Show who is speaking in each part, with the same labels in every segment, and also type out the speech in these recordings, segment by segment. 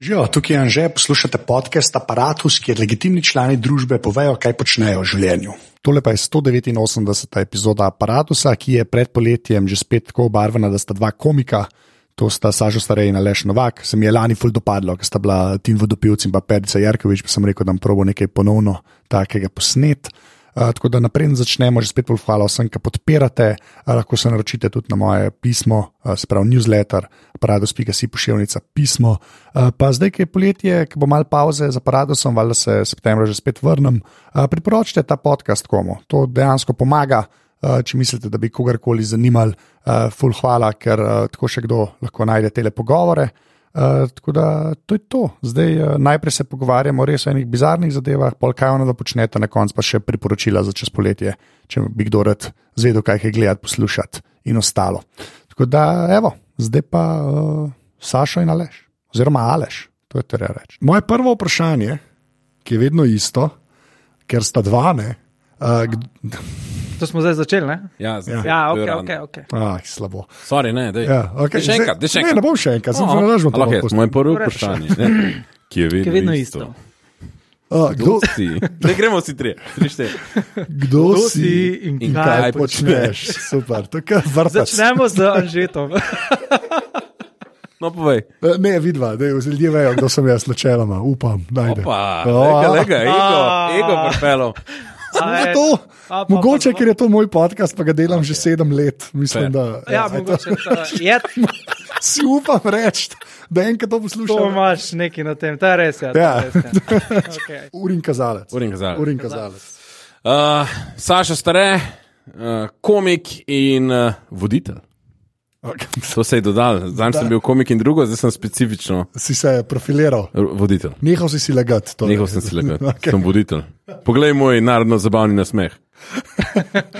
Speaker 1: Živijo, tukaj je Anže, poslušate podcast Apparatus, kjer legitimni člani družbe povejo, kaj počnejo v življenju. Tole pa je 189. epizoda Apparatusa, ki je pred poletjem že spet tako obarvana, da sta dva komika, to sta Sažo Starej in Aleš Novak. Se mi je lani ful dopadlo, ker sta bila Tim Vodopivc in pa Perica Jarkovič, pa sem rekel, da bom probo nekaj ponovno takega posnet. Uh, tako da naprej začnemo, že spet bolj hvala vsem, ki podpirate. Uh, lahko se naročite tudi na moje pismo, uh, sprav newsletter, parados.si pošiljnica pismo. Uh, pa zdaj, ki je poletje, ki bo mal pauze za paradosom, valjda se septembra že spet vrnem, uh, priporočite ta podcast komu. To dejansko pomaga. Uh, če mislite, da bi kogarkoli zanimali, uh, ful hvala, ker uh, tako še kdo lahko najde te pogovore. Uh, tako da to je to. Zdaj, uh, najprej se pogovarjamo res o enih bizarnih zadevah, pol kaj ono da počnete, na koncu pa še priporočila za čez poletje, če bi kdo rad zvedel, kaj je gledati, poslušati in ostalo. Tako da, evo, zdaj pa uh, Sašo in Aleš, oziroma Aleš, to je treba reči. Moje prvo vprašanje, ki je vedno isto, ker sta dva ne. Uh,
Speaker 2: To smo zdaj začeli, ne?
Speaker 3: Ja, zdaj,
Speaker 2: Ja, ok, ok. okay.
Speaker 1: ah, slabo.
Speaker 3: Sorry, ne, daj.
Speaker 1: Ja, okay,
Speaker 3: Daj še
Speaker 1: zdaj-
Speaker 3: enkrat, daj še
Speaker 1: Ne,
Speaker 3: enkrat.
Speaker 1: ne bom še enkrat, sem
Speaker 3: Aha.
Speaker 1: zelo ražen.
Speaker 3: Ali okej, Moje prvo vprašanje, ne, ki je vedno,
Speaker 2: Je vedno isto.
Speaker 1: Eh, Kdo,
Speaker 3: Kdo si? Ne gremo si tri, tri štiri.
Speaker 1: kdo
Speaker 2: Kdo
Speaker 1: si
Speaker 2: si in
Speaker 3: in
Speaker 2: kaj?
Speaker 3: kaj?
Speaker 1: Kaj počneš? Super, to je vrtač.
Speaker 2: Začnemo z Anžetom.
Speaker 3: No, povej.
Speaker 1: Eh, Ne, vidva, da ljudje vejo, kdo sem jaz načeloma, upam, najde. Ja,
Speaker 3: Opa,
Speaker 1: O,
Speaker 3: lega, lega, ego,
Speaker 2: A.
Speaker 3: ego prepelo.
Speaker 1: samo
Speaker 2: A je-
Speaker 1: zato,
Speaker 2: a pa-
Speaker 1: Mogoče,
Speaker 2: pa-
Speaker 1: ker je to moj podcast, pa ga delam že sedem let. Mislim,
Speaker 3: Fair.
Speaker 1: da
Speaker 2: Ja,
Speaker 1: to-
Speaker 2: mogoče. to- Je
Speaker 1: si upam reči, da enkrat to poslušam.
Speaker 2: to, imaš nekaj na tem, ta res je.
Speaker 1: Ja.
Speaker 2: Ja. to je Res, ja. Okay.
Speaker 1: Urin kazalec.
Speaker 3: Urin kazalec.
Speaker 1: Urin kazalec.
Speaker 3: Uh, Saša Stare, uh, komik in uh, voditelj.
Speaker 1: Okay.
Speaker 3: To se je dodal. Zdaj sem bil komik in drugo, zdaj sem specifično
Speaker 1: Si se profiliral,
Speaker 3: r- voditelj.
Speaker 1: nehal si si lagati. torej.
Speaker 3: Nehal sem si le
Speaker 1: Okej.
Speaker 3: gledati, sem voditelj. Poglej moj narodno zabavni nasmeh.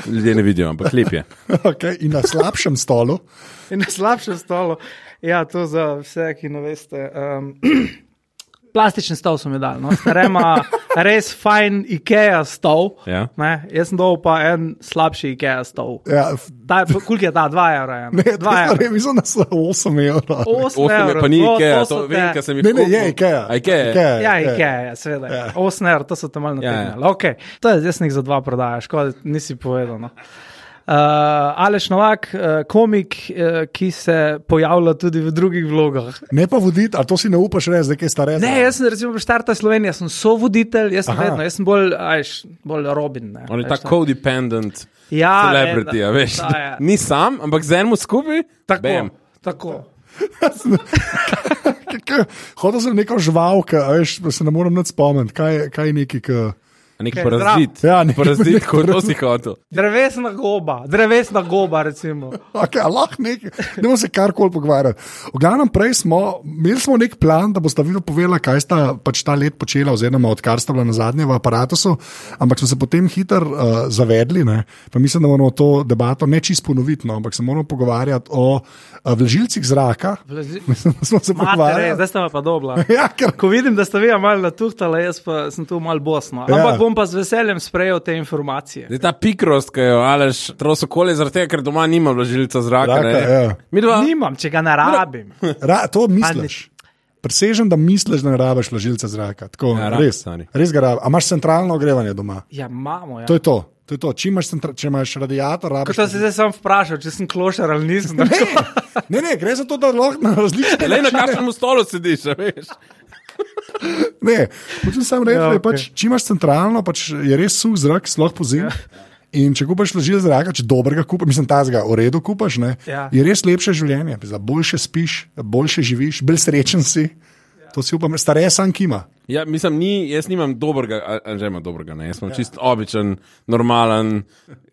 Speaker 3: Ljudje ne vidijo, ampak lep je.
Speaker 1: Okay, in na slabšem stolu,
Speaker 2: In na slabšem stolu. Ja, to za vse, ki ne veste. Um, plastičen stol so mi dali, no. starema res fajn IKEA stol.
Speaker 3: Ja.
Speaker 2: Ne, jaz sem dol pa en slabši IKEA stol.
Speaker 1: ja, f-
Speaker 2: Ta, koliko je ta? 2 evra. je,
Speaker 1: ne,
Speaker 2: Ne, 2 evra.
Speaker 1: ne, mislim, da so 8 evrov.
Speaker 2: 8
Speaker 3: Osem je
Speaker 2: evrov.
Speaker 3: pa ni
Speaker 2: no, to-
Speaker 3: Ikea,
Speaker 2: so
Speaker 3: to
Speaker 2: te-
Speaker 3: vem, ker sem jih
Speaker 1: Ne, ne, je
Speaker 3: kupil.
Speaker 1: Ikea.
Speaker 3: A Ikea.
Speaker 1: Ikea.
Speaker 2: Ja, Ikea, ja, seveda. Ja. 8 evrov, to so tam malo
Speaker 3: Ja, ja.
Speaker 2: nategnili. Ja. Okay. To je zdaj nek za dva prodaja, škoda, nisi povedal. No. Uh, Aleš Novak, uh, komik, uh, ki se pojavlja tudi v drugih vlogah.
Speaker 1: Ne pa voditi, a to si ne upaš reči, zdaj kaj starejši.
Speaker 2: Ne, jaz sem recimo pri Štarta Slovenija, sem sovoditelj, jaz sem
Speaker 1: Ja. Aha.
Speaker 2: vedno, jaz sem bolj, ajš, bolj Robin. Ne,
Speaker 3: On je
Speaker 2: veš,
Speaker 3: ta
Speaker 2: tam.
Speaker 3: codependent
Speaker 2: Ja,
Speaker 3: celebrity,
Speaker 2: ena.
Speaker 3: a veš.
Speaker 2: Ta je.
Speaker 3: Ni sam, ampak z enim skupaj.
Speaker 2: ja. Tako,
Speaker 3: bam.
Speaker 2: tako.
Speaker 1: Hodil sem neko žvalko, veš, pa se ne morem nič spomniti, kaj, je- kaj je neki. K...
Speaker 3: Nek
Speaker 2: Kaj,
Speaker 3: parazit.
Speaker 1: zdrav. Ja, nek-
Speaker 3: parazit, kot to si hotel.
Speaker 2: Drevesna goba, drevesna goba, recimo.
Speaker 1: Okay, lahko nekaj, ne bomo se karkoli pogovarjali. V glavnem, prej smo imeli smo nek plan, da boste vidno povedali, kaj sta pač ta let počela, oziroma odkar sta bila na zadnjem aparatu, ampak smo se potem hitro uh, zavedli. Ne? Pa mislim, da moramo to debato ne čisto ponoviti, no, ampak se moramo pogovarjati o uh, vležilcih zraka.
Speaker 2: Vleži-
Speaker 1: Mislim, da smo se
Speaker 2: Matere, eh,
Speaker 1: pogovarjali.
Speaker 2: zdaj ste pa dobla.
Speaker 1: Ja, ker
Speaker 2: Ko vidim, da ste vi malo natuhtali, jaz pa sem tu malo bosno.
Speaker 1: Ja.
Speaker 2: Ampak bom pa z veseljem sprejel te informacije.
Speaker 3: Zdaj ta pikrost, ki jo aleš, troso kole, zaradi tega, ker doma nima vložilca zraka.
Speaker 1: Zraka, ja.
Speaker 3: ne. Mi dva,
Speaker 2: Nimam, če ga ne rabim.
Speaker 1: Ra, to misliš. Presežem, da misliš, da ne rabiš ležilca zraka. Tako, ja,
Speaker 3: Ja,
Speaker 1: rab,
Speaker 3: rabim,
Speaker 1: res,
Speaker 3: stari.
Speaker 1: res ga rabiš. A imaš centralno ogrevanje doma?
Speaker 2: Ja, imamo. Ja.
Speaker 1: To je to. to, je to. Če, imaš centra, če imaš radiator,
Speaker 2: Ko
Speaker 1: rabiš.
Speaker 2: to si zdaj sam vprašal, če sem klošar ali nisem. Ne,
Speaker 1: Ne, ne, gre za to, da lahko na različne
Speaker 3: le na
Speaker 1: načine-
Speaker 3: kakšnem stolu sediš, a veš.
Speaker 1: Ne, hočem samo reči,
Speaker 2: Ja,
Speaker 1: da je
Speaker 2: okej.
Speaker 1: pač, če imaš centralno, pač je res suh zrak, sploh po
Speaker 2: Ja.
Speaker 1: zimi. In če kupaš ležil zraka, če dobrega kupaš, mislim, ta zga, v redu kupaš, ne,
Speaker 2: Ja.
Speaker 1: je res lepše življenje. Za boljše spiš, boljše živiš, bolj srečen si. To si upam, stareje sam kima.
Speaker 3: Ja, mislim, ni, jaz nimam dobrega, že imam dobrega, ne. Jaz sem ja. čist običajen, normalen,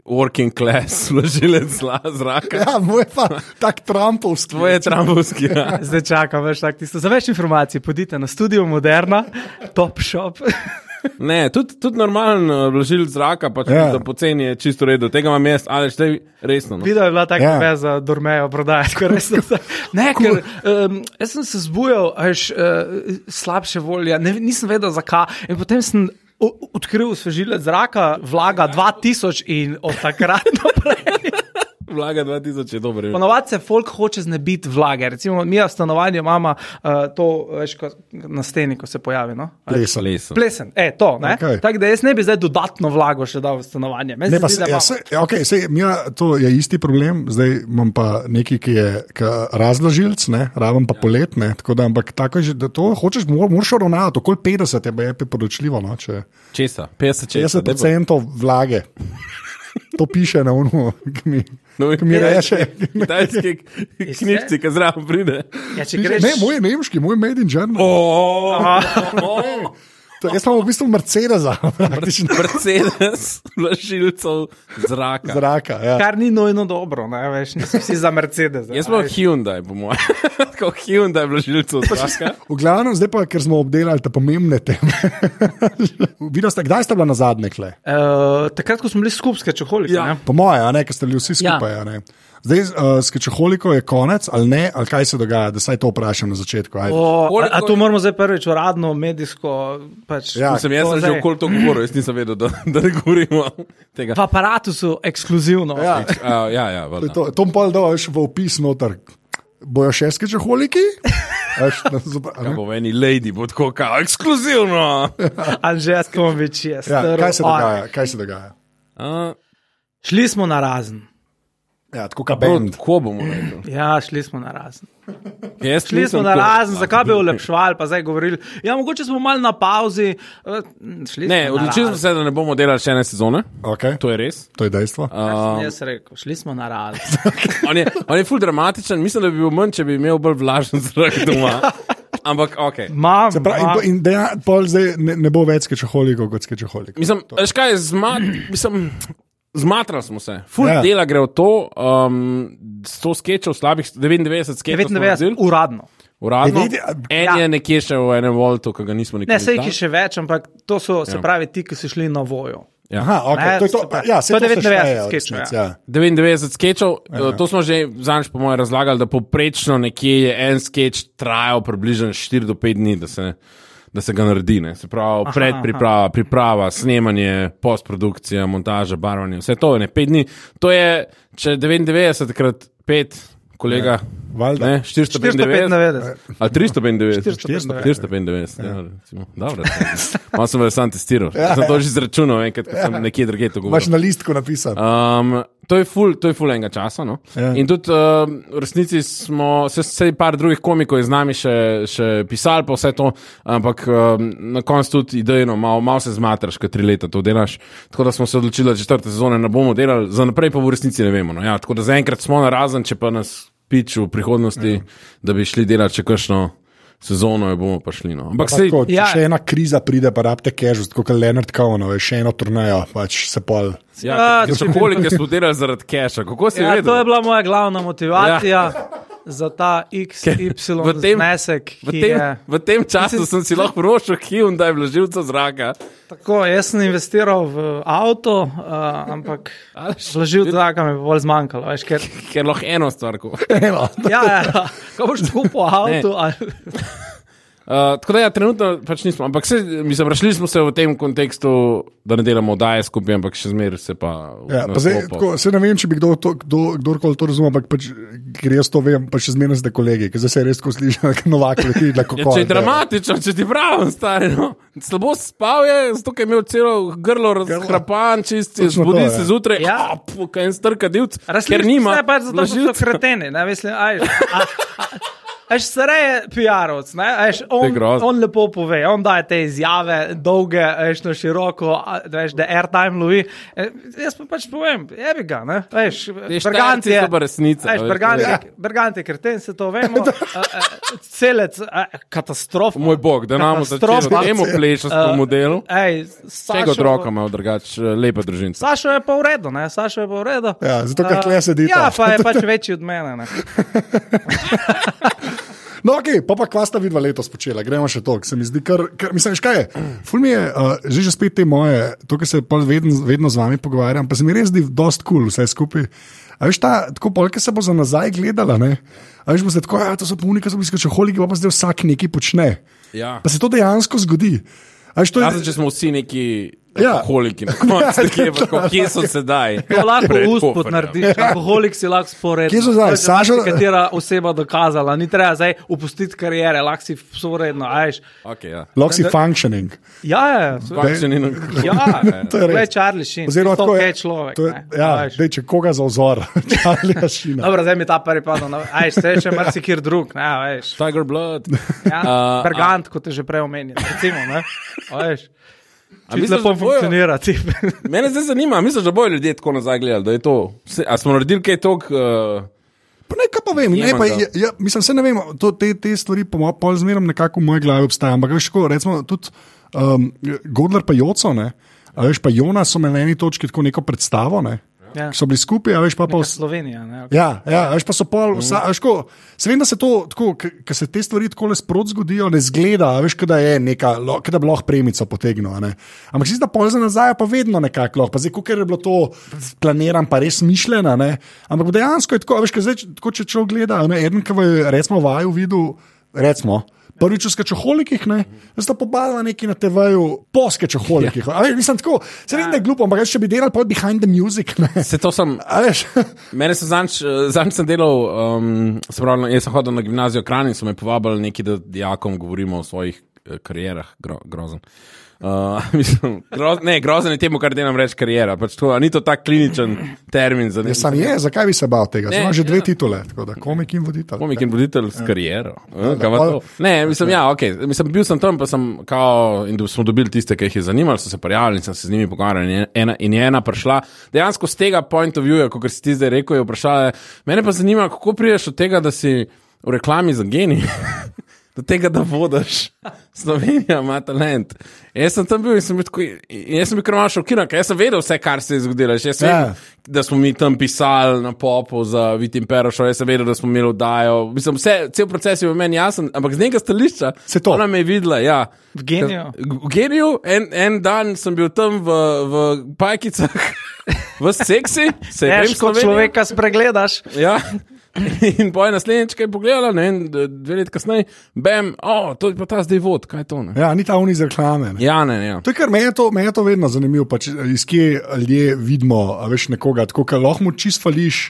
Speaker 3: working class vložilec zla- zraka.
Speaker 1: Ja,
Speaker 3: Ja.
Speaker 1: moj pa tak Trumpovski.
Speaker 3: Tvoje tramovski. Ja.
Speaker 2: Zdaj čakam, veš, tako tisto. Za več informacij pojdite na studio Moderna, Top Shop.
Speaker 3: Ne, tudi, tudi normalen eh, vložilec zraka, pač
Speaker 1: Ja.
Speaker 3: ja. za poceni je čisto v redu. Tega imam jaz, aleš, te resno. No.
Speaker 2: Video je bila tako
Speaker 1: Ja.
Speaker 2: yeah. veza, dormejo prodajati, tako resno. Ne, ker um, jaz sem se zbujal, až uh, slabše volje, ne, nisem vedel zakaj. In potem sem o- o- odkril svežilec zraka, vlaga 2000 in od takrat naprej.
Speaker 3: Vlaga 2000 je dobro. ime.
Speaker 2: Ponovadi se folk hoče znebiti vlage. Recimo, mi v stanovanju imamo uh, to veš, ko, na steni, ko se pojavi. No?
Speaker 1: Plesa.
Speaker 3: Lesen.
Speaker 2: Plesen, e, to. Okay.
Speaker 1: Okej.
Speaker 2: Tako da jaz ne bi zdaj dodatno vlago še dal v stanovanje. Meni
Speaker 1: Ne,
Speaker 2: se
Speaker 1: pa,
Speaker 2: zdi,
Speaker 1: se,
Speaker 2: da
Speaker 1: ja,
Speaker 2: imamo-
Speaker 1: se, ja, okay, se, mira, to je isti problem, zdaj imam pa nekaj, ki je ka razložilc, ne, raven pa
Speaker 2: Ja.
Speaker 1: poletne. Tako da, ampak tako je že, da to hočeš, mor- moraš ravnati, okoli 50 je baje priporočljivo. No, če
Speaker 3: Česa? 50 česa. daj pa.
Speaker 1: 50% vlage. To piše na unu, ki mi,
Speaker 3: No,
Speaker 1: ki mi reče.
Speaker 3: Kitajski knjižci, ki zraven pride.
Speaker 2: Ja, če greš,
Speaker 1: Ne, moj je nemški, moj je made in Germany.
Speaker 3: Oh,
Speaker 1: To, jaz imam v bistvu Mercedesa, praktično
Speaker 3: Mercedes, vlašilcev zraka. Zra
Speaker 1: zraka. Ja.
Speaker 2: kar ni nojno dobro, ne veš, nisem si za Mercedes.
Speaker 3: Jaz smo Hyundai, po mojem. Tako Hyundai vlašilcev zraka.
Speaker 1: V glavnem, zdaj pa, ker smo obdelali te pomembne teme. Videla ste, kdaj ste bila na zadnje kle?
Speaker 2: Uh, takrat, ko smo bili skupaj, skečoholiki.
Speaker 3: Ja.
Speaker 2: Ja.
Speaker 1: Po moje, a ne, ker ste bili vsi skupaj. a ne. Zdaj, uh, s kečoholiko je konec, ali ne, ali kaj se dogaja, da saj to vprašam na začetku. ajde.
Speaker 2: O, a, a
Speaker 3: Koliko-
Speaker 2: to moramo zdaj prvič uradno, medijsko. Pač,
Speaker 1: Ja.
Speaker 3: Sem jaz
Speaker 2: to
Speaker 3: sem že
Speaker 2: zdaj.
Speaker 3: okoli to govoril, jaz nisem vedel, da, da ne govorimo tega.
Speaker 2: V aparatu so ekskluzivno.
Speaker 1: Ja.
Speaker 3: A, ja, ja, valjda.
Speaker 1: To, to pol da veš v opis noter. Bojo še s kečoholiki? Veš, na zoba- a
Speaker 3: Ja,
Speaker 1: ne?
Speaker 3: bo v eni lady, bo tako kao, ekskluzivno.
Speaker 2: Anže Skomovič je
Speaker 1: Ja,
Speaker 2: strl
Speaker 1: kaj se
Speaker 2: oreh.
Speaker 1: dogaja? Kaj se dogaja?
Speaker 3: A,
Speaker 2: Šli smo na razen.
Speaker 1: Ja, tako kot
Speaker 3: bro,
Speaker 1: bend.
Speaker 3: Tako bomo rekli.
Speaker 2: Ja, šli smo na razen.
Speaker 3: Jaz
Speaker 2: Šli
Speaker 3: nisem
Speaker 2: smo na
Speaker 3: tako-
Speaker 2: razen, zakaj bi olepšvali, pa zdaj govorili. Ja, mogoče smo malo na pauzi. eh, Šli
Speaker 3: Ne,
Speaker 2: smo na
Speaker 3: odločili smo
Speaker 2: razen.
Speaker 3: se, da ne bomo delali še ene sezone.
Speaker 1: Okay.
Speaker 3: To je res.
Speaker 1: To je dejstvo.
Speaker 2: Kaj sem Jaz rekel, šli smo na razen.
Speaker 3: On je, on je ful dramatičen, mislim, da bi bil manj, če bi imel bolj vlažen zrak doma. Ampak, ok.
Speaker 2: Mam,
Speaker 1: Se pravi, in, bo- in deja, pol zdaj ne, ne bo več s kečoholiko kot s kečoholiko.
Speaker 3: Mislim, veš kaj, zma, mislim, zmatrali smo se. Ful
Speaker 1: Ja.
Speaker 3: yeah. dela gre v to, um, 100 sketchov, slabih 99 sketchov.
Speaker 2: 99,
Speaker 3: smo naredili.
Speaker 2: uradno.
Speaker 3: Uradno.
Speaker 1: Devet-
Speaker 3: En je nekje še v enem voltu, ki ga nismo nikoli
Speaker 2: Ne, sej jih je
Speaker 3: izdali.
Speaker 2: še več, ampak to so, se pravi, ti, ki so šli na vojo.
Speaker 3: Ja.
Speaker 1: Aha, okay,
Speaker 2: Ne,
Speaker 1: to je to.
Speaker 2: se pravi,
Speaker 1: Ja, se
Speaker 2: to je
Speaker 1: se
Speaker 2: 99
Speaker 1: šteje v
Speaker 2: sketchov,
Speaker 1: resnici,
Speaker 2: ja.
Speaker 1: ja.
Speaker 3: 99 sketchov, ja. to smo že zadnjič, po mojem, razlagali, da poprečno nekje je en sketch trajal približno 4 do 5 dni, da se, da se ga naredi. Ne. Se pravi, predpriprava, priprava, snemanje, postprodukcija, montaža, barvanje, vse to je ne 5 dni. To je, če 99 krat 5, kolega,
Speaker 1: Valjda.
Speaker 3: ne, 495.
Speaker 2: 495.
Speaker 3: Ali 395,
Speaker 2: 495.
Speaker 3: 495. Ja, recimo. Dobro, malo sem vas sam testiral, ja, sem to že izračunal, enkrat, ko sem nekje drugje to govoril.
Speaker 1: Imaš na listku napisano.
Speaker 3: Um, to je ful, to je ful enega časa. No?
Speaker 1: Ja.
Speaker 3: In tudi um, v resnici smo, se, se par drugih komikov je z nami še, še pisali, pa vse to, ampak um, na koncu tudi idejno, malo mal se zmatraš, ker tri leta to delaš. Tako da smo se odločili, da četrte sezone ne bomo delali, za naprej pa v resnici ne vemo. No? Ja, tako da zaenkrat smo na razen, če pa nas pič v prihodnosti, ja. da bi šli delati še kakšno sezono, jo bomo pa šli. No? Ampak
Speaker 1: Pa
Speaker 3: se.
Speaker 1: Tako, če ja.
Speaker 2: ja.
Speaker 1: še ena kriza pride, pa rabite kežus, kot je Leonard Cohen, veš, še eno turnejo, pač se pol.
Speaker 3: Ja,
Speaker 2: Ja,
Speaker 3: če koliko smo delali zaradi keša, kako si
Speaker 2: Ja,
Speaker 3: vedel?
Speaker 2: to je bila moja glavna motivacija ja. za ta XY
Speaker 3: v tem-
Speaker 2: znesek,
Speaker 3: V
Speaker 2: ki
Speaker 3: tem,
Speaker 2: je.
Speaker 3: v tem času sem si lahko rošil Hyundai, vlažilca zraka.
Speaker 2: Tako, jaz sem investiral v avto, uh, ampak vložil zraka mi je bolj zmanjkalo. Veš, ker,
Speaker 3: Ker lahko eno stvar. kup-
Speaker 2: ja, ja, ko boš kupil avto, ali,
Speaker 3: Uh, tako da, ja, trenutno pač nismo, ampak se, mislim, rešili smo se v tem kontekstu, da ne delamo oddaje skupaj, ampak še zmeraj se pa. v-
Speaker 1: Ja,
Speaker 3: na
Speaker 1: pa zdaj,
Speaker 3: sklopu.
Speaker 1: tako, se ne vem, če bi kdo to, kdo, kdorkoli to razumel, ampak pač, ker jaz to vem, pa še zmeraj ste kolegi, ker zdaj se je res ko slišim, da novak leti, da kako.
Speaker 3: Ja, če je dramatično, če ti pravim, stari. No. Slabo spal je, zato ker je imel celo grlo razkrapan, čist je
Speaker 1: Točno to,
Speaker 3: zbudil
Speaker 1: ja.
Speaker 3: se zjutraj.
Speaker 2: Ja.
Speaker 3: Ja, kaj en strka divc.
Speaker 2: Razlika
Speaker 3: Ker nima.
Speaker 2: je pač zato, da so
Speaker 3: vlažilca.
Speaker 2: kreteni. Ne, mislim, aj, a, a, Eš sreje PR-ovc, ne, a veš,
Speaker 3: To je
Speaker 2: on,
Speaker 3: grozno.
Speaker 2: on lepo pove, on daje te izjave, dolge, a veš, na široko, a, da veš, da airtime lovi. E, Jaz pa pač povem, jebi ga, ne, a veš, Bergant
Speaker 3: Štajerci
Speaker 2: je,
Speaker 3: so pa resnica,
Speaker 2: a veš,
Speaker 3: veš,
Speaker 2: Bergant
Speaker 3: ja.
Speaker 2: je, Bergant je kreten, se to vemo, a, a, celec, e, a, katastrofa.
Speaker 3: Moj bog, da nam začne
Speaker 2: Katastrofa.
Speaker 3: temu plešastemu
Speaker 2: Eh,
Speaker 3: modelu.
Speaker 2: Ej, Sašo,
Speaker 3: Tega otroka ima drugače, lepa družina.
Speaker 2: Sašo je pa v redu, ne, Sašo je pa v redu.
Speaker 1: Ja, zato, ker
Speaker 2: Eh,
Speaker 1: tule sedita.
Speaker 2: Ja, pa je pač večji od mene, ne.
Speaker 1: No, ok, pa pa kvasta vidva letos počela, gremo še to, ker se mi zdi, kar, kar mislim, veš, kaj je. Ful mi je, uh, že, že spet te moje, to, kar se pol vedno, vedno z vami pogovarjam, pa se mi res zdi dost kul cool, vse skupaj. A veš, ta, tako polka se bo za nazaj gledala, ne? A veš, bo se tako, ja, to so punika, so bisko čoholiki, pa, pa zdaj vsak nekaj počne.
Speaker 2: Ja,
Speaker 3: Ja.
Speaker 1: Pa se to dejansko zgodi. A veš, to je,
Speaker 3: Razen, če smo vsi neki
Speaker 1: Ja.
Speaker 3: alkoholik in tako naprej. Kje so sedaj?
Speaker 2: To Ja, lahko
Speaker 3: Pred
Speaker 2: uspod
Speaker 3: Hoferjem.
Speaker 2: narediš, alkoholik si lahko
Speaker 1: Ja.
Speaker 2: spored.
Speaker 1: Kje so zdaj? Sašo-
Speaker 2: Katera oseba dokazala, ni treba zdaj opustiti karijere, lahko si sporedno, ajš.
Speaker 3: Okay, ja.
Speaker 1: Lahko si functioning.
Speaker 2: Ja, ja, ja. seveda.
Speaker 3: Function in alkohol.
Speaker 2: Ja,
Speaker 1: To je
Speaker 2: to je
Speaker 1: res.
Speaker 2: Charlie Sheen.
Speaker 1: Oziroma,
Speaker 2: to
Speaker 1: tako
Speaker 2: je človek.
Speaker 1: to je-
Speaker 2: ne, a
Speaker 1: Ja,
Speaker 2: veš.
Speaker 1: dej, če koga za ozor, Charlieja Sheena.
Speaker 2: Dobro, zdaj mi ta prvi padel, no, na- aj ste še marsikjer drug, ne, a veš.
Speaker 3: Tiger Blood.
Speaker 2: Ja,
Speaker 3: A,
Speaker 2: Bergant, kot je že prej omenil, recimo, ne, a veš.
Speaker 3: A
Speaker 2: Čisto
Speaker 3: misliš, da
Speaker 2: lepo
Speaker 3: bojo?
Speaker 2: funkcionira, ti.
Speaker 3: Mene zdaj zanima, misliš, da bojo ljudje tako nazaj gledali, da je to. Vse, a smo naredili kaj tok? Uh,
Speaker 1: Pa ne, kaj pa vem, ne, pa,
Speaker 3: Jemam ga.
Speaker 1: ja, ja, mislim, se ne vem, to, te, te stvari po mojem pol zmerom nekako v moji glavi obstajajo. Ampak veš, tako, recimo tudi um, Godler pa Joco, ne, a veš pa Jona so imeli na eni točki tako neko predstavo, ne,
Speaker 2: Ja.
Speaker 1: ja. so bili skupaj, a veš pa pa vse.
Speaker 2: Slovenija, ne.
Speaker 1: Ja, ja, veš pa so pol, vsa, veš, ko, se vem, da se to, tako, ko se te stvari tako le sprot zgodijo, ne zgleda, a veš, kaj da je neka, lo- ke da bi lahko premico potegnil. a Ne? Ampak si da pol za nazaj je pa vedno nekako lahko, pa zdaj, ker je bilo to planirano, pa res mišljeno, ne? ampak dejansko je tako, a veš, ker zdaj, če- tako, če človek gleda, a ne, eden, ki je recimo vaju videl, recimo. Prvič v skečoholikih, ne, zdaj sta pobavila neki na TV-ju po skečoholikih. Ja. Mislim, tako, se vem, da je glupo, ampak jaz, če bi delal pod behind the music, ne.
Speaker 3: se to sem.
Speaker 1: A veš,
Speaker 3: Mene so zanč, zanč sem delal, um, se pravi, jaz sem hodil na gimnazijo Kran in so me povabili neki, da dijakom govorimo o svojih eh, karierah, Gro, grozen. Uh, mislim, groz, ne, grozen je temu, kar delam reči karijera. Pač to, a ni to tak kliničen termin za
Speaker 1: Ja,
Speaker 3: nekaj.
Speaker 1: sam je, zakaj bi se bal tega?
Speaker 3: Ne,
Speaker 1: Ima že dve
Speaker 3: ja.
Speaker 1: titule, tako da komik in voditelj.
Speaker 3: Komik in voditelj s kariero. Eh, kaj pa
Speaker 1: pol-
Speaker 3: to? Ne, mislim, ja, okay. mislim, bil sem tam, pa sem kao, in da smo dobili tiste, ki jih je zanimalo, so se prijavili in sem se z njimi pogovarjal. In je ena, in je ena prišla, dejansko z tega point of view, kot si ti zdaj rekel, je vprašala, mene pa zanima, kako priješ od tega, da si v reklami za genij. Do tega, da vodiš Slovenijo, ima talent. Jaz sem tam bil in sem bil, tako, in jaz sem bil kar malo šokiran, ker jaz sem vedel vse, kar se je zgodilo. Jaz sem,
Speaker 1: Ja.
Speaker 3: yeah da smo mi tam pisali na popu za Vitim Perošo, jaz sem vedel, da smo imeli oddajo. Mislim, vse, cel proces je v meni jasen, ampak z nekega stališča
Speaker 1: Se to.
Speaker 3: Ona me je videla, ja.
Speaker 2: V Geniju?
Speaker 3: V geniju, en, en dan sem bil tam v, v pajkicah, v seksi, se je
Speaker 2: Težko človeka spregledaš.
Speaker 3: Ja. In boje naslednjič, kaj je pogledala, ne vem, dve leti kasneje, bam, o, oh, to je pa ta zdaj vod, kaj je to? Ne?
Speaker 1: Ja, ni ta uniz reklame. ne.
Speaker 3: Ja, ne, ne. Ja.
Speaker 1: To je kar meni je to, meni je to vedno zanimivo, pač, iz kje ljudje vidimo, a veš nekoga, tako da lahko mu čist fališ.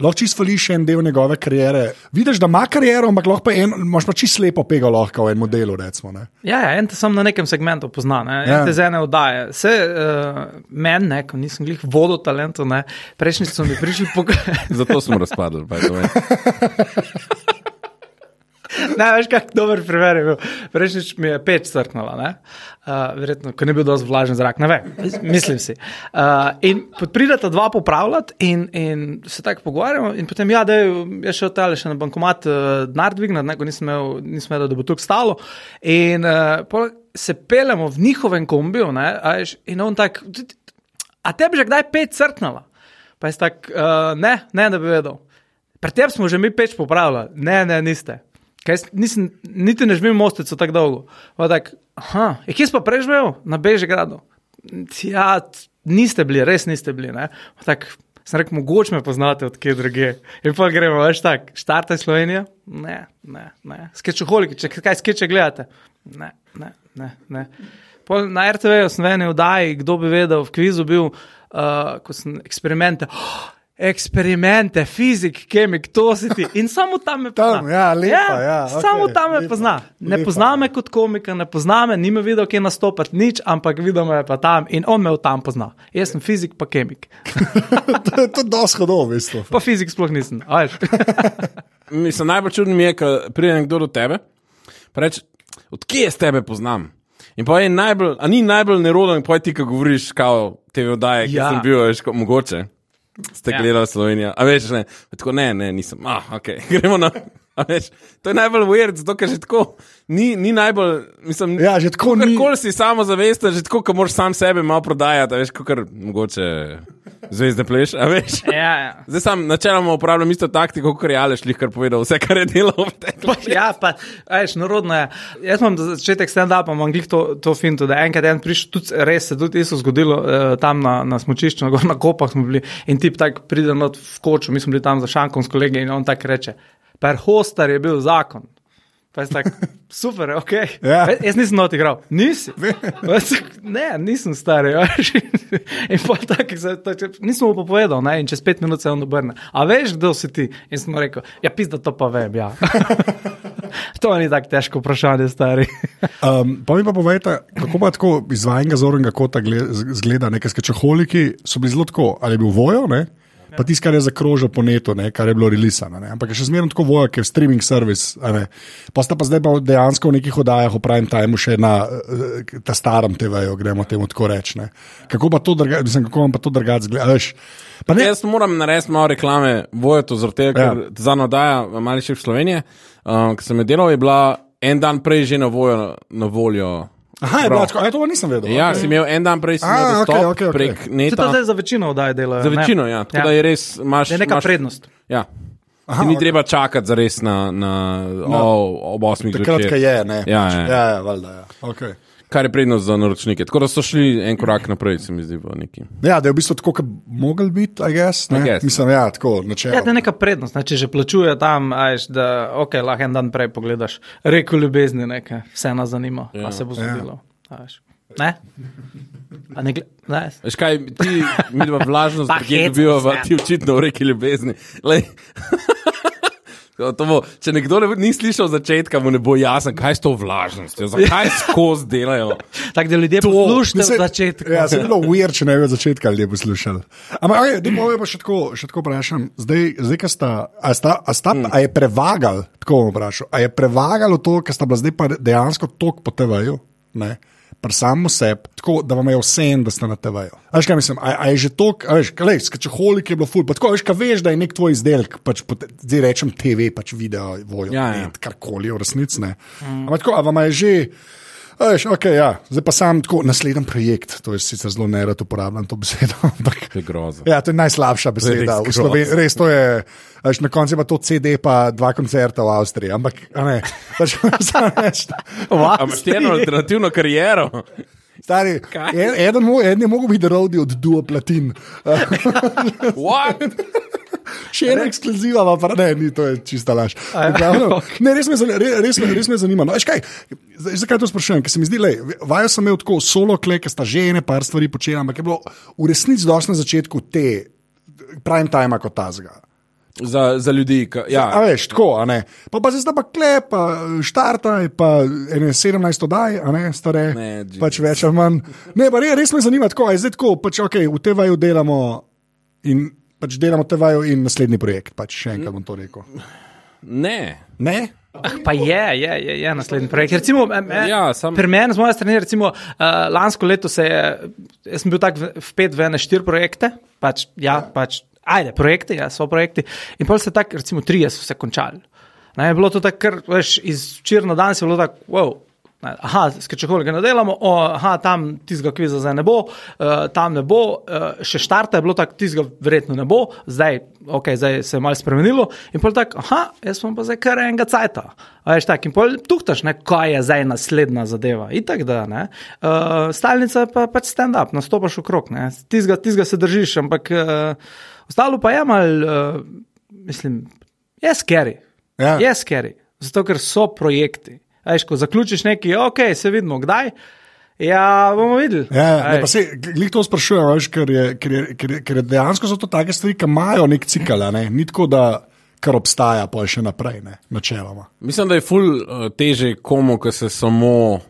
Speaker 1: Lahko čisto fališ en del njegove kariere. Vidiš, da ima kariero, ampak lahko pa en, moš pa čisto lepo pega lahko v enem delu. Recimo, ne.
Speaker 2: Ja, ja, en te sam na nekem segmentu pozna, ne? en
Speaker 1: Ja.
Speaker 2: ja. te z ene oddaje. Se uh, meni, ne, ko nisem glih vodo talentu, ne, prejšnji so mi prišli pokazati.
Speaker 3: Zato smo razpadli. by the way.
Speaker 2: ne, veš, kak dober primer je bil. Prejšnjič mi je peč crknila, ne, uh, verjetno, ko ni bil dovolj vlažen zrak, ne vem, mis- mislim si. Uh, in pot- prideta dva popravljati in, in se tako pogovarjamo in potem, ja, da je šel tale še na bankomat uh, denar dvignati, ne, ko nisem imel, nisem imel, da bo to stalo. In uh, pol se peljemo v njihovem kombiju, ne, a veš, in on tak, a tebi že kdaj peč crknila? Pa je tak, uh, ne, ne, da bi vedel. Pri tem smo že mi peč popravljali, ne, ne, niste. Kaj, jaz nisem, niti ne žmem mostico tako dolgo. Pa Tak, aha, je kje si pa preživel? Na Bežigradu. Ja, t- niste bili, res niste bili. ne." Pa Tak, sem rekel, mogoče me poznate od kje druge. In pa gremo, veš tak, štartaj Slovenijo? Ne, ne, ne. Skečoholiki, če kaj skeče gledate? Ne, ne, ne. ne. Pol na RTV-ju sem v eni oddaji, kdo bi vedel, v kvizu bil, uh, ko sem eksperimente. Oh, eksperimente, fizik, kemik, to si ti. In samo tam me pozna.
Speaker 1: Tam, ja, lepa, ja, okej,
Speaker 2: samo tam me
Speaker 1: lepa,
Speaker 2: pozna. Ne
Speaker 1: lepa.
Speaker 2: pozna me kot komika, ne pozna me, ni me videl, kje nastopati nič, ampak videl me je pa tam in on me od tam pozna. Jaz sem fizik, pa kemik.
Speaker 1: to je to dosti hodov, v bistvu.
Speaker 2: Pa fizik sploh nisem. a veš.
Speaker 3: Mislim, najbolj čudno mi je, ko pride nekdo do tebe in reče: Odkje jaz tebe poznam? In pa je najbolj, a ni najbolj neroden, pa je ti, ko govoriš, kao te vdaje, ki
Speaker 2: Ja.
Speaker 3: ja. sem bil, veš, ko, mogoče. Ste
Speaker 2: Ja.
Speaker 3: ja. gledali Slovenijo, a veš, ne, tako ne, ne, nisem. Ah, okay. gremo na. a Veš, to je najbolj weird, zato ker že tako ni, ni najbolj, mislim,
Speaker 1: Ja, že tako ni.
Speaker 3: Kar si samo zavesten, že tako, ko moraš sam sebe malo prodajati, a veš, kot kar mogoče zvezde pleš, a veš.
Speaker 2: Ja, ja.
Speaker 3: Zdaj sam načeloma uporabljam isto taktiko, kot je Aleš Lihkar povedal, vse kar je delal v tem.
Speaker 2: Pa, ja, pa, a veš, narodno je. Jaz imam za začetek stand-upa, imam glih to, to finto, da enkrat en prišel, tudi res se tudi isto zgodilo eh, tam na, na smočišču, na, na kopah smo bili in tip tak pride not v koču, mi smo bili tam za šankom s kolegi in on tak reče, per hostar je bil zakon. Pa Pa je tako, super, ok.
Speaker 1: Ja.
Speaker 2: Ja. Jaz nisem not igral, nisi. Pa jaz tako, Ne, nisem star. ja, veš. In pa tako, se- to- če- nisem mu pa povedal, ne, in čez pet minut se on obrne. A veš, kdo si ti? In sem mu rekel, ja, pizda, to pa vem. Ja. to ni tako težko vprašanje, stari.
Speaker 1: Um, pa mi pa povejte, kako pa tako iz vašega zornega kota gle- z- zgleda, nekaj skačeholiki so bili zelo tako, ali je bil vojo, ne? pa tisto, kar je zakrožil po netu, ne? kar je bilo releasano. Ne? Ampak je še zmerno tako vojo, ker je streaming servis. a ne. Pa sta pa zdaj pa dejansko v nekih oddajah, v prime timeu še na eh, eh, ta starem TV-ju, gremo temu tako reči. ne. Kako pa to drugače, mislim, kako vam pa to drugače zgleda? a veš. Pa ne,
Speaker 3: Jaz moram narediti malo reklame, vojo to zaradi tega, ker ja. za nadaja Mali Šef Slovenije, um, ki sem jo delal, je bila en dan prej že na, vojo, na voljo.
Speaker 1: aha, je bilo tako, a to pa nisem vedel.
Speaker 3: Ja, si imel en dan prej, si
Speaker 1: A,
Speaker 3: imel dostop
Speaker 1: okej, okej, okej.
Speaker 3: prek
Speaker 2: Če to
Speaker 3: neta.
Speaker 2: zdaj za večino oddaj delajo.
Speaker 3: Za
Speaker 2: ne.
Speaker 3: večino, ja. Tako ja. da je res, imaš.
Speaker 2: Da je neka
Speaker 3: imaš,
Speaker 2: prednost.
Speaker 3: Ja.
Speaker 1: Aha,
Speaker 3: Aha, ni
Speaker 1: ok.
Speaker 3: treba čakati za res na, na no, o, ob 8.
Speaker 1: Takrat, ko je, ne.
Speaker 3: Ja,
Speaker 1: ja,
Speaker 3: ja.
Speaker 1: ja, ja, valjda, ja. Okay.
Speaker 3: Kar je prednost za naročnike. Tako da so šli en korak naprej, se mi zdi, v neki.
Speaker 1: Ja, da je v bistvu tako, kot bi mogel biti, a jaz.
Speaker 3: I guess.
Speaker 1: Mislim, ja, tako, načelo.
Speaker 2: Ja, da je neka prednost, ne? če že plačuje tam, ajš, da okay, lahko en dan prej pogledaš. Reko ljubezni, nekaj, vse nas zanima, ja. kaj se bo zgodilo. Ja. Ne? A ne, gle- ne?
Speaker 3: Veš kaj, ti, mi dva vlažno
Speaker 2: Pa
Speaker 3: zdrge
Speaker 2: hecam
Speaker 3: dobivava,
Speaker 2: se.
Speaker 3: ti očitno v reki ljubezni. Glej. To Bo, če nekdo ne, bo- ni slišal začetka, mu ne bo jasno, kaj je to vlažnost, zakaj skozi delajo.
Speaker 2: Tako da ljudje
Speaker 1: To,
Speaker 2: poslušajo
Speaker 1: mislim,
Speaker 2: od začetka.
Speaker 1: Ja, se je bilo ujer, če ne bi od začetka ljudje poslušali. Ampak, okay, da bomo pa še tako, še tako vprašam, zdaj, zdaj ka sta, a, sta, a, sta,
Speaker 3: Hmm.
Speaker 1: mm. a je prevagal, tako bom vprašal, a je prevagalo to, kar sta bila zdaj pa dejansko tok po TV-ju, ne, pri samem sebi, tako da vam je vse en, da ste na TV-ju. A Veš kaj mislim, a, a je že tok, a veš, kaj, skačeholik je bilo ful, pa tako, a veš, kaj veš, da je nek tvoj izdelek, pač, pote- zdaj rečem TV, pač video, vojo,
Speaker 3: Ja,
Speaker 1: ja,
Speaker 3: ja.
Speaker 1: ja. karkoli, v resnici ne. Mm. Ampak tako, a vam je že. A Veš, okay, ja. Zdaj pa sam tako, naslednji projekt, to je sicer zelo nerad uporabljam to besedo, ampak.
Speaker 3: To je grozo.
Speaker 1: Ja, to je najslabša beseda.
Speaker 3: Res
Speaker 1: Res, Sloven... Res to je, a veš, na koncu je pa to CD, pa dva koncerta v Avstriji. Ampak, a ne, pač, samo reči,
Speaker 3: A imaš ti eno alternativno kariero?
Speaker 1: stari, en, eden, mo- eden je mogel biti rodi od duo platin.
Speaker 3: What?
Speaker 1: Še ena ekskluziva, pa pa- ne, ni, to je čista laž. V glavnem, Ne, res me, zani- re- res, me- res me zanima. No, veš kaj, zdaj, zakaj to sprašujem? Ker se mi zdi, da vajo sem imel tako solo kle, ker sta že ene par stvari počela, ampak je bilo v resnici dosti na začetku te prime time kot tazga.
Speaker 3: Za, za ljudi. Ka,
Speaker 1: A
Speaker 3: ja.
Speaker 1: veš, tako, a ne. Pa, pa zdaj sta pa klep, pa štartaj, pa ene 17 oddaj, a ne stare.
Speaker 3: Ne, Jesus.
Speaker 1: pač več ali manj. Ne, pa res, res me zanima, tako je zdaj tako, pač ok, v TV-ju delamo in pač delamo TV-ju in naslednji projekt, pač še enkrat bom to rekel.
Speaker 3: Ne.
Speaker 1: Ne?
Speaker 2: Pa je, je, je, je naslednji projekt. Recimo, ja,
Speaker 3: Ja,
Speaker 2: sam...
Speaker 3: sam-
Speaker 2: Pri meni, z moje strani, recimo, uh, lansko leto se je, jaz sem bil tak v- vpet v ene štiri projekte, pač, ja, pač, ajde, projekti, ja, so projekti. In pol se tako, recimo, trije so se končali. Ne, je bilo to tako, kar, veš, iz včeraj na danes je bilo tako, wow. ne, Aha, skečehol ga nadelamo, o, aha, tam tizga kviza zdaj ne bo, uh, tam ne bo, uh, še štarta je bilo tako, tizga verjetno ne bo, zdaj, okay, zdaj se je malo spremenilo. In pol tako, aha, jaz sem pa zdaj kar enega cajta. A veš tako, in pol tuhtaš, ne, kaj je zdaj naslednja zadeva. Itak da, ne. Uh, stalnica pa pač stand-up, nastopaš v krok, ne. Tizga, tizga se držiš, ampak uh, ostalo pa je mal, uh, mislim, je skeri.
Speaker 1: Ja.
Speaker 2: Je skeri, zato ker so projekti. A Veš, ko zaključiš nekaj, ok, se vidimo kdaj. Ja, bomo videli.
Speaker 1: Ja,
Speaker 2: A
Speaker 1: ne,
Speaker 2: veš.
Speaker 1: pa se, glih to sprašujem, a veš, ker, je, ker, je, ker, je, ker je dejansko so to take stvari, ki imajo nek cikl, a ne? ni tako, da kar obstaja, pa je še naprej, ne? načeloma.
Speaker 3: Mislim, da je ful eh, teže komu, ki se samo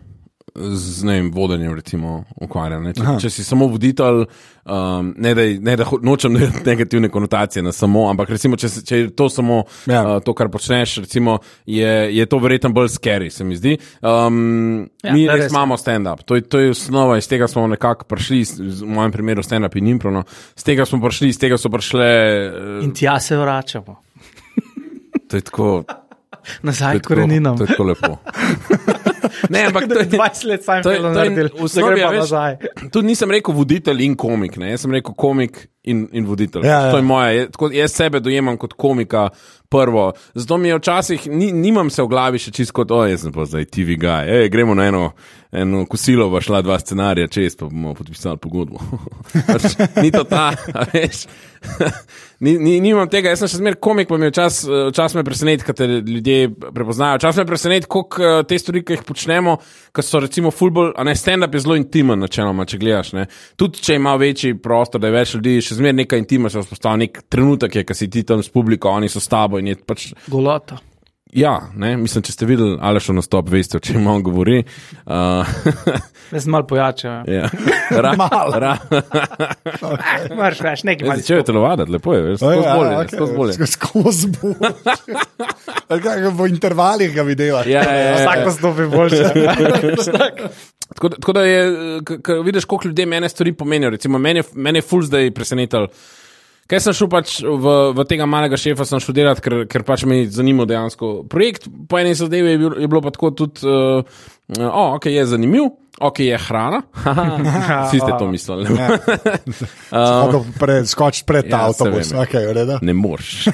Speaker 3: z ne vem, vodenjem recimo, ukvarja. Ne? Če, če si samo voditelj, um, ne da, ne da ho- nočem delati negativne konotacije na samo, ampak recimo, če, se- če je to samo
Speaker 1: Ja.
Speaker 3: ja. uh, to, kar počneš, recimo, je, je to verjetno bolj scary, se mi zdi. Um,
Speaker 2: Ja,
Speaker 3: ja, mi
Speaker 2: to je
Speaker 3: res
Speaker 2: res.
Speaker 3: imamo stand-up, to, je- to je osnova, iz tega smo nekako prišli, s- v mojem primeru stand-up in improno, iz tega smo prišli, iz tega so prišle, eh,
Speaker 2: In tja se vračamo,
Speaker 3: to je tako.
Speaker 2: nazaj k
Speaker 3: To je tako-
Speaker 2: koreninam.
Speaker 3: To je tako lepo. ne, ampak to je
Speaker 2: 20 let sam
Speaker 3: to je-
Speaker 2: telo
Speaker 3: to je
Speaker 2: naredil,
Speaker 3: v osnovi,
Speaker 2: zdaj
Speaker 3: a
Speaker 2: pa
Speaker 3: veš,
Speaker 2: nazaj.
Speaker 3: Tudi nisem rekel voditelj in komik, ne? jaz sem rekel komik in, in voditelj.
Speaker 1: Ja, ja.
Speaker 3: To je moje. Jaz, tako, jaz sebe dojemam kot komika, prvo. Zato mi je včasih, ni, nimam se v glavi še čisto kot, oj, jaz sem pa zdaj TV guy, Ej, gremo na eno, eno kosilo, pa šla dva scenarija čez, pa bomo podpisali pogodbo. pač, ni to ta, a veš. ni, ni, nimam tega, jaz sem še zmeraj komik, pa mi je čas, čas me preseneti, kaj te ljudje prepoznajo. Čas me preseneti, koliko eh, te stvari, ki jih počnemo, ki so recimo fullball, a ne stand-up je zelo intimen, načeloma, če gledaš. Ne. Tudi če ima večji prostor, da je več ljudi, še zmeraj neka intima se vzpostavlja, nek trenutek je, ki si ti tam s publiko, oni so s tabo in je pač
Speaker 2: Golota.
Speaker 3: Ja, ne, mislim, če ste videli Alešo nastop, veste, o čem on govori. Uh,
Speaker 2: Jaz sem malo pojačal.
Speaker 3: ja. Ra,
Speaker 1: Malo.
Speaker 3: ra,
Speaker 2: Eh, Moraš reči, nekaj
Speaker 3: jaz
Speaker 2: malo.
Speaker 3: začel je telovaditi, lepo je, veš,
Speaker 1: No,
Speaker 3: skozi bolje, okay. skozi bolje.
Speaker 1: ja, Skozi bolje. Ali kaj, V intervalih ga videla.
Speaker 3: Ja, ja, ja, ja.
Speaker 2: Vsak nastopi boljše.
Speaker 3: Tako, da- tako da je, k, k, vidiš, koliko ljudem ene stvari pomenijo. Recimo, meni je, meni je ful zdaj presenetilo. Kaj sem šel pač v, v tega malega šefa, sem šel delati, ker, ker pač me je zanimal dejansko projekt. Po eni zadevi je, bil, je bilo pa tako tudi, uh, oh, ok, je zanimiv, ok, je hrana. Vsi ste to mislili. ne?
Speaker 1: Skoči pred ta
Speaker 3: Ja,
Speaker 1: avtobus.
Speaker 3: se vem.
Speaker 1: Okay, v redu.
Speaker 3: Ne moreš.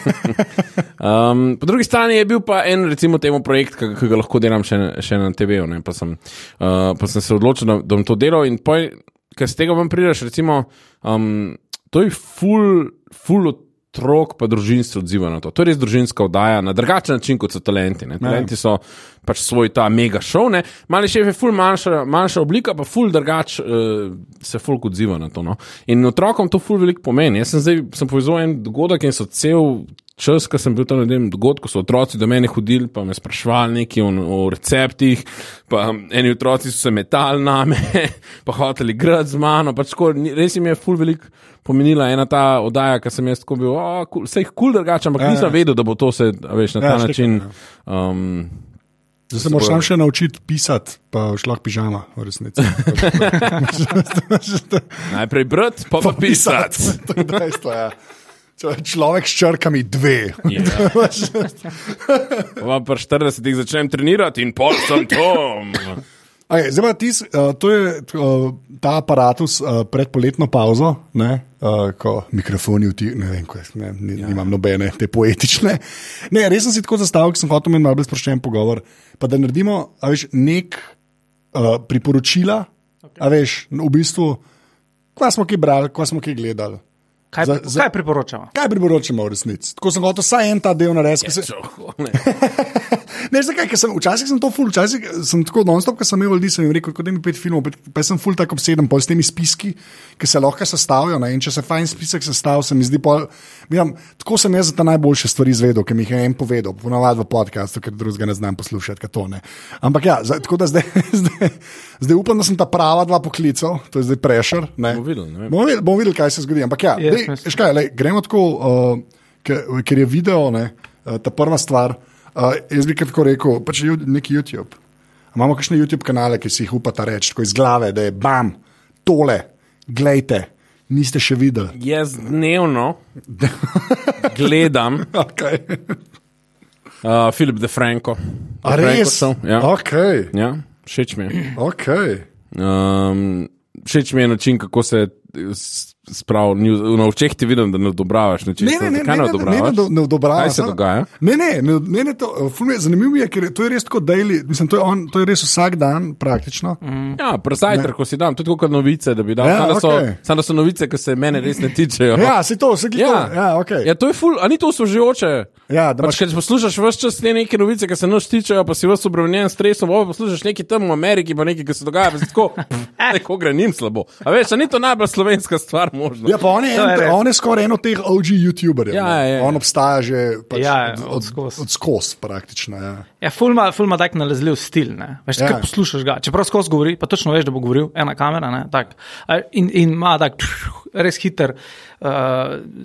Speaker 3: um, po drugi strani je bil pa en, recimo, temu projekt, ki ki ga lahko delam še, na- še na TV-ju. ne, Pa, sem, uh, pa sem se odločil, da, da bom to delal in poj, ker z tega vam prideš, recimo, um, to je full, full otrok, pa družinstvo odziva na to. To je res družinska oddaja na drugačen način kot so talenti. Ne. Talenti so pač svoj ta mega šov, ne. mali šef je ful manjša, manjša oblika, pa ful drugač uh, se ful odziva na to. No. In otrokom to ful veliko pomeni. Jaz sem zdaj sem povezal en dogodek in so cel. Čas, ko sem bil tam na tem dogodku, so otroci do mene hodili, pa me sprašvali nekaj o, o receptih, pa eni otroci so se metali name, pa hoteli igrati z mano. Pač tako, ni- res jim je ful veliko pomenila ena ta oddaja, ki sem jaz tako bil, "A, cool." vse je kul cool drugače, ampak nisem vedel, da bo to se a veš, na ta
Speaker 1: Ja,
Speaker 3: način. Um,
Speaker 1: Zdaj se moraš sam še naučiti pisati, pa v šlah pižama, v resnici.
Speaker 3: najprej brati, pa, pa pisati.
Speaker 1: to je dejstvo. Ja. Če- Človek s črkami dve.
Speaker 3: Ja. Pa pa 40 začnem trenirati in pol sem tam.
Speaker 1: Okay, zdaj pa ti, s- eh, to je eh, ta aparatus eh, pred poletno pauzo, ne, eh, ko mikrofoni vti, ne vem, kaj, ne, ni- nimam nobene te poetične. Ne, res sem si tako zastavil, ker sem hotel imeti malce sproščen pogovor. Pa da naredimo, a veš, nek eh, priporočila, okay. a veš, v bistvu, kva smo ki brali, kva smo ki gledali.
Speaker 2: Kaj,
Speaker 1: Za-
Speaker 2: za,
Speaker 1: za-
Speaker 2: za... kaj priporočamo?
Speaker 1: Kaj priporočamo v resnici? Tako sem hotel vsaj en ta del
Speaker 3: Ja,
Speaker 1: narediti. ker se- Ne, zakaj, ker sem včasih sem to ful, včasih sem tako non-stop, ker sem imel ljudi, sem jim rekel, kot da mi pet filmov, pet, pa sem ful tako obseden pol s temi spiski, ki se lahko sestavijo. Ne? In če se fajn spisek sestavi, se mi zdi pol. Miram, tako sem jaz za te najboljše stvari izvedel, ki mi jih je en povedal, ponavadi v podkastu, ker drugega ne znam poslušati, kot to ne. Ampak ja, zdaj, tako da zdaj, zdaj, zdaj upam, da sem ta prava dva poklical, to je zdaj prešer.
Speaker 3: Bomo videli, ne vem.
Speaker 1: Bomo videli, bomo videli, kaj se zgodi. Ampak ja,
Speaker 2: Jaz
Speaker 1: dej,
Speaker 2: mislim.
Speaker 1: veš kaj, lej, gremo tako, uh, ker, ker je video, ne, uh, ta prva stvar. Uh, jaz bi kar tako rekel, pač ju- neki YouTube. A Imamo kakšne YouTube kanale, ki si jih upata reči, tako iz glave, da je bam, tole, gledajte, niste še videli.
Speaker 3: Jaz dnevno gledam
Speaker 1: Okay.
Speaker 3: uh, Filip De Franco.
Speaker 1: A
Speaker 3: De Franco
Speaker 1: res?
Speaker 3: sem, Ja,
Speaker 1: Okay,
Speaker 3: ja, všeč mi je.
Speaker 1: okay.
Speaker 3: Um, všeč mi je način, kako se spravi. Na očeh ti vidim, da ne odobravaš. Nečista.
Speaker 1: Ne, ne, ne,
Speaker 3: Kaj
Speaker 1: ne, ne,
Speaker 3: odobravaš?
Speaker 1: ne, ne, ne odobravam.
Speaker 3: Kaj se
Speaker 1: samo-
Speaker 3: dogaja?
Speaker 1: Ne, ne, ne, ne, ne to, ful mi je- zanimivo je, ker je- to je res tako daily, mislim, to je, on, to je res vsak dan praktično.
Speaker 2: Mhm.
Speaker 1: Mm.
Speaker 3: Ja, prezajter, ko si dam, tudi kot novice, da bi dal.
Speaker 1: Ja,
Speaker 3: Ja, Samo
Speaker 1: okej.
Speaker 3: okay. da so novice, ki se mene res ne tičejo.
Speaker 1: Ja, si to, vse gledal. Ja, ja, okay.
Speaker 3: ja, to je ful, a ni to osvežujoče.
Speaker 1: Ja, da
Speaker 3: pač,
Speaker 1: imaš-
Speaker 3: če poslušaš vse čas te neke novice, ki se noč tičejo, pa si vse obremenjen s stresom, pa poslušaš nekaj tam v Ameriki, pa nekaj, ki se dogaja, pa si tako, neko gre njim slabo. A veš, a ni to najbolj slovenska stvar možno.
Speaker 1: Ja, pa on je,
Speaker 2: To je
Speaker 1: en,
Speaker 2: res.
Speaker 1: on je skoraj eno teh OG YouTuberjev.
Speaker 3: Ja,
Speaker 1: ne.
Speaker 3: ja, ja.
Speaker 1: On obstaja že pač
Speaker 2: Ja,
Speaker 1: od,
Speaker 2: ja,
Speaker 1: od,
Speaker 2: odskoz.
Speaker 1: od skos, praktično. Ja.
Speaker 2: Ja, fulma, fulma tak nalezljiv stil. ne. Veš,
Speaker 1: Ja.
Speaker 2: ja. Poslušaš ga, čeprav skozi govori, pa točno veš, da bo govoril ena kamera. ne, tak. A In, in ima tak pš, res hiter, uh,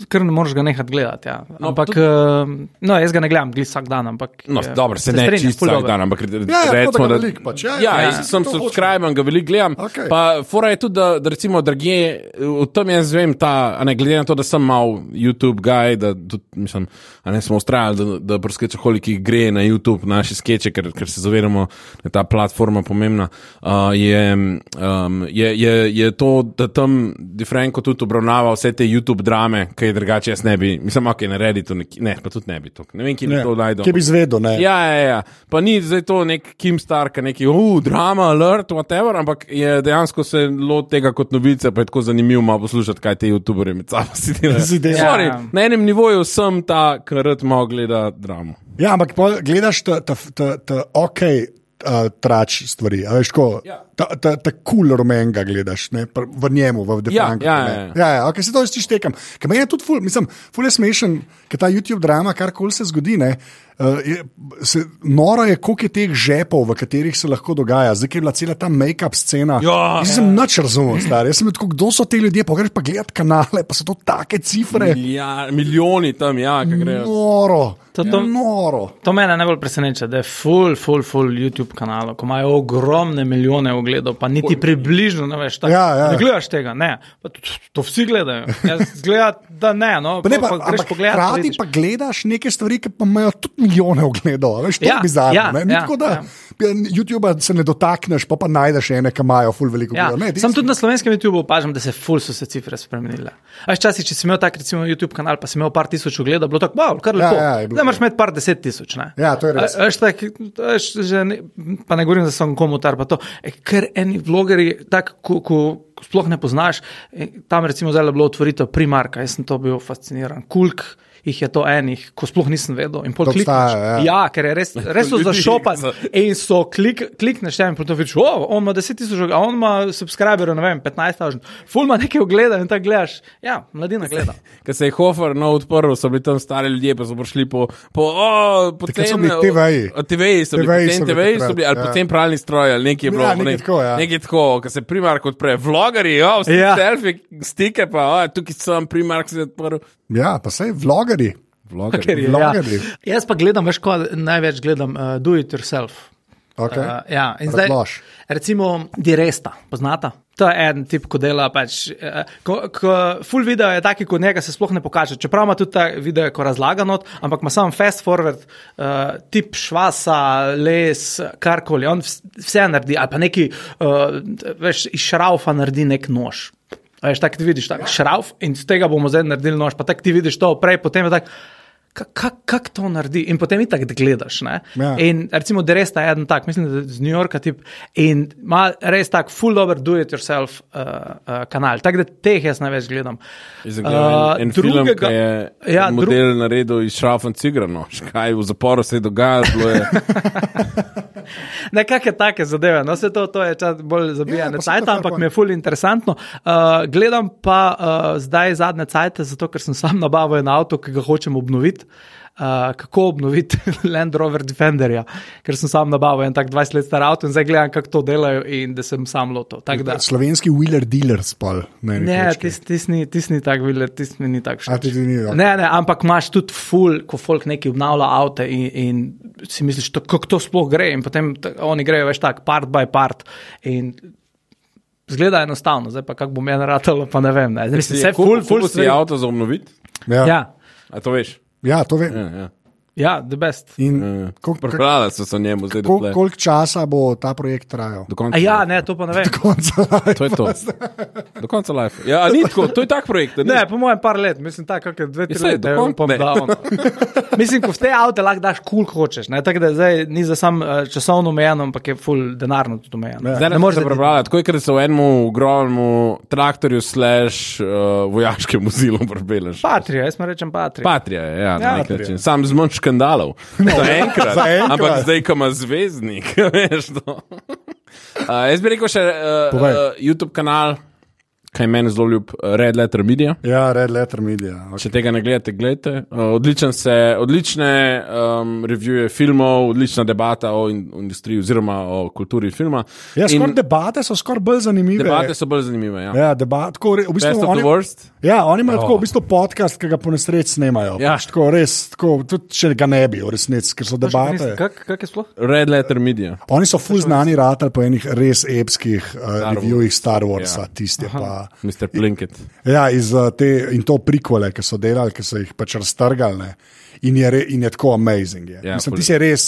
Speaker 2: ker ne moreš ga nehati gledati. Ja. Ampak, no, uh, no, jaz ga ne gledam, glej vsak dan. Ampak,
Speaker 3: No,
Speaker 2: je-
Speaker 3: dobro, se ne
Speaker 2: Ja. strinjam,
Speaker 3: čisto
Speaker 2: ful
Speaker 3: vsak
Speaker 2: dobro.
Speaker 3: dan, ampak
Speaker 1: Ja, ja,
Speaker 3: recimo,
Speaker 1: tako da
Speaker 3: da.
Speaker 1: ga veliko pač, ja,
Speaker 3: ja,
Speaker 1: ja,
Speaker 3: jaz
Speaker 1: ja.
Speaker 3: sem
Speaker 1: To hočem.
Speaker 3: subscriben, ga veliko gledam.
Speaker 1: Okej.
Speaker 3: Pa fora je tudi, da, da recimo, drugje, v tem jaz vem, ta, a ne glede na to, da sem mal YouTube guy, da tudi, mislim, a ne smo ustrajali, da, da pri skečeholikih gre na YouTube naše skeče, ker, ker se zavedamo, da je ta platforma pomembna, uh, je, um, je, je, je to, da tam DeFranco tudi Reddit obravnava vse te YouTube drame, kaj drugače jaz ne bi. Mislim, ok, na Redditu ne, ne pa tudi ne bi to. Ne vem, kje bi to
Speaker 1: Ja.
Speaker 3: najdel.
Speaker 1: Kje bi izvedel? ne?
Speaker 3: Ja, ja, ja, pa ni zdaj to nek Kim Stark, neki uh, drama, alert, whatever, ampak je dejansko se lot tega kot novice, pa je tako zanimivo malo poslušati, kaj te YouTubere med sabo si delajo.
Speaker 1: Si delajo.
Speaker 3: Sorry,
Speaker 2: Ja.
Speaker 3: Na enem nivoju sem ta, kar rad malo gleda dramo.
Speaker 1: Ja, ampak pol gledaš ta, ta, ta, ta ok. Uh, trač stvari, a veš, tako,
Speaker 3: Ja.
Speaker 1: ta, ta, ta kul cool rumenga gledaš, ne, pr- v njemu, v defanku.
Speaker 3: ja, ja,
Speaker 1: ja. ja, ok, se to jaz tištekam. Ker meni je tudi ful, mislim, ful je smešen, ker ta YouTube drama, kar kol se zgodi, ne, uh, je, se, noro je, koliko je teh žepov, v katerih se lahko dogaja. Zdaj ko je bila cela ta make-up scena.
Speaker 3: Ja.
Speaker 1: jaz sem nič razumel, star. Jaz sem bil tako, kdo so ti ljudje, pa greš pa gledat kanale, pa so to take cifre.
Speaker 3: Milja, milijoni tam, ja, ki grejo.
Speaker 1: Noro,
Speaker 2: To- to-
Speaker 1: noro.
Speaker 2: To mene najbolj preseneča, da je full, full, full YouTube kanalov, ko imajo ogromne milijone ogledov, pa niti približno ne veš, tako.
Speaker 1: Ja, ja.
Speaker 2: Ne gledaš tega, ne. Pa to, to vsi gledajo. Jaz gledam, da ne, no,
Speaker 1: Pa ne, pa,
Speaker 2: pol pa greš
Speaker 1: ampak
Speaker 2: pogledat, pa
Speaker 1: hkrati
Speaker 2: vidiš.
Speaker 1: pa gledaš neke stvari, ki pa imajo tudi milijone ogledov. a Veš, to ja,
Speaker 2: Ja,
Speaker 1: je bizarno.
Speaker 2: ja,
Speaker 1: ne? Ni
Speaker 2: ja,
Speaker 1: tako, da ja. YouTube se ne dotakneš, pa, pa najdeš ene, ki imajo ful veliko
Speaker 2: Ja,
Speaker 1: ogledov. Ne, ti
Speaker 2: Sam
Speaker 1: si-
Speaker 2: tudi na slovenskem YouTubu opažam, da se ful so se cifre spremenile. A včasih, če si imel tak recimo YouTube kanal, pa si imel par tisoč ogledov, bilo tako, wow, kar
Speaker 1: Ja,
Speaker 2: lepo.
Speaker 1: ja, je bilo
Speaker 2: Zdaj imaš med par deset tisoč, ne.
Speaker 1: Ja, to je res.
Speaker 2: A, veš, tak, veš, že ne, pa ne govorim, da sem komutar, pa to. E, ker eni vlogeri, tako, ko, ko sploh ne poznaš, e, tam recimo zdaj je bilo otvoritev primarka, jaz sem to bil fasciniran. Kulk jih je to enih, ko sploh nisem vedel. In pol
Speaker 1: Da
Speaker 2: klikneš.
Speaker 1: obstajajo, ja.
Speaker 2: Ja, ker je res, res so
Speaker 3: Ljudi,
Speaker 2: zašopani
Speaker 3: za-
Speaker 2: in so klik, klikneš tam in potem vidiš, oh, on ima 10 tisoč, a on ima subscriberjev, ne vem, 15 tisoč. Ful ima nekaj ogleda in tako gledaš. Ja, mladina gleda.
Speaker 3: Ker se je Hofer no odprl, so bili tam stari ljudje, pa so prišli po, po, o, po no,
Speaker 1: Takrat
Speaker 3: tem,
Speaker 1: so bili TV-ji.
Speaker 3: TV-ji so bili,
Speaker 1: TV-ji
Speaker 3: po
Speaker 1: so bili
Speaker 3: tem TV-ji so
Speaker 1: takrat,
Speaker 3: bili, ali
Speaker 1: ja.
Speaker 3: po tem pralni stroj, ali nekje je bilo.
Speaker 1: Ja, nekaj
Speaker 3: ne-
Speaker 1: tako, ja.
Speaker 3: Nekaj tako, ker se primark odpre, vlogari, jo, vsi
Speaker 2: Ja.
Speaker 3: ja. selfie, stike pa, o, tukaj sem, primark se je odprl.
Speaker 1: Ja, pa sej vlogeri.
Speaker 3: Vlogari.
Speaker 2: ja.
Speaker 1: Vlogerji.
Speaker 2: Jaz pa gledam, veš, ko največ gledam, uh, do it yourself.
Speaker 1: Okay.
Speaker 2: Uh, ja, in zdaj,
Speaker 1: Razlož.
Speaker 2: recimo, diresta, poznata. To je en tip, ko dela. Pač, eh, ko, ko, full video je taki, ko njega se sploh ne pokaže. Čeprav ima tudi ta video, ko razlaga not, ampak ima samo fast forward, uh, tip švasa, les, karkoli. On vs- vse naredi, ali pa neki, uh, veš, iz šraufa naredi nek nož. A Veš, tako ti vidiš, tak, šrauf in iz tega bomo zdaj naredili nož. Pa tako ti vidiš to prej, potem je tako. Kako kak, kak to naredi? In potem itak gledaš. Ne?
Speaker 1: Ja.
Speaker 2: In In recimo, da res ta en tak, mislim, da je z New Yorka tip in ima res tak full dober do-it-yourself uh, uh, kanal. Tako da teh jaz največ gledam.
Speaker 3: Uh, en film, ki je ja,
Speaker 2: ja, dru-
Speaker 3: model dru... naredil iz Šrafen Cigrano, kaj no. v zaporu se je dogajalo, bilo je
Speaker 2: Nekakšne take zadeve, no se to, to je čas bolj
Speaker 1: Ja, pa
Speaker 2: zabijanje ja,
Speaker 1: saj to je
Speaker 2: cajt,
Speaker 1: fair
Speaker 2: ampak
Speaker 1: point.
Speaker 2: mi je ful interesantno. Uh, gledam pa uh, zdaj zadnje cajt, zato ker sem sam nabavil en avto, ki ga hočem obnoviti. Uh, kako obnoviti Land Rover Defenderja, ker sem sam nabavil en tak 20 let star avto in zdaj gledam, kako to delajo in da sem sam lotil. Tako da-
Speaker 1: Slovenski wheeler dealer spal. Ne,
Speaker 2: Ne,
Speaker 1: ti
Speaker 2: tisti tis ni, tis ni tako bil, tisti mi ni tako
Speaker 1: A, tisti ni, ja. ok.
Speaker 2: Ne, ne, ampak imaš tudi ful, ko folk neki obnavlja avto in, in si misliš, to, kako to sploh gre. In potem t- oni grejo več tako, part by part. In zgleda enostavno, zdaj pa kako bom jaz ratalo, pa ne vem. Ne. Zdaj, mislim, vse ful, ful,
Speaker 3: si je avto za obnoviti,
Speaker 1: ja. Ja.
Speaker 2: Ja,
Speaker 3: a to veš.
Speaker 1: ja, to vem.
Speaker 3: Ja, ja.
Speaker 2: ja, the best.
Speaker 3: Eh,
Speaker 1: In kol- kak-
Speaker 3: Pripravljali so se njemu zdaj do,
Speaker 1: kol- Koliko časa bo ta projekt trajal?
Speaker 3: do konca.
Speaker 2: A ja, ne, to pa ne vem.
Speaker 1: konca.
Speaker 3: To je to. Do konca life. Ja, a ni tako, to je tak projekt. a ni?
Speaker 2: Ne, po mojem, par let, mislim, tako kakšne dve, tri
Speaker 3: saj,
Speaker 2: leta,
Speaker 3: do
Speaker 2: je
Speaker 3: konca
Speaker 2: upam,
Speaker 3: ne.
Speaker 2: da ono. Mislim, ko v te avto lahko daš kul, cool hočeš. Ne? Tako da zdaj ni za sam eh, časovno omejeno, ampak je full denarno tudi omejeno.
Speaker 3: Zdaj ne moreš prebrati, tako je, ker se v enem ogromnem traktorju, slash uh, vojaškem vozilu prebeleš.
Speaker 2: Patrija, jaz mu rečem patrija.
Speaker 3: Patrija je, ja, na nek
Speaker 1: Patria.
Speaker 3: način. Sam z manj škandalov. Za enkrat.
Speaker 1: Za enkrat.
Speaker 3: Ampak zdaj, ko ima zvezdnik, veš to. Uh, jaz bi rekel še uh,
Speaker 1: Povej.
Speaker 3: uh, YouTube kanal, kaj meni zelo ljub, uh, Red Letter Media.
Speaker 1: Ja, Red Letter Media. Okay.
Speaker 3: Če tega ne gledate, gledajte. Uh, odličen se, odlične um, revije filmov, odlična debata o in, industriji oziroma o kulturi filma.
Speaker 1: Ja,
Speaker 3: In
Speaker 1: skoraj debate so skoraj bolj zanimive.
Speaker 3: debate so bolj zanimive. Ja.
Speaker 1: Ja, debat, tako, re- v bistvu,
Speaker 3: Best of
Speaker 1: oni,
Speaker 3: the worst.
Speaker 1: ja, oni imajo tako, v bistvu podcast, ki ga po nesreč snemajo.
Speaker 3: Ja.
Speaker 1: Ja.
Speaker 3: Pač
Speaker 1: Pač, tako, res, tako, tudi če ga ne bi, v resnici, ker so debate.
Speaker 2: Kak, kak je sploh?
Speaker 3: Red letter media.
Speaker 1: Oni so ful znani, ratar po enih res epskih uh, reviewih Star Warsa, ja. tiste pa.
Speaker 3: Mr. Plinkett.
Speaker 1: Ja, iz, eh, te, in to prikole, ki so delali, ki so jih pač raztrgali. ne. in je, re, in je tako amazing. Je.
Speaker 3: Ja,
Speaker 1: Ja, Mislim,
Speaker 3: ful
Speaker 1: ti
Speaker 3: je.
Speaker 1: si res.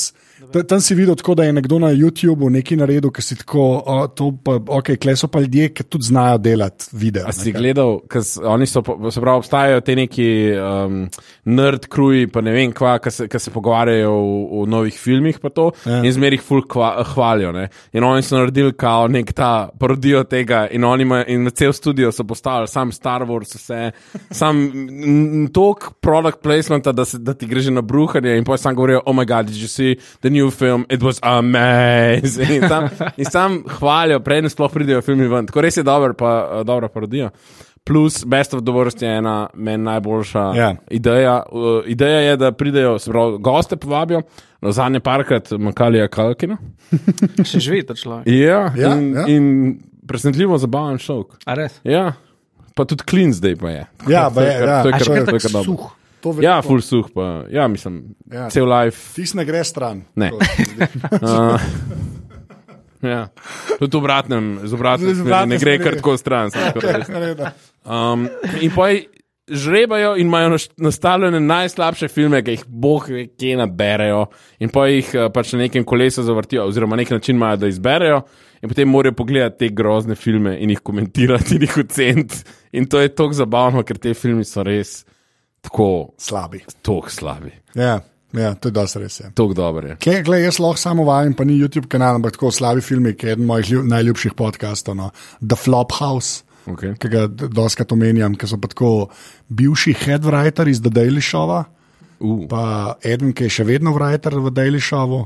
Speaker 1: ta- Tam si videl, tako, da je nekdo na YouTubu nekaj naredil, ki si tako, o, to pa, ok, kle so pa ljudje, ki tudi znajo delati video.
Speaker 3: A si
Speaker 1: ne,
Speaker 3: gledal, ker oni so, po- se pravi, obstajajo te neki um, nerd kruji, pa ne vem kva, ki se, ki se pogovarjajo o, o novih filmih, pa to
Speaker 1: Ja.
Speaker 3: ja. in zmerih ful kva, hvalijo. Ne? In oni so naredili kao nek ta parodijo tega in oni ima, in cel studio so postavili, sam Star Wars, vse, sam tok product placementa, da, se, da ti gre že na bruhanje in potem sam govorijo, oh my god, did you see the new film, it was amazing. In tam, in tam hvalijo, preden sploh pridejo filmi ven. Tako res je dober, pa, eh, dobra parodija. Plus, Best of the Worst je ena meni najboljša
Speaker 1: Ja.
Speaker 3: yeah. ideja. Uh, ideja je, da pridejo, se pravi, goste povabijo, na zadnje parkrat Makalija Kalkina.
Speaker 2: Še živi ta človek.
Speaker 3: Ja,
Speaker 1: Ja,
Speaker 3: in,
Speaker 1: ja.
Speaker 3: in presenetljivo zabaven šok.
Speaker 2: A res?
Speaker 3: Ja, pa tudi klin zdaj pa je. Tako
Speaker 1: Ja,
Speaker 3: da
Speaker 1: pa
Speaker 3: to
Speaker 1: je,
Speaker 3: kar-
Speaker 1: ja.
Speaker 3: to je
Speaker 2: A
Speaker 3: kar-
Speaker 2: še kar
Speaker 3: to je kar
Speaker 2: tako
Speaker 3: dobro.
Speaker 2: suh.
Speaker 1: To ve-
Speaker 3: Ja, full suh, pa ja, mislim,
Speaker 1: Ja.
Speaker 3: ja. cel life.
Speaker 1: Tisti ne gre stran.
Speaker 3: Ne.
Speaker 1: To se mi zdi.
Speaker 3: Uh, ja. Tudi obratnem, z obratnim
Speaker 1: Z
Speaker 3: smeri
Speaker 1: obratne
Speaker 3: ne gre
Speaker 1: smeri.
Speaker 3: kar tako stran. samo tako res.
Speaker 1: Reda.
Speaker 3: Um, in poj žrebajo in imajo naš- nastavljene najslabše filme, ki jih boh ve, kje naberejo. In poj jih eh, pač na nekem kolesu zavrtijo, oziroma nek način imajo, da izberejo. In potem morajo pogledati te grozne filme in jih komentirati in jih oceniti. In to je tako zabavno, ker te filme so res tako,
Speaker 1: Slabi.
Speaker 3: tako slabi,
Speaker 1: Ja, ja, to je dosti res. Je.
Speaker 3: tako dobre.
Speaker 1: Kaj, gled, jaz lahko samo vajam, pa ni YouTube kanal, ampak tako slabi filmi, ki je eden mojih ljub, najljubših podcastov, no. The Flop House.
Speaker 3: Okay.
Speaker 1: Ki ga d- doskrat omenjam, ki so pa tako bivši head writer iz The Daily Showa,
Speaker 3: Uh,
Speaker 1: pa eden, ki je še vedno writer v Daily Showu,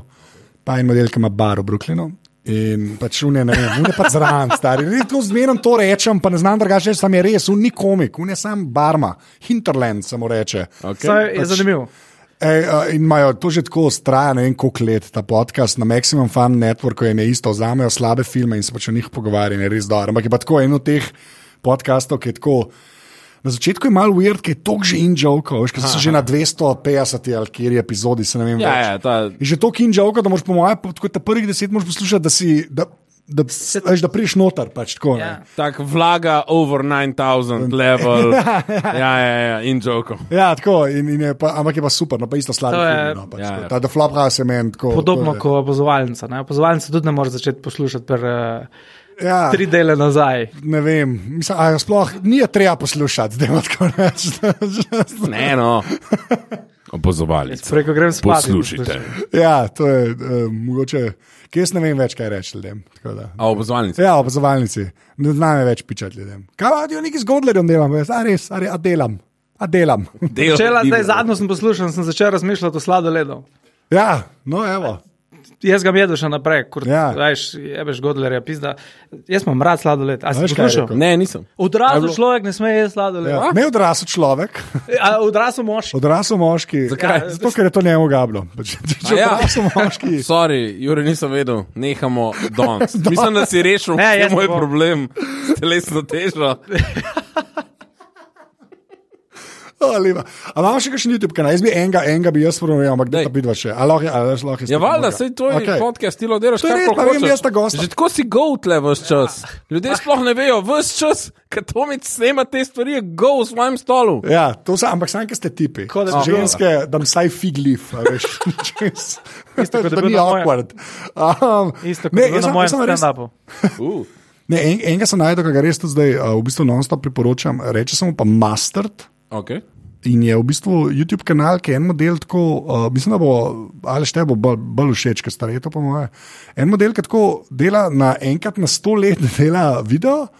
Speaker 1: pa en model, ki ima bar v Brooklynu. In pač unje, ne vem, unje pa zraven, stari. Ne, to zmerno to rečem, pa ne znam drugače, reči, sam je res, unje komik, unje sam barma, hinterland samo reče.
Speaker 3: okay.
Speaker 2: Saj je zanimivo.
Speaker 1: Ej, a, in imajo to že tako straja, ne vem koliko let ta podcast na Maximum Fun Networku je ne isto, vzamejo slabe filme in se pač o njih pogovarjajo, in je res dobro. Ampak je pa tako eno teh podcastov, ki je tako. Na začetku je malo weird, ker je to že in joko, veš, ker so že na 250 ali kjer je epizodi, se ne vem.
Speaker 3: Ja,
Speaker 1: več.
Speaker 3: ja, ta,
Speaker 1: Je že to in joko, da moraš po mojem, kot ta prvih deset, moraš poslušati, da si. Da, Da, veš, da priješ noter, pač tako. ne.
Speaker 2: Ja.
Speaker 3: tak vlaga over 9000 level. Ja, ja, ja, in joko.
Speaker 1: Ja, tako, in, in je pa, ampak je pa super, no pa isto slabo.
Speaker 2: To je-
Speaker 1: No, pač,
Speaker 3: Ja,
Speaker 1: ja,
Speaker 3: ja.
Speaker 1: ja. Ta The Flop House je meni tako. to
Speaker 2: Podobno
Speaker 1: je-
Speaker 2: kot opozovalnica. ne. Opozovalnica tudi ne more začeti poslušati per, uh,
Speaker 1: ja.
Speaker 3: Ah.
Speaker 2: tri dele nazaj.
Speaker 1: ne vem, mislim, a jo sploh ni je treba poslušati, da ima tako reči.
Speaker 3: Ne, no. Opozovali.
Speaker 2: Jaz Preko grem spat. in
Speaker 3: Poslušajte.
Speaker 2: poslušam.
Speaker 1: ja, to je uh, mogoče, kje jaz ne vem več, kaj reči ljudem. tako da.
Speaker 3: A opozovali.
Speaker 1: Ja, opazovalnici, ne znam več pičati ljudem. Kaj pa, jo nekaj zgodlerjem delam, veš, a res, a, re, a delam, a delam.
Speaker 2: Začela, zdaj zadnjo sem poslušal, sem začel razmišljati o sladoledu.
Speaker 1: ja, no evo.
Speaker 2: Jaz ga jedo še naprej, kur ja.
Speaker 1: Ja.
Speaker 2: veš, jebeš godlerja, pizda. Jaz imam rad sladoled, a si
Speaker 1: Veš, kaj je
Speaker 2: poslušal?
Speaker 1: rekel?
Speaker 3: Ne, nisem.
Speaker 2: Odrasel človek ne sme jesti sladoled.
Speaker 1: Ja.
Speaker 2: Ja.
Speaker 1: Ne odrasel človek,
Speaker 2: Odrasel moški.
Speaker 1: odrasel moški.
Speaker 3: Zakaj?
Speaker 1: Ja, Zato, ker je to njemu gablo. Pač, Če če
Speaker 3: A ja.
Speaker 1: odrasel moški.
Speaker 3: Sorry, Jure, nisem vedel, nehamo danes. Mislim, da si rešil
Speaker 2: Ne,
Speaker 3: vse
Speaker 2: jaz ne
Speaker 3: moj
Speaker 2: bom.
Speaker 3: problem s telesno težo.
Speaker 1: Ali imamo še kakšen YouTube kanal? Jaz bi enega, enega bi jaz promoval, ampak
Speaker 3: Dej.
Speaker 1: da bi dva še. Alo, alo, alo,
Speaker 3: Ja, valjda, sej to je okay. podcast, ti lodiraš,
Speaker 1: To je
Speaker 3: kar
Speaker 1: res,
Speaker 3: pa
Speaker 1: pa vem,
Speaker 3: hočeš.
Speaker 1: jaz ta gosta.
Speaker 3: Že tako si gotle vse čas. Ljudje sploh ne vejo, vse čas, kad Tomic snema te stvari, je go v svojem stolu.
Speaker 1: Ja, to so, ampak sanjke ste tipi.
Speaker 2: Tako da bi bilo.
Speaker 1: Ženske, da vsaj figlif, veš. čez-
Speaker 2: Isto, kot je
Speaker 1: da
Speaker 2: bilo
Speaker 1: ni
Speaker 2: na mojem-
Speaker 1: awkward. Um,
Speaker 2: Isto kot je bilo na
Speaker 1: sem-
Speaker 2: mojem
Speaker 1: sem res-
Speaker 2: stand-upu.
Speaker 3: Uh,
Speaker 1: Ne, en, enega sem najdel, ki ga res tudi zdaj uh, v bistvu non-stop priporočam. Reče se mu pa Mustard.
Speaker 3: okay.
Speaker 1: In je v bistvu YouTube kanal, ki je en model tako, uh, mislim, da bo ali šte bo bolj, bolj všeč, ker stare to pomeni. En model, ki tako dela na enkrat na sto let, dela video.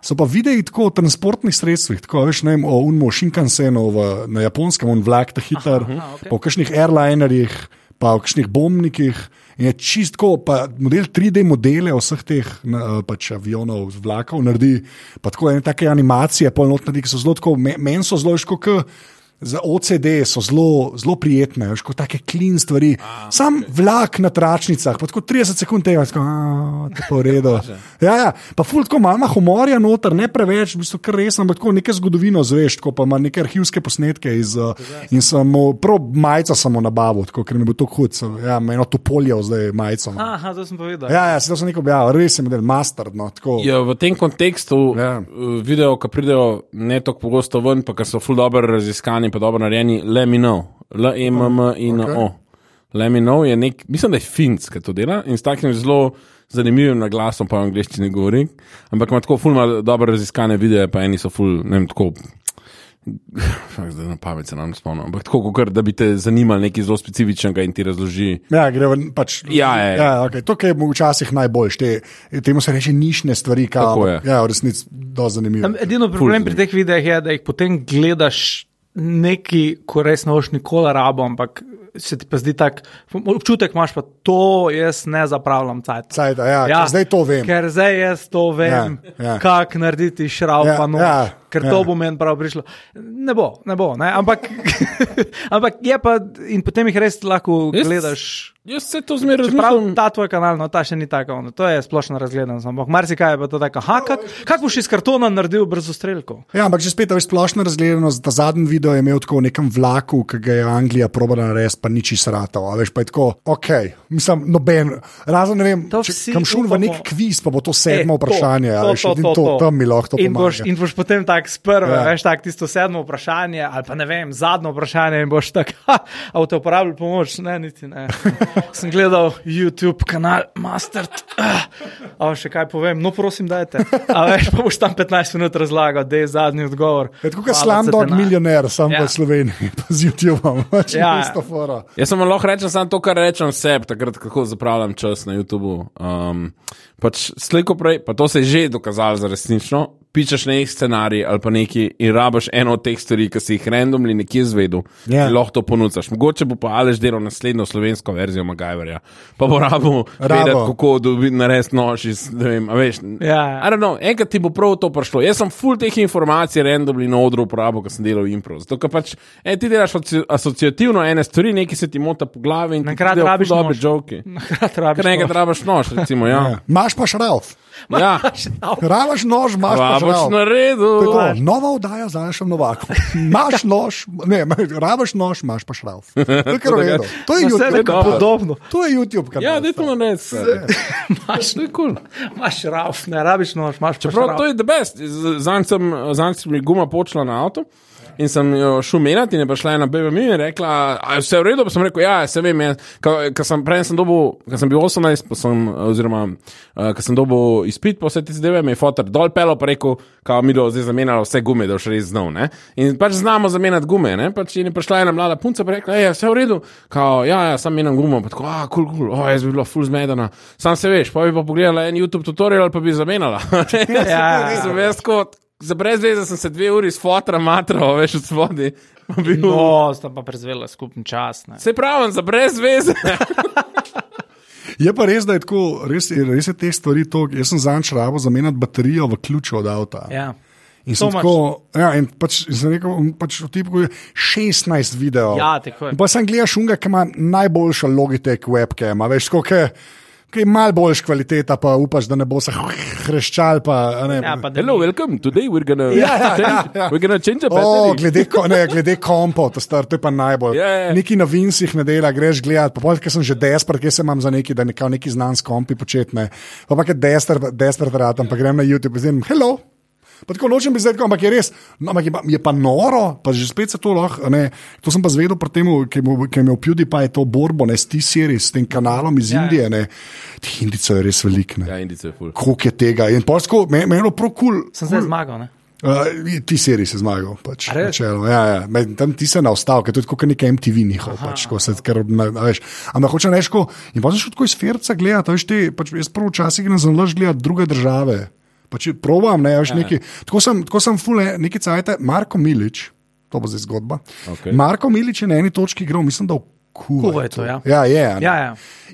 Speaker 1: So pa videi tako o transportnih sredstvih, tako veš, ne vem, o unmo Shinkansenu v, na japonskem, on vlak ta hiter, aha, okay. po kakšnih airlinerjih, pa o kakšnih bombnikih. In je čistko, pa model 3D modele vseh teh na, pač avionov, vlakov naredi, pa tako ene take animacije, polnotne, ki so zelo tako, me- meni so zelo ško, kot Za OCD so zelo, zelo prijetne, veš, kot take klin stvari. Sam vlak na tračnicah, pa tako 30 sekund tega, tako "A, to je pa v redu. Ja, ja, pa ful tako malo ima humorja noter, ne preveč, v bistvu kar resno, ampak tako nekaj zgodovino zveš, tako pa ima neke arhivske posnetke iz, uh, in samo, prav majico samo nabavo, tako, ker mi bo to hud, sem, ja, eno to polje zdaj majico. imam.
Speaker 2: Aha, to sem povedal.
Speaker 1: Ja, ja, se to sem nekaj objavil, res sem del mastardno, no," tako.
Speaker 3: Ja, v tem kontekstu eh,
Speaker 1: Ja.
Speaker 3: ja. video, ki pridejo ne tako pogosto ven, pa ker so ful dobro raziskani, izbrani, pa dobro narejeni, le mi nov, le imam in okay. o. Leminov je nek, mislim, da je finc, ki to dela in s takim zelo zanimivim naglasom po angliščini govori, ampak ima tako fulma dobro raziskane videe, pa eni so ful, ne vem, tako. Zdaj na pamet se nam spomnim, ampak tako, kot da bi te zanimali nekaj zelo specifičnega in ti razloži.
Speaker 1: Ja, gre v- pač.
Speaker 3: Ja, ja, ja.
Speaker 1: ja okay. to je včasih najbolj, te, temu se reče nišne stvari,
Speaker 3: Tako
Speaker 1: kar
Speaker 3: je. eh,
Speaker 1: ja, v resnici do zanimivo.
Speaker 2: Edino problem
Speaker 3: zanimivo.
Speaker 2: pri teh videih je, da jih potem gledaš neki, ko res ne boš nikoli rabo, ampak se ti pa zdi tak, občutek imaš pa to, jaz ne zapravljam cajt.
Speaker 1: Cajta, ja, ker zdaj to vem.
Speaker 2: Ker zdaj jaz to vem,
Speaker 1: Ja,
Speaker 2: ja,
Speaker 1: ja.
Speaker 2: ja. kako narediti
Speaker 1: Ja,
Speaker 2: šraufano, ja,
Speaker 1: ja,
Speaker 2: ja, ker
Speaker 1: ja.
Speaker 2: ja. to bo meni prav prišlo. Ne bo, ne bo, ne? Ampak, ampak je pa, in potem jih res lahko
Speaker 3: Jaz-
Speaker 2: gledaš.
Speaker 3: Jaz se to zmeraj
Speaker 2: Prav,
Speaker 3: razumem.
Speaker 2: ta tvoj kanal, no, ta še ni tako, ono, to je splošno razgledano. Ampak marsikaj je pa to tako, aha, kako kak boš iz kartona naredil brzostrelko?
Speaker 1: Ja, ampak že spet je splošno razgledano, da zadnji video je imel tako v nekem vlaku, ki ga je Anglija probala narediti, pa nič izratal. a Veš pa je tako, ok, mislim, noben, razen ne vem,
Speaker 2: To
Speaker 1: če
Speaker 2: vsi
Speaker 1: kam šul v
Speaker 2: upamo.
Speaker 1: nek kviz, pa bo to sedmo
Speaker 2: E, to,
Speaker 1: vprašanje, a veš, edino to, tam mi lahko to
Speaker 2: in boš,
Speaker 1: pomaga.
Speaker 2: in boš potem tak sprva,
Speaker 1: Ja.
Speaker 2: ja. veš, tak tisto sedmo vprašanje, ali pa ne vem, zadnjo vprašanje in boš tak, ha, a boste uporabljali pomoč, ne, niti ne. Sem gledal YouTube kanal Master, a še kaj povem, no prosim, dajte. A veš, pa boš tam 15 minut razlagal, da je zadnji odgovor.
Speaker 1: Je Ja, E, tako kot
Speaker 2: Hvala,
Speaker 1: slamdog
Speaker 2: CTNA.
Speaker 1: milijoner, sam ja.
Speaker 2: Ja.
Speaker 1: v Sloveniji, pa z YouTubeom, pač ja.
Speaker 2: Ja.
Speaker 1: isto fora.
Speaker 3: Jaz samo lahko rečem samo to, kar rečem sebi, takrat, kako zapravljam čas na YouTubu. Um, pač slejko prej, pa to se je že dokazalo za resnično. Pičeš nek scenarij ali pa neki in rabaš eno od teh stvari, ki si jih randomli nekje izvedel.
Speaker 1: Ja.
Speaker 3: Yeah. Lahko to ponudiš. Mogoče bo pa Aleš delal naslednjo slovensko verzijo Magajverja. Pa bo rabo vedeti, kako dobi- narediti nož iz, ne vem, a veš.
Speaker 2: Ja.
Speaker 3: I don't know, enkrat ti bo prav to prišlo. Jaz sem full teh informacij randomni na odru uporabo, ko sem delal improv. Zato, ker pač, e, ti delaš asoci- asociativno ene stvari, neki se ti mota po glavi in
Speaker 2: Naenkrat
Speaker 3: ti pridejo ful
Speaker 2: rabiš
Speaker 3: dobre
Speaker 2: nož.
Speaker 3: žoke.
Speaker 2: Naenkrat rabiš
Speaker 3: Ker enkrat
Speaker 2: nož.
Speaker 3: rabiš nož, recimo, ja.
Speaker 1: Maš pa šrauf.
Speaker 3: ja.
Speaker 1: Ravaš nož, imaš pa
Speaker 3: Rabaš
Speaker 1: šrauf.
Speaker 3: na
Speaker 1: To je
Speaker 3: redu.
Speaker 1: to. Nova vdaja za našem novakom. Imaš nož, ne, rabaš nož, imaš pa šrauf. To je kar v redu. To je
Speaker 2: Vse
Speaker 1: YouTube.
Speaker 2: nekako
Speaker 3: dobro.
Speaker 2: podobno.
Speaker 1: To je YouTube kanal.
Speaker 3: Ja, da je to na res.
Speaker 2: Imaš, imaš raf, ne rabiš nož, imaš pa
Speaker 3: Čeprav
Speaker 2: šraf.
Speaker 3: to je the best. Zanj sem, zanj sem mi guma počela na avto. In sem jo šel menjati, in je prišla ena beba mi in je rekla, da je vse v redu. Pa sem rekel, ja, se vem, jaz, ka, ka sem, prej sem dobil, ko sem bil 18, pa sem, oziroma, uh, ko sem dobil izpit, pa vse te zadeve, mi je fotor dol pelo, pa rekel, kao mi do zdaj zamenjalo vse gume, da boš res znal. Ne? In pač znamo zamenjati gume, ne? Pač in je prišla ena mlada punca, pa je rekla, je vse v redu, kao, ja, ja, sam menjam gumo, pa tako, a, kul, kul, o, jaz bi bila full zmedena. Sam se veš, pa bi pa pogledala en YouTube tutorial, pa bi zamenjala.
Speaker 2: Ja.
Speaker 3: Sem jaz kot, za brez veze sem se dve uri s fotra matral, veš, od svodi. No.
Speaker 1: Uh.
Speaker 2: No, sta pa prezvela skupni čas. Ne.
Speaker 3: Se pravi, za brez veze.
Speaker 1: Je pa res, da je tako, res, res je te stvari toliko. Jaz sem zanj šrabo zamenjati baterijo v ključu od avta.
Speaker 2: Ja.
Speaker 1: in sem
Speaker 2: so much.
Speaker 1: tako, ja, in pač, in sem rekel, in pač v tipku je 16 videov.
Speaker 2: Ja, tako je.
Speaker 1: In pa sem gledal šunga, ki ima najboljšo Logitech webcam, a veš, koliko je. Kaj je malo boljš kvaliteta, pa upaš, da ne bo se hreščal. Pa, a ne,
Speaker 2: Ja, pa da
Speaker 3: Hello,
Speaker 2: ni.
Speaker 3: welcome. Today we're gonna
Speaker 1: ja,
Speaker 3: change,
Speaker 1: ja, ja.
Speaker 3: We're gonna change a
Speaker 1: O,
Speaker 3: battery.
Speaker 1: glede, ko, ne, glede kompo, to, star, to je pa najbolj.
Speaker 3: Ja, ja.
Speaker 1: Neki na vincih ne dela, greš gledat, pa polk sem že desper, kje se imam za neki, da nekaj, neki znan s kompi početne. Pa pa je desper, desper ratam, pa grem na YouTube in zim, hello. Pa tako nočem biti zdaj, tako, ampak je res, no, ampak je, pa, je pa noro, pa že spet se to lahko. a Ne, to sem pa zvedel pri tem, ki mu- ki je imel PewDiePie to borbo ne, s T-Series, s tem kanalom iz ja.
Speaker 2: Ja, ja.
Speaker 1: Indije. Ne. Tih Indicov je res veliko.
Speaker 3: Ja,
Speaker 1: Ja.
Speaker 3: indice je ful.
Speaker 1: Koliko je tega? In polsko, meni me je bilo prokul. Cool,
Speaker 2: Sem zdaj zmagal. Ne?
Speaker 1: Uh, ti seri si zmagal, pač,
Speaker 2: A res?
Speaker 1: načelo, ja, ja. Med, tam ti se naostal, ker to je tako kot nekaj MTV njihov. Pač, ko se, ker, na, a veš, ampak hoče neško, in pa znaš tako iz Ferca gledati, a veš, te, pač, jaz prvo včasih grem za laž gledati druge države. Pač, probam, ne, a veš, ja. neki, tako sem, tako sem fule, neki cajt, Marko Milič, to bo zdaj zgodba.
Speaker 3: Okej.
Speaker 1: Marko Milič je na eni točki igral, mislim, da v Kuvajtu.
Speaker 2: Kuvajtu, ja.
Speaker 1: Ja, je, a ne.
Speaker 2: Ja, ja.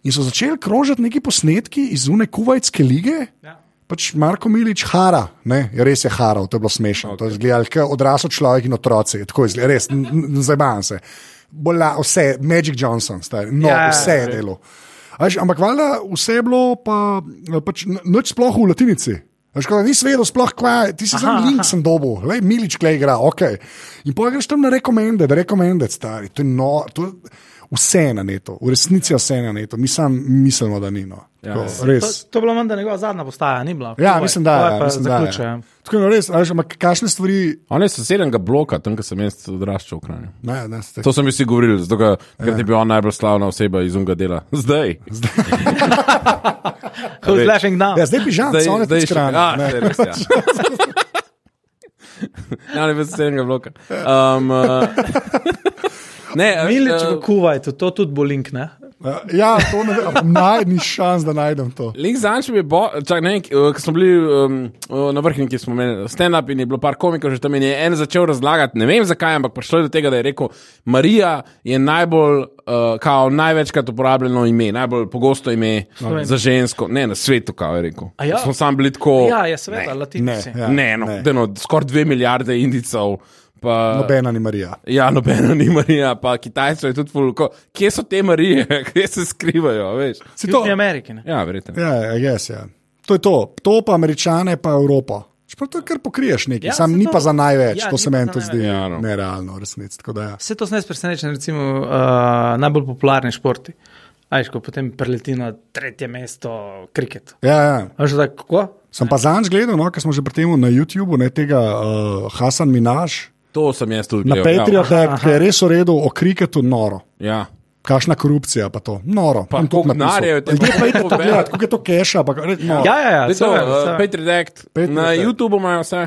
Speaker 1: In so začeli krožiti neki posnetki iz une Kuvajtske lige.
Speaker 2: Ja.
Speaker 1: Pač Marko Milič hara, ne? Ja, res je haral, to je bilo smešno. Okay. To je izgledalo kot odrasel človek in otroci, tako je res, zabavam se. Bola, vse, Magic Johnson, star, no,
Speaker 2: Ja, ja,
Speaker 1: yeah,
Speaker 2: ja.
Speaker 1: vse je delo. Až, ampak valjda vse je bilo, pa, pač n- nič sploh v latinici. Až, kaj, nisem vedel, sploh kaj, ti si sam link sem dobil, le milič klej igra, ok. In pa greš tam na rekomende, da rekomende stari. To je no, to, vse je na netu, v resnici je vse na netu, mi sam mislimo, da ni. No.
Speaker 3: Ja,
Speaker 1: Tako,
Speaker 3: ja.
Speaker 2: To,
Speaker 1: res.
Speaker 2: to je bila menda njegova zadnja postaja, ni bila.
Speaker 1: Ja, mislim, da je. Mislim, da,
Speaker 2: zaključujem.
Speaker 1: ja. Tako je, no, res, a veš, ampak kakšne stvari.
Speaker 3: On je sosednjega bloka, tam, kjer sem jaz odraščal v Kranju.
Speaker 1: Ne, ne, ste,
Speaker 3: To so mi vsi govorili, zato ker ja. je bil on najbolj slavna oseba iz unga dela. Zdaj.
Speaker 2: Who's laughing now?
Speaker 1: ja, zdaj bi žal,
Speaker 3: Zdaj,
Speaker 1: da je to
Speaker 3: še- A, saj
Speaker 1: skrajno.
Speaker 3: res, Ja, Ja, ne bi sosednjega bloka. Um, uh, ne, a veš,
Speaker 2: Milič
Speaker 3: eh,
Speaker 2: v Kuwaitu, to tudi bo link, ne?
Speaker 1: Ja, to ne vem, naj ni šans, da najdem to.
Speaker 3: Link za Anšem je bo, čak, ne, eh, ko smo bili um, na vrhniki, smo imeli stand-up in je bilo par komikov, že tam in je en začel razlagati, ne vem zakaj, ampak prišlo je do tega, da je rekel, Marija je najbolj, uh, kao največkrat uporabljeno ime, najbolj pogosto ime
Speaker 2: Sloveniji.
Speaker 3: za žensko, ne na svetu, kao je rekel.
Speaker 2: A ja?
Speaker 3: Smo sam bili tako,
Speaker 2: Ja, je seveda,
Speaker 1: Ne,
Speaker 2: latinci.
Speaker 1: ja,
Speaker 3: ne, no, ne. no skoraj dve milijarde indicov. Pa,
Speaker 1: Nobena ni Marija.
Speaker 3: Ja, nobena ni Marija, pa Kitajcev je tudi fulko. Kje so te Marije, kje se skrivajo, veš?
Speaker 1: Si to?
Speaker 2: Južni Ameriki, ne?
Speaker 3: Ja, verjetno.
Speaker 1: Ja, yes, ja. To je to. To pa Američane, pa Evropo. Čeprav to kar pokriješ nekaj,
Speaker 2: Ja,
Speaker 1: ja, sam
Speaker 2: saj
Speaker 1: ni
Speaker 2: to-
Speaker 1: pa za največ,
Speaker 2: ja,
Speaker 1: ja, to
Speaker 2: ni
Speaker 1: se
Speaker 2: pa
Speaker 1: meni
Speaker 2: za
Speaker 1: to zdi
Speaker 2: največ.
Speaker 3: Ja, no.
Speaker 1: nerealno, v resnici. tako da Ja.
Speaker 2: Vse to sem jaz presenečen, recimo uh, najbolj popularni športi. Ajš, ko potem preleti na tretje mesto, kriket.
Speaker 1: Ja, ja.
Speaker 2: A že tako, kako?
Speaker 1: Sem pa zanj gledal, no, ker smo že pri tem na YouTubu, ne tega uh, Hasan Minaš,
Speaker 3: To sem jaz tudi
Speaker 1: na
Speaker 3: gledal,
Speaker 1: Patreon,
Speaker 3: ja.
Speaker 1: da je- ki je res uredil o kriketu noro.
Speaker 3: Ja.
Speaker 1: Kakšna korupcija pa to, noro.
Speaker 3: Pa
Speaker 1: On tudi
Speaker 3: koliko denarja je v
Speaker 1: napisal.
Speaker 3: tem,
Speaker 1: Ljudje
Speaker 3: pa
Speaker 1: pojdite to
Speaker 3: koliko
Speaker 1: gledati, koliko je to keša. Pa, re, no.
Speaker 2: Ja, ja, ja,
Speaker 3: Zdaj to,
Speaker 2: seveda,
Speaker 3: eh,
Speaker 2: seveda.
Speaker 3: Patri Dekt,
Speaker 1: Patri
Speaker 3: na
Speaker 1: Dekt.
Speaker 3: YouTubu imajo vse.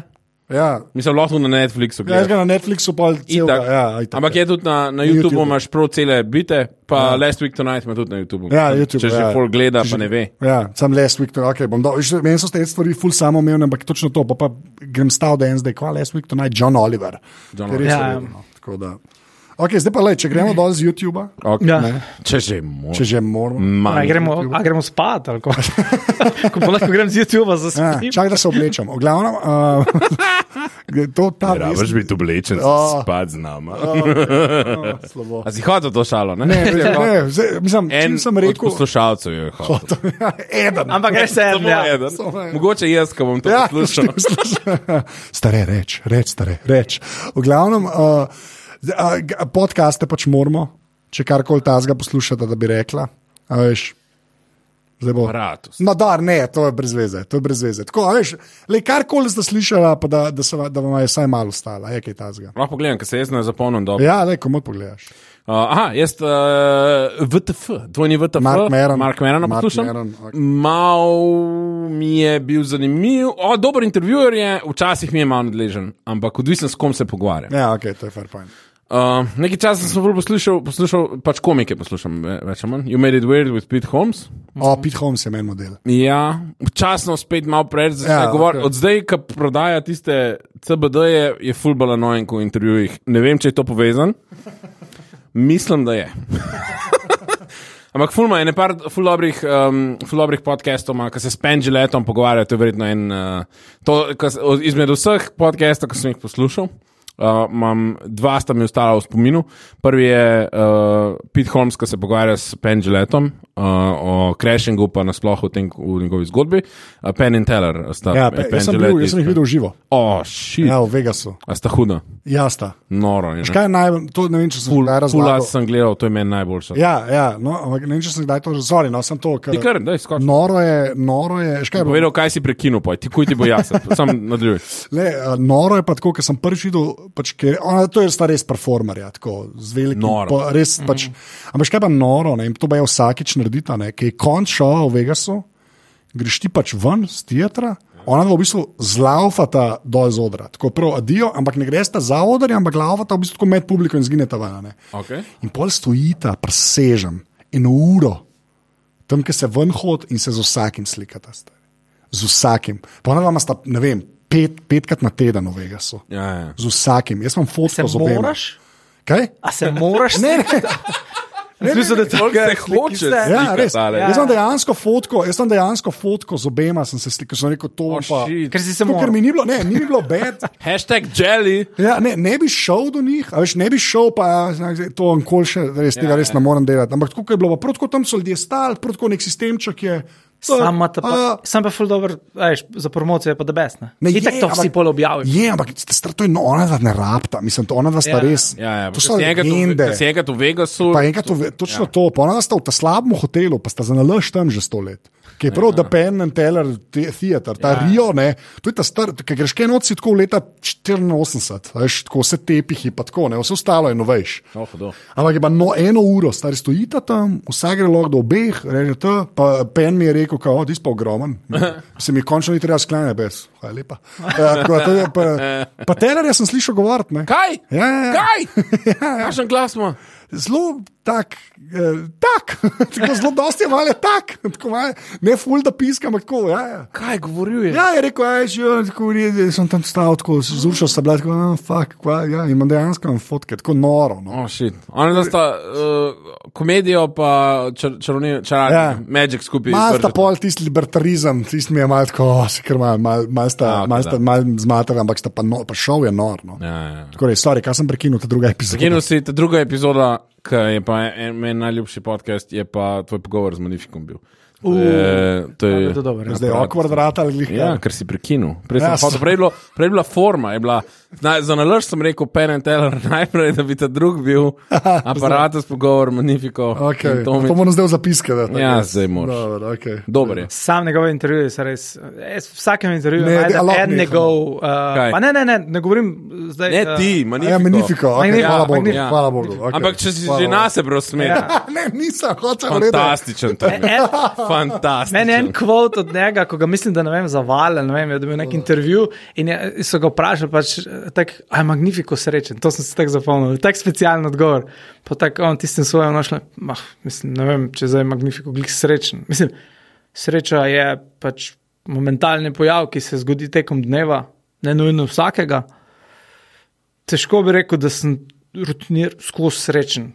Speaker 1: ja.
Speaker 3: Mislim, lahko tudi na Netflixu.
Speaker 1: Ja, jaz
Speaker 3: gledaš.
Speaker 1: ga na Netflixu pa cel.
Speaker 3: Itak.
Speaker 1: Ja, itak,
Speaker 3: Ampak
Speaker 1: ja.
Speaker 3: je tudi na, na YouTubu,
Speaker 1: YouTubu.
Speaker 3: imaš pro cele bite, pa Last Week Tonight ima tudi na YouTubu.
Speaker 1: Ja,
Speaker 3: Mislim,
Speaker 1: YouTube,
Speaker 3: Če že
Speaker 1: ja.
Speaker 3: pol
Speaker 1: Če
Speaker 3: gleda, pa
Speaker 1: že-
Speaker 3: ne ve.
Speaker 1: Ja, sem last week, to okay, bom dal. Že Meni so te stvari ful samo omejene, ampak točno to, pa, pa grem stav, da je en zdaj, kva last week, to naj John Oliver.
Speaker 3: John
Speaker 1: Ki je res
Speaker 2: Oliver. Ja,
Speaker 1: uredil, no, tako da. Okay, zdaj pa le, če gremo dol z YouTuba,
Speaker 3: Okay.
Speaker 2: Ja.
Speaker 3: Če že moče.
Speaker 1: če že moramo.
Speaker 2: A
Speaker 3: Manj.
Speaker 2: gremo, a gremo spat, ali kako? ko pa lahko grem z YouTube za
Speaker 1: Ja,
Speaker 2: spanje.
Speaker 1: čak, da se oblečem. V glavnem, uh, to ta res-
Speaker 3: biti oblečen,
Speaker 1: O.
Speaker 3: spat z nama.
Speaker 1: no, slabo.
Speaker 3: A si hodil to šalo, ne?
Speaker 1: Ne, ne, ne, zdaj, mislim,
Speaker 3: En
Speaker 1: čim sem rekel,
Speaker 3: Poslušalcev je hodil.
Speaker 1: eden.
Speaker 2: Ampak res je,
Speaker 3: Samo
Speaker 2: ja.
Speaker 3: eden.
Speaker 1: Samo eden.
Speaker 3: Mogoče jaz, ko bom to
Speaker 1: Ja,
Speaker 3: poslušal.
Speaker 1: poslušal. stare, reč, reč, stare, reč. V glavnem, uh, z- a, g- podcaste pač moramo, če karkoli tazga poslušate, da bi rekla. A Veš, zdaj bo.
Speaker 3: Ratus.
Speaker 1: No, dar, ne, to je brez veze. To je brez veze. Tako, a veš, le karkoli ste slišali, pa da, da, se, va- da vam je vsaj malo stala, je kaj tazga.
Speaker 3: Lahko pogledam, ker se jaz ne zapomnim dobro.
Speaker 1: Ja, le, komu pogledaš.
Speaker 3: Uh, aha, jaz, uh, VTF, dvojni VTF,
Speaker 1: Mark Maron.
Speaker 3: Mark Meron,
Speaker 1: Mark
Speaker 3: poslušam.
Speaker 1: Maron, ok.
Speaker 3: Mal mi je bil zanimiv, o, dober intervjuer je, včasih mi je malo nadležen, ampak odvisen s kom se pogovarjam.
Speaker 1: Ja, ok, to je fair point.
Speaker 3: Uh, nekaj časa sem bolj poslušal, poslušal pač komike poslušam, ve- več ali manj. You made it weird with Pete Holmes.
Speaker 1: O, Pete Holmes je meni model.
Speaker 3: Ja, včasno spet malo preveč začne ja,
Speaker 1: Ja, ok.
Speaker 3: govoriti. Okay. Od zdaj, ko prodaja tiste CBD-je, je fulbala nojen ko v intervjujih. Ne vem, če je to povezan. Mislim, da je. Ampak fulma je nekaj ful dobrih, um, ful dobrih podcastov, ima, ki se s Pengiletom pogovarjajo. To je verjetno en uh, to, ko se- od- izmed vseh podcastov, ki sem jih poslušal. Uh, imam dva, sta mi ostala v spominu. Prvi je uh, Pete Holmes, ki se pogovarja s Pengiletom uh, o crashingu, pa nasploh o tem, v njegovi zgodbi. Uh, Penn in Teller sta eh,
Speaker 1: Ja, pe, jaz, sem bil, jaz sem jih videl v živo.
Speaker 3: O, šit.
Speaker 1: Ja,
Speaker 3: Ja.
Speaker 1: v Vegasu.
Speaker 3: A sta huda,
Speaker 1: Jasta.
Speaker 3: noro. je, ne?
Speaker 1: Kaj je najbolj, to ne vem, če sem
Speaker 3: Ful-
Speaker 1: kdaj
Speaker 3: Ful,
Speaker 1: razumel.
Speaker 3: jaz sem gledal, to je meni najboljša. Ja.
Speaker 1: Ja, ja no, ampak ne vem, če sem kdaj to že zori, no sem to. Ker,
Speaker 3: Ti kar, daj, skoči.
Speaker 1: noro je, noro je, škaj, bo,
Speaker 3: Povedal, kaj si prekinil, poj, ti kuj ti bo jasno, sam nadaljuj.
Speaker 1: le, a, noro je pa tako, ker sem prvič videl, pač, ker, ona, to je sta res performer, ja, tako z velikim.
Speaker 3: Noro. Mhm.
Speaker 1: Po, res, mm. pač, ampak škaj pa noro, ne, in to pa je vsakič naredita, ne, ki je konč šova v Vegasu, greš ti pač ven z teatra, ona dva v bistvu zlaufata dol z odra, tako prav adijo, ampak ne greš ta za odr, ampak laufata v bistvu tako med publiko in zgineta ven. a Ne.
Speaker 3: Okay.
Speaker 1: In pol stojita, presežem, eno uro, tam, ki se ven hod in se z vsakim slikata. stari. Z vsakim. Ponavljam, sta, ne vem, pet, petkrat na teden v Vegasu.
Speaker 3: Ja, ja.
Speaker 1: Z vsakim. Jaz imam
Speaker 2: Se
Speaker 1: fotko z obema.
Speaker 2: moraš?
Speaker 1: Kaj?
Speaker 2: A se moraš?
Speaker 1: Ne, ne,
Speaker 2: ne, ne, ne,
Speaker 3: Pol se hoče
Speaker 2: Ja.
Speaker 1: ja,
Speaker 3: slikat,
Speaker 1: res.
Speaker 3: ale.
Speaker 1: Jaz sem dejansko fotko, jaz sem dejansko fotko z obema, sem se slikal, sem rekel, to
Speaker 3: O,
Speaker 1: bom pa.
Speaker 3: shit.
Speaker 2: Ker si se
Speaker 1: Tako, Ker
Speaker 2: moral.
Speaker 1: mi ni bilo, ne, ni mi bilo bed.
Speaker 3: Hashtag jelly.
Speaker 1: Ja, ne, ne bi šel do njih, a veš, ne bi šel, pa ja, zdaj, to ankol še, res tega res ne morem delati. Ampak tako ko je bilo, pa prav tako tam so ljudje stali, prav tako nek sistemček je,
Speaker 2: Sam ima ta pa, sam pa ful dobro, veš, za promocijo je pa da besne.
Speaker 1: Ne, je,
Speaker 2: Itak to vsi
Speaker 1: ampak-
Speaker 2: pol objavijo.
Speaker 1: Je, ampak star, to je no, ona dva ne rabta, mislim, to ona dva sta
Speaker 2: Ja,
Speaker 1: res.
Speaker 3: Ja, ja,
Speaker 1: to so
Speaker 3: ker si enkrat v-
Speaker 1: legende.
Speaker 3: ker Si enkrat v Vegasu.
Speaker 1: Pa enkrat, to, točno ja. to, pa ona sta v ta slabem hotelu, pa sta za nalaž tam že sto let. Ki je prav, da Pen and Teller te- Theater, ta ja. Rio, ne, to je ta star, ki greš kaj noci tako v leta 84, a veš, tako vse tepihi, pa tako, ne, vse ostalo je novejš.
Speaker 3: No, hudo.
Speaker 1: Ampak je pa no, eno uro, stari stojita tam, vsak gre lahko do obeh, reče to. Pa pen mi je rekel, da je pa ogromen. Se mi končno ni treba sklanjati, brez. Hvala lepa. Ja, tako, da to je pa pa teler, jaz sem slišal govoriti. ne.
Speaker 3: Kaj?
Speaker 1: Ja, ja, ja.
Speaker 3: Kaj? Kakšen glas ima?
Speaker 1: Zelo tak, eh, tak. tako zelo dosti je male tak, tako male, ne ful da piskam, ampak tako. Ja, ja.
Speaker 3: Kaj govoril je?
Speaker 1: Ja, je rekel, aj, že tako, je, sem tam stal, tako zrušil sem, tako, ah, fuck, kva, ja, in dejansko imam fotke, tako noro. No.
Speaker 3: Oh, shit. Ona da sta uh, komedijo pa čar, čarovnijo, čarovnijo,
Speaker 1: Ja.
Speaker 3: ja. Magic skupaj.
Speaker 1: Malo sta
Speaker 3: izvržeta.
Speaker 1: pol tisti libertarizem, tisti mi je malo tako, oh, se kar malo mal, mal
Speaker 3: Ja,
Speaker 1: sta,
Speaker 3: ok,
Speaker 1: mal
Speaker 3: da.
Speaker 1: sta mal zmaten, ampak sta pa, no, pa šel je norno.
Speaker 3: Ja, ja, ja.
Speaker 1: Torej, sorry, kaj sem prekinil, ta druga epizoda.
Speaker 3: Prekinil si ta druga epizoda, ki je pa en, meni najljubši podcast, je pa tvoj pogovor z Manifikom bil. To je, to
Speaker 2: Ja,
Speaker 3: je,
Speaker 2: je to dobro, ja.
Speaker 1: Zdaj je okvar vrata ali glih.
Speaker 3: Ja, ker si prekinil. Prej, sem
Speaker 1: Ja,
Speaker 3: hotel-
Speaker 1: sem-
Speaker 3: prej, je bilo, prej je bila forma. Je bila, na, za nalož sem rekel Pen and Teller najprej, da bi ta drug bil aparatus, pogovor, Manifico.
Speaker 1: Okay.
Speaker 3: in to mi-
Speaker 1: To moram zdaj zapiskati.
Speaker 3: Ja, zdaj moraš.
Speaker 1: Dobro, okay.
Speaker 3: Dober je.
Speaker 2: Sam njegov intervju je res. Jaz v vsakem intervjuju
Speaker 1: Ne,
Speaker 2: najdem
Speaker 1: dialog
Speaker 2: en
Speaker 1: nehamo.
Speaker 2: njegov. Uh,
Speaker 3: Kaj?
Speaker 2: pa ne, ne, ne, ne govorim zdaj.
Speaker 3: Ne
Speaker 2: eh,
Speaker 3: ti,
Speaker 1: A Ja,
Speaker 3: Manifico.
Speaker 1: magnifiko, okay,
Speaker 2: Magnifico,
Speaker 1: hvala Bogu.
Speaker 2: Magnifico.
Speaker 1: Hvala Bogu okay.
Speaker 3: Ampak če si
Speaker 1: Hvala
Speaker 3: že
Speaker 1: Bogu.
Speaker 3: nase preusmeril,
Speaker 2: Ja.
Speaker 1: Ne, nisem hotel reči.
Speaker 3: fantastičen to. je.
Speaker 2: En,
Speaker 3: Fantastičen.
Speaker 2: Meni je en kvot od njega, ko ga mislim, da ne vem, zavalen, ne vem, je dobil nek intervju in je, so ga vprašali, pač, tak, a je magnifiko srečen, to sem se tako zapomnil, tak specialen odgovor. Pa tako on tistim svojem našel, mah, mislim, ne vem, če zdaj je magnifiko glih srečen. Mislim, sreča je pač momentalni pojav, ki se zgodi tekom dneva, ne nujno vsakega. Težko bi rekel, da sem rutinir, skozi srečen.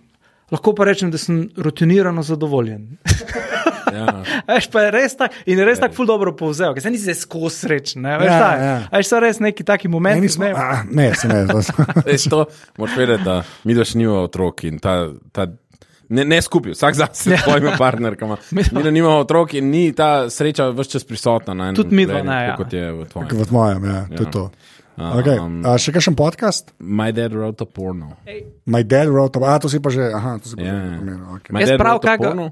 Speaker 2: Lahko pa rečem, da sem rutinirano zadovoljen.
Speaker 3: Ja.
Speaker 2: Veš, pa je res tako in je res tako ful dobro povzel, ker se nisi zdaj skozi srečen. Ne, veš,
Speaker 1: Ja,
Speaker 2: ja, tak,
Speaker 1: ja.
Speaker 2: ja. veš, so res neki taki
Speaker 1: Ne,
Speaker 2: momenti.
Speaker 1: nismo,
Speaker 2: Ne, ne,
Speaker 1: a, ne, se ne. to-
Speaker 3: Ej, to moraš vedeti, da mi daš nima otrok in ta. ta Ne, ne skupaj, vsak za sebe, s svojimi partnerkami. Mi da nimamo otrok in ni ta sreča vse čas prisotna. Na enem
Speaker 2: Tudi midva
Speaker 3: pogledu,
Speaker 2: ne,
Speaker 3: tako
Speaker 2: ja.
Speaker 3: Kot je v tvojem.
Speaker 1: Kot v mojem, ja, to je to. Okay.
Speaker 3: um-
Speaker 1: A, še kakšen podcast?
Speaker 3: My dad wrote a porno.
Speaker 1: My dad wrote, a to si pa že, aha, to si pa
Speaker 3: Ja,
Speaker 1: že.
Speaker 3: ja.
Speaker 1: omenil, okej.
Speaker 3: My
Speaker 2: Jaz
Speaker 3: dad
Speaker 2: prav
Speaker 3: wrote a
Speaker 2: kaj ga-
Speaker 3: porno?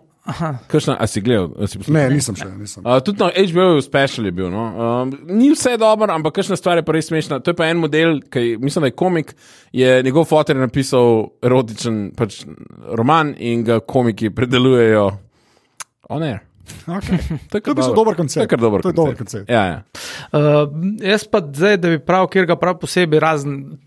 Speaker 3: Kakšna, a si gledal? A si poslušal?
Speaker 1: Ne, nisem še, nisem.
Speaker 3: Uh, tudi na HBO-ju special je bil. No. Um, ni vse dobro, ampak kakšna stvar je pa res smešna. To je pa en model, ki mislim, da je komik. Je, njegov fotor je napisal erotičen pač, roman in ga komiki predelujejo. On air.
Speaker 1: Okay.
Speaker 3: To je
Speaker 1: To je bil dober koncept.
Speaker 3: To je kar dober
Speaker 1: To je
Speaker 3: koncept.
Speaker 1: dober koncept.
Speaker 3: Ja, ja.
Speaker 2: Uh, jaz pa zdaj, da bi prav, ker ga prav posebej razen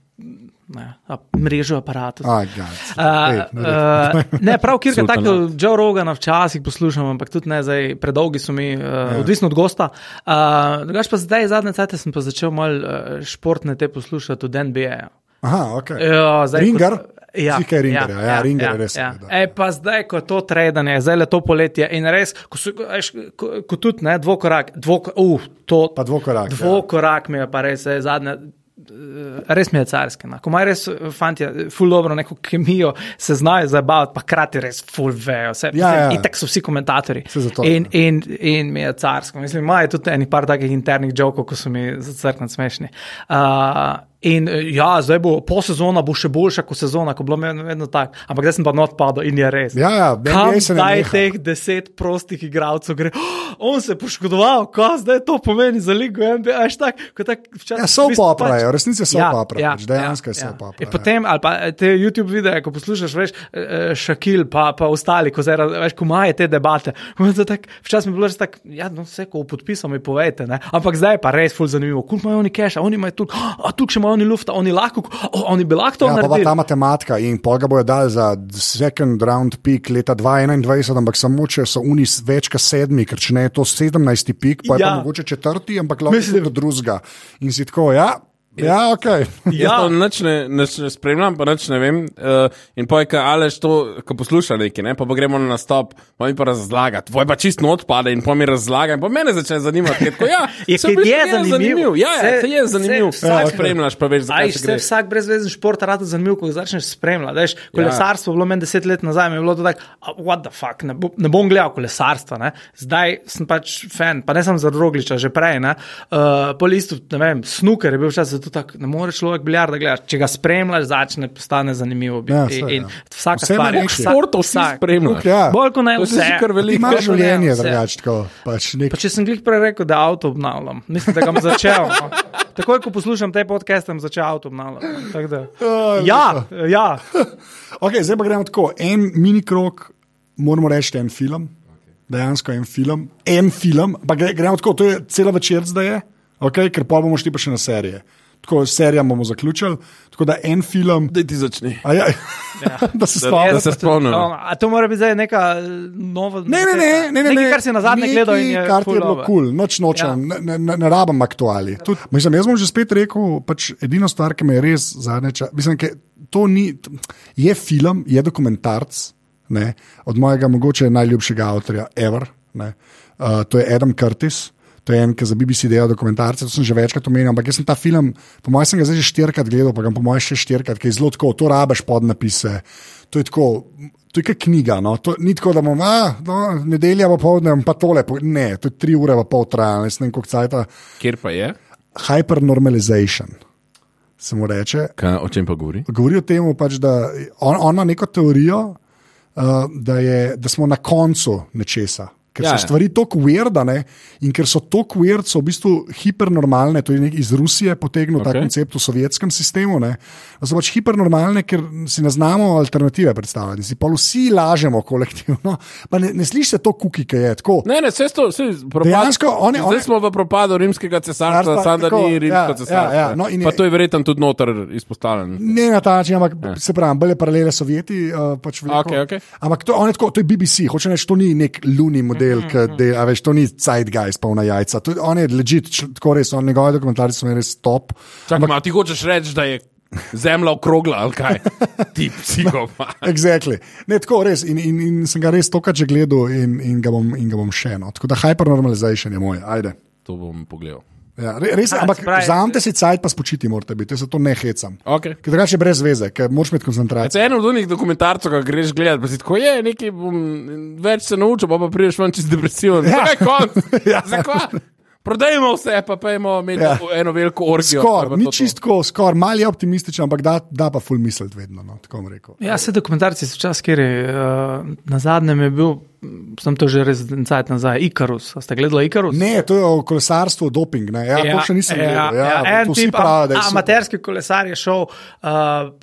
Speaker 2: ne, a, mrežo
Speaker 3: Ja.
Speaker 2: aparatov.
Speaker 1: Ah, gad. Ej,
Speaker 2: Uh,
Speaker 1: ne, ne.
Speaker 2: uh, ne, prav, kjer je
Speaker 3: Sultana.
Speaker 2: tako, Joe Rogana včasih poslušam, ampak tudi ne zdaj, predolgi so mi, uh,
Speaker 1: Ja.
Speaker 2: yeah. odvisno od gosta. Uh, drugač pa zdaj, zadnje cajte sem pa začel malo uh, športne te poslušati od NBA. -ja.
Speaker 3: eh,
Speaker 1: Aha, okay.
Speaker 2: Ja, zdaj,
Speaker 1: Ringar?
Speaker 2: ko- Ja,
Speaker 1: Slika je Ringarja, ja, Ringar je res. seveda.
Speaker 2: E, pa zdaj, ko je to tredanje, zdaj le to poletje in res, ko, so, ko, eš, ko, ko tudi ne, dvokorak, dvoko, uh, to,
Speaker 1: Pa dvokorak, ja.
Speaker 2: Dvokorak mi je pa res eh, zadnja. eh, Res mi je carski. no. Ko imajo res eh, fanti, eh, ful dobro neko kemijo, se znajo zabavati, pa krati res ful vejo. Se,
Speaker 1: Ja, ja.
Speaker 2: In tako so vsi komentatorji.
Speaker 1: Saj zato,
Speaker 2: in,
Speaker 1: ja.
Speaker 2: in, in mi je carsko. Mislim, imajo tudi eni par takih internih jokov, ko so mi zacrknili smešni. Uh, in eh, ja, zdaj bo po sezona bo še boljša kot sezona, ko je bilo meni vedno tako. Ampak zdaj sem pa not padel in je res.
Speaker 1: Ja, ja, NBA
Speaker 2: Kam
Speaker 1: se ne
Speaker 2: zdaj
Speaker 1: neha.
Speaker 2: teh deset prostih igralcev gre? Oh, on se je poškodoval, kaj zdaj to pomeni za ligo NBA? Až tak, ko tak včasih. pač- Ja,
Speaker 1: Ja, soap opera je, v resnici je soap opera, pač dejansko je soap opera,
Speaker 2: In
Speaker 1: ja.
Speaker 2: potem, ali pa eh, te YouTube videe, ko poslušaš, veš, Šakil, pa, pa ostali, ko zdaj, raz- veš, ko imajo te debate. Potem Tak, včasih mi je bilo res tako, ja, no, vse, ko podpisal, mi povejte, ne? ampak zdaj je pa res ful zanimivo. Kul imajo oni cache, oni imajo tu, a tu še imajo oni lufta, oni lahko, oh, oni bi lahko to
Speaker 1: Ja, pa, pa
Speaker 2: naredili.
Speaker 1: ta matematika in pol ga bojo dali za second round pik leta 2021, ampak samo če so oni s- več kot sedmi, ker če ne je to 17 pik, pa je ja.
Speaker 2: Ja.
Speaker 1: pa mogoče četrti, ampak lahko
Speaker 2: Mislim,
Speaker 1: je drugega. In si tako, ja, Ja, ok.
Speaker 3: Jaz to nič ne, nič ne spremljam, pa nič ne vem. Uh, in pojka, alež to, ko posluša nekaj, ne? pa, pa gremo na nastop, pa mi pa razlaga. Tvoj pa čist not pade in pa mi razlaga. In pa mene začne zanimati, kako ja,
Speaker 2: Je,
Speaker 3: saj
Speaker 2: ker
Speaker 3: v bistvu
Speaker 2: je zanimiv.
Speaker 3: Ja, ja,
Speaker 2: Saj-
Speaker 3: se je zanimiv.
Speaker 2: saj vsak-
Speaker 3: Vsak spremljaš, pa veš,
Speaker 2: Aj,
Speaker 3: zakaj se
Speaker 2: se
Speaker 3: gre.
Speaker 2: vsak brezvezen šport rada zanimiv, ko ga začneš spremljati. Veš,
Speaker 1: Ja.
Speaker 2: kolesarstvo je bilo meni deset let nazaj, mi je bilo to tako, "A, what the fuck, ne, bo, ne bom gledal kolesarstva. Ne? Zdaj sem pač fan, pa ne samo za rogliča, že prej. ne. Uh, po listu, ne vem, snuker je bil včasih zato tak, ne more človek biljarda gledati. Če ga spremljaš, začne postane zanimivo.
Speaker 1: Ja,
Speaker 2: Ja,
Speaker 1: sej,
Speaker 2: in, in
Speaker 1: ja.
Speaker 2: vsaka
Speaker 1: Vse ima
Speaker 2: stvar je
Speaker 1: nekaj.
Speaker 2: vsa-
Speaker 3: Športov vsi
Speaker 2: vsak.
Speaker 3: spremljaš.
Speaker 1: Ja.
Speaker 2: Bolj kot ne
Speaker 3: To se
Speaker 2: vse.
Speaker 3: že kar veliko.
Speaker 1: Imaš
Speaker 2: Bolj kot ne
Speaker 1: življenje,
Speaker 2: vse.
Speaker 1: drugačko. Pač nek...
Speaker 2: Pa če sem glih prej rekel, da avto obnavljam, mislim, da ga bom začel. No. Takoj, ko poslušam te podcaste, sem začel avto obnavljati. Tako da- Ja, ja.
Speaker 1: okay, zdaj pa gremo tako. En mini krok, moramo reči, en film. Dejansko en film, en film, pa gre- gremo tako, to je cela večer zdaj, je, okay, ker pa bomo šli pa še na serije. Tako s serijam bomo zaključili, tako da en film,
Speaker 3: Daj ti začni.
Speaker 1: a ja, da se
Speaker 3: Da
Speaker 1: spomnim.
Speaker 3: se spomnim.
Speaker 2: No, a to mora biti zdaj neka eh, nova.
Speaker 1: Ne, ne, ne, ne, ne,
Speaker 2: Nekaj,
Speaker 1: ne.
Speaker 2: kar si na zadnje
Speaker 1: Nekaj,
Speaker 2: gledal in je
Speaker 1: Kar ti
Speaker 2: ful
Speaker 1: je bilo
Speaker 2: dobro.
Speaker 1: kul, cool. noč nočem, ja. ne, ne, ne rabim aktuali. Tud, mislim, jaz bom že spet rekel, pač edino stvar, ki me je res zadnje čas. Mislim, ke to ni, je film, je dokumentarc ne, od mojega mogoče najljubšega avtorja, Ever. ne. Uh, to je Adam Curtis. To je en, ki za BBC dela dokumentarce, to sem že večkrat omenil, ampak jaz sem ta film, po mojem, sem ga zdaj že štirikrat gledal, pa ga bom po mojem še štirikrat, ker je zelo tako, to rabaš podnapise. To je tako, to je kot knjiga. No. To, ni tako, da bomo, a, no, nedelja popoldne, pa tole. po-" Ne, to je tri ure pa pol trajalo, jaz ne vem, koliko cajta.
Speaker 3: Kjer pa je?
Speaker 1: Hypernormalization se mu reče.
Speaker 3: Kaj, o čem pa govori?
Speaker 1: Govori o tem, pač, da on, on ima neko teorijo, uh, da, je, da smo na koncu nečesa. Ker so
Speaker 3: Ja, ja.
Speaker 1: ja, stvari tako uerdane in ker so tako uerd, so v bistvu hipernormalne. To je nek iz Rusije potegnil okay. ta
Speaker 3: Okej.
Speaker 1: koncept v sovjetskem sistemu. Ne? Da so pač hipernormalne, ker si ne znamo alternative predstavljati. Si pa vsi lažemo kolektivno. Pa ne, ne sliši se to kuki, ki je tako.
Speaker 3: Ne, ne, vse to, vse
Speaker 1: Dejansko oni-
Speaker 3: Zdaj
Speaker 1: oni-
Speaker 3: smo v propadu rimskega cesarstva,
Speaker 1: Carstva,
Speaker 3: Sanda
Speaker 1: tako,
Speaker 3: ni
Speaker 1: ja,
Speaker 3: rimsko
Speaker 1: ja,
Speaker 3: cesarstvo.
Speaker 1: ja, no in je-
Speaker 3: pa to je verjetno tudi noter izpostavljeno.
Speaker 1: Ne na ta način, ampak
Speaker 2: Ja.
Speaker 1: se pravi, bolje paralele Sovjeti. Uh, pač vleko.
Speaker 3: Okej, okej.
Speaker 1: Ampak to, on je tako, to je BBC, hoče reči, to ni nek luni model, mm
Speaker 2: Mhm,
Speaker 1: -hmm. del, a veš, to ni Zeitgeist, polna jajca. To, je- on je legit, čl- tako res, on, njegovi dokumentarci so meni res top.
Speaker 3: Čakaj, ma, ti hočeš reči, da je zemlja okrogla ali kaj? Ti psihopat.
Speaker 1: Exactly. Ne, tako res. In, in, in sem ga res tokrat že gledal in, in, ga bom, in ga bom še eno. Tako da hypernormalization je moj, ajde.
Speaker 3: To bom pogledal.
Speaker 1: Ja, re- res,
Speaker 2: A,
Speaker 1: ampak
Speaker 2: se pravi- eh,
Speaker 1: vzamete si cajt, pa spočiti morate biti, jaz se to ne hecam.
Speaker 3: Okay.
Speaker 1: Ker drugače je brez veze, ker moraš imeti
Speaker 3: Se
Speaker 1: koncentracijo.
Speaker 3: eno od unih dokumentarcev, ki greš gledati, pa si tako je, nekaj bom več se naučil, pa, pa prideš ven čez depresiven. Ja. Zakaj konc?
Speaker 1: Ja.
Speaker 3: ja. Zakaj? Prodajmo vse, pa pojmo imeti
Speaker 1: Ja.
Speaker 3: ja. eno veliko orgijo. ali pa
Speaker 1: Skoraj,
Speaker 3: to,
Speaker 1: ni
Speaker 3: to.
Speaker 1: čistko, skoraj, malo je optimističen, ampak da, da pa ful misliti vedno. No, tako bom rekel.
Speaker 2: Ja, se dokumentarci so včasih, ker je uh, na zadnjem je bil, m, sem to že res cajt nazaj, Ikarus. A Ste gledali Ikarus?
Speaker 1: Ne, to je o kolesarstvu, doping. Ne? Ja, ja, to še nisem videl. Ja, ja, to
Speaker 2: en
Speaker 1: vsi
Speaker 2: tip,
Speaker 1: pravijo, da je
Speaker 2: a-
Speaker 1: super.
Speaker 2: amaterski kolesar je šel uh,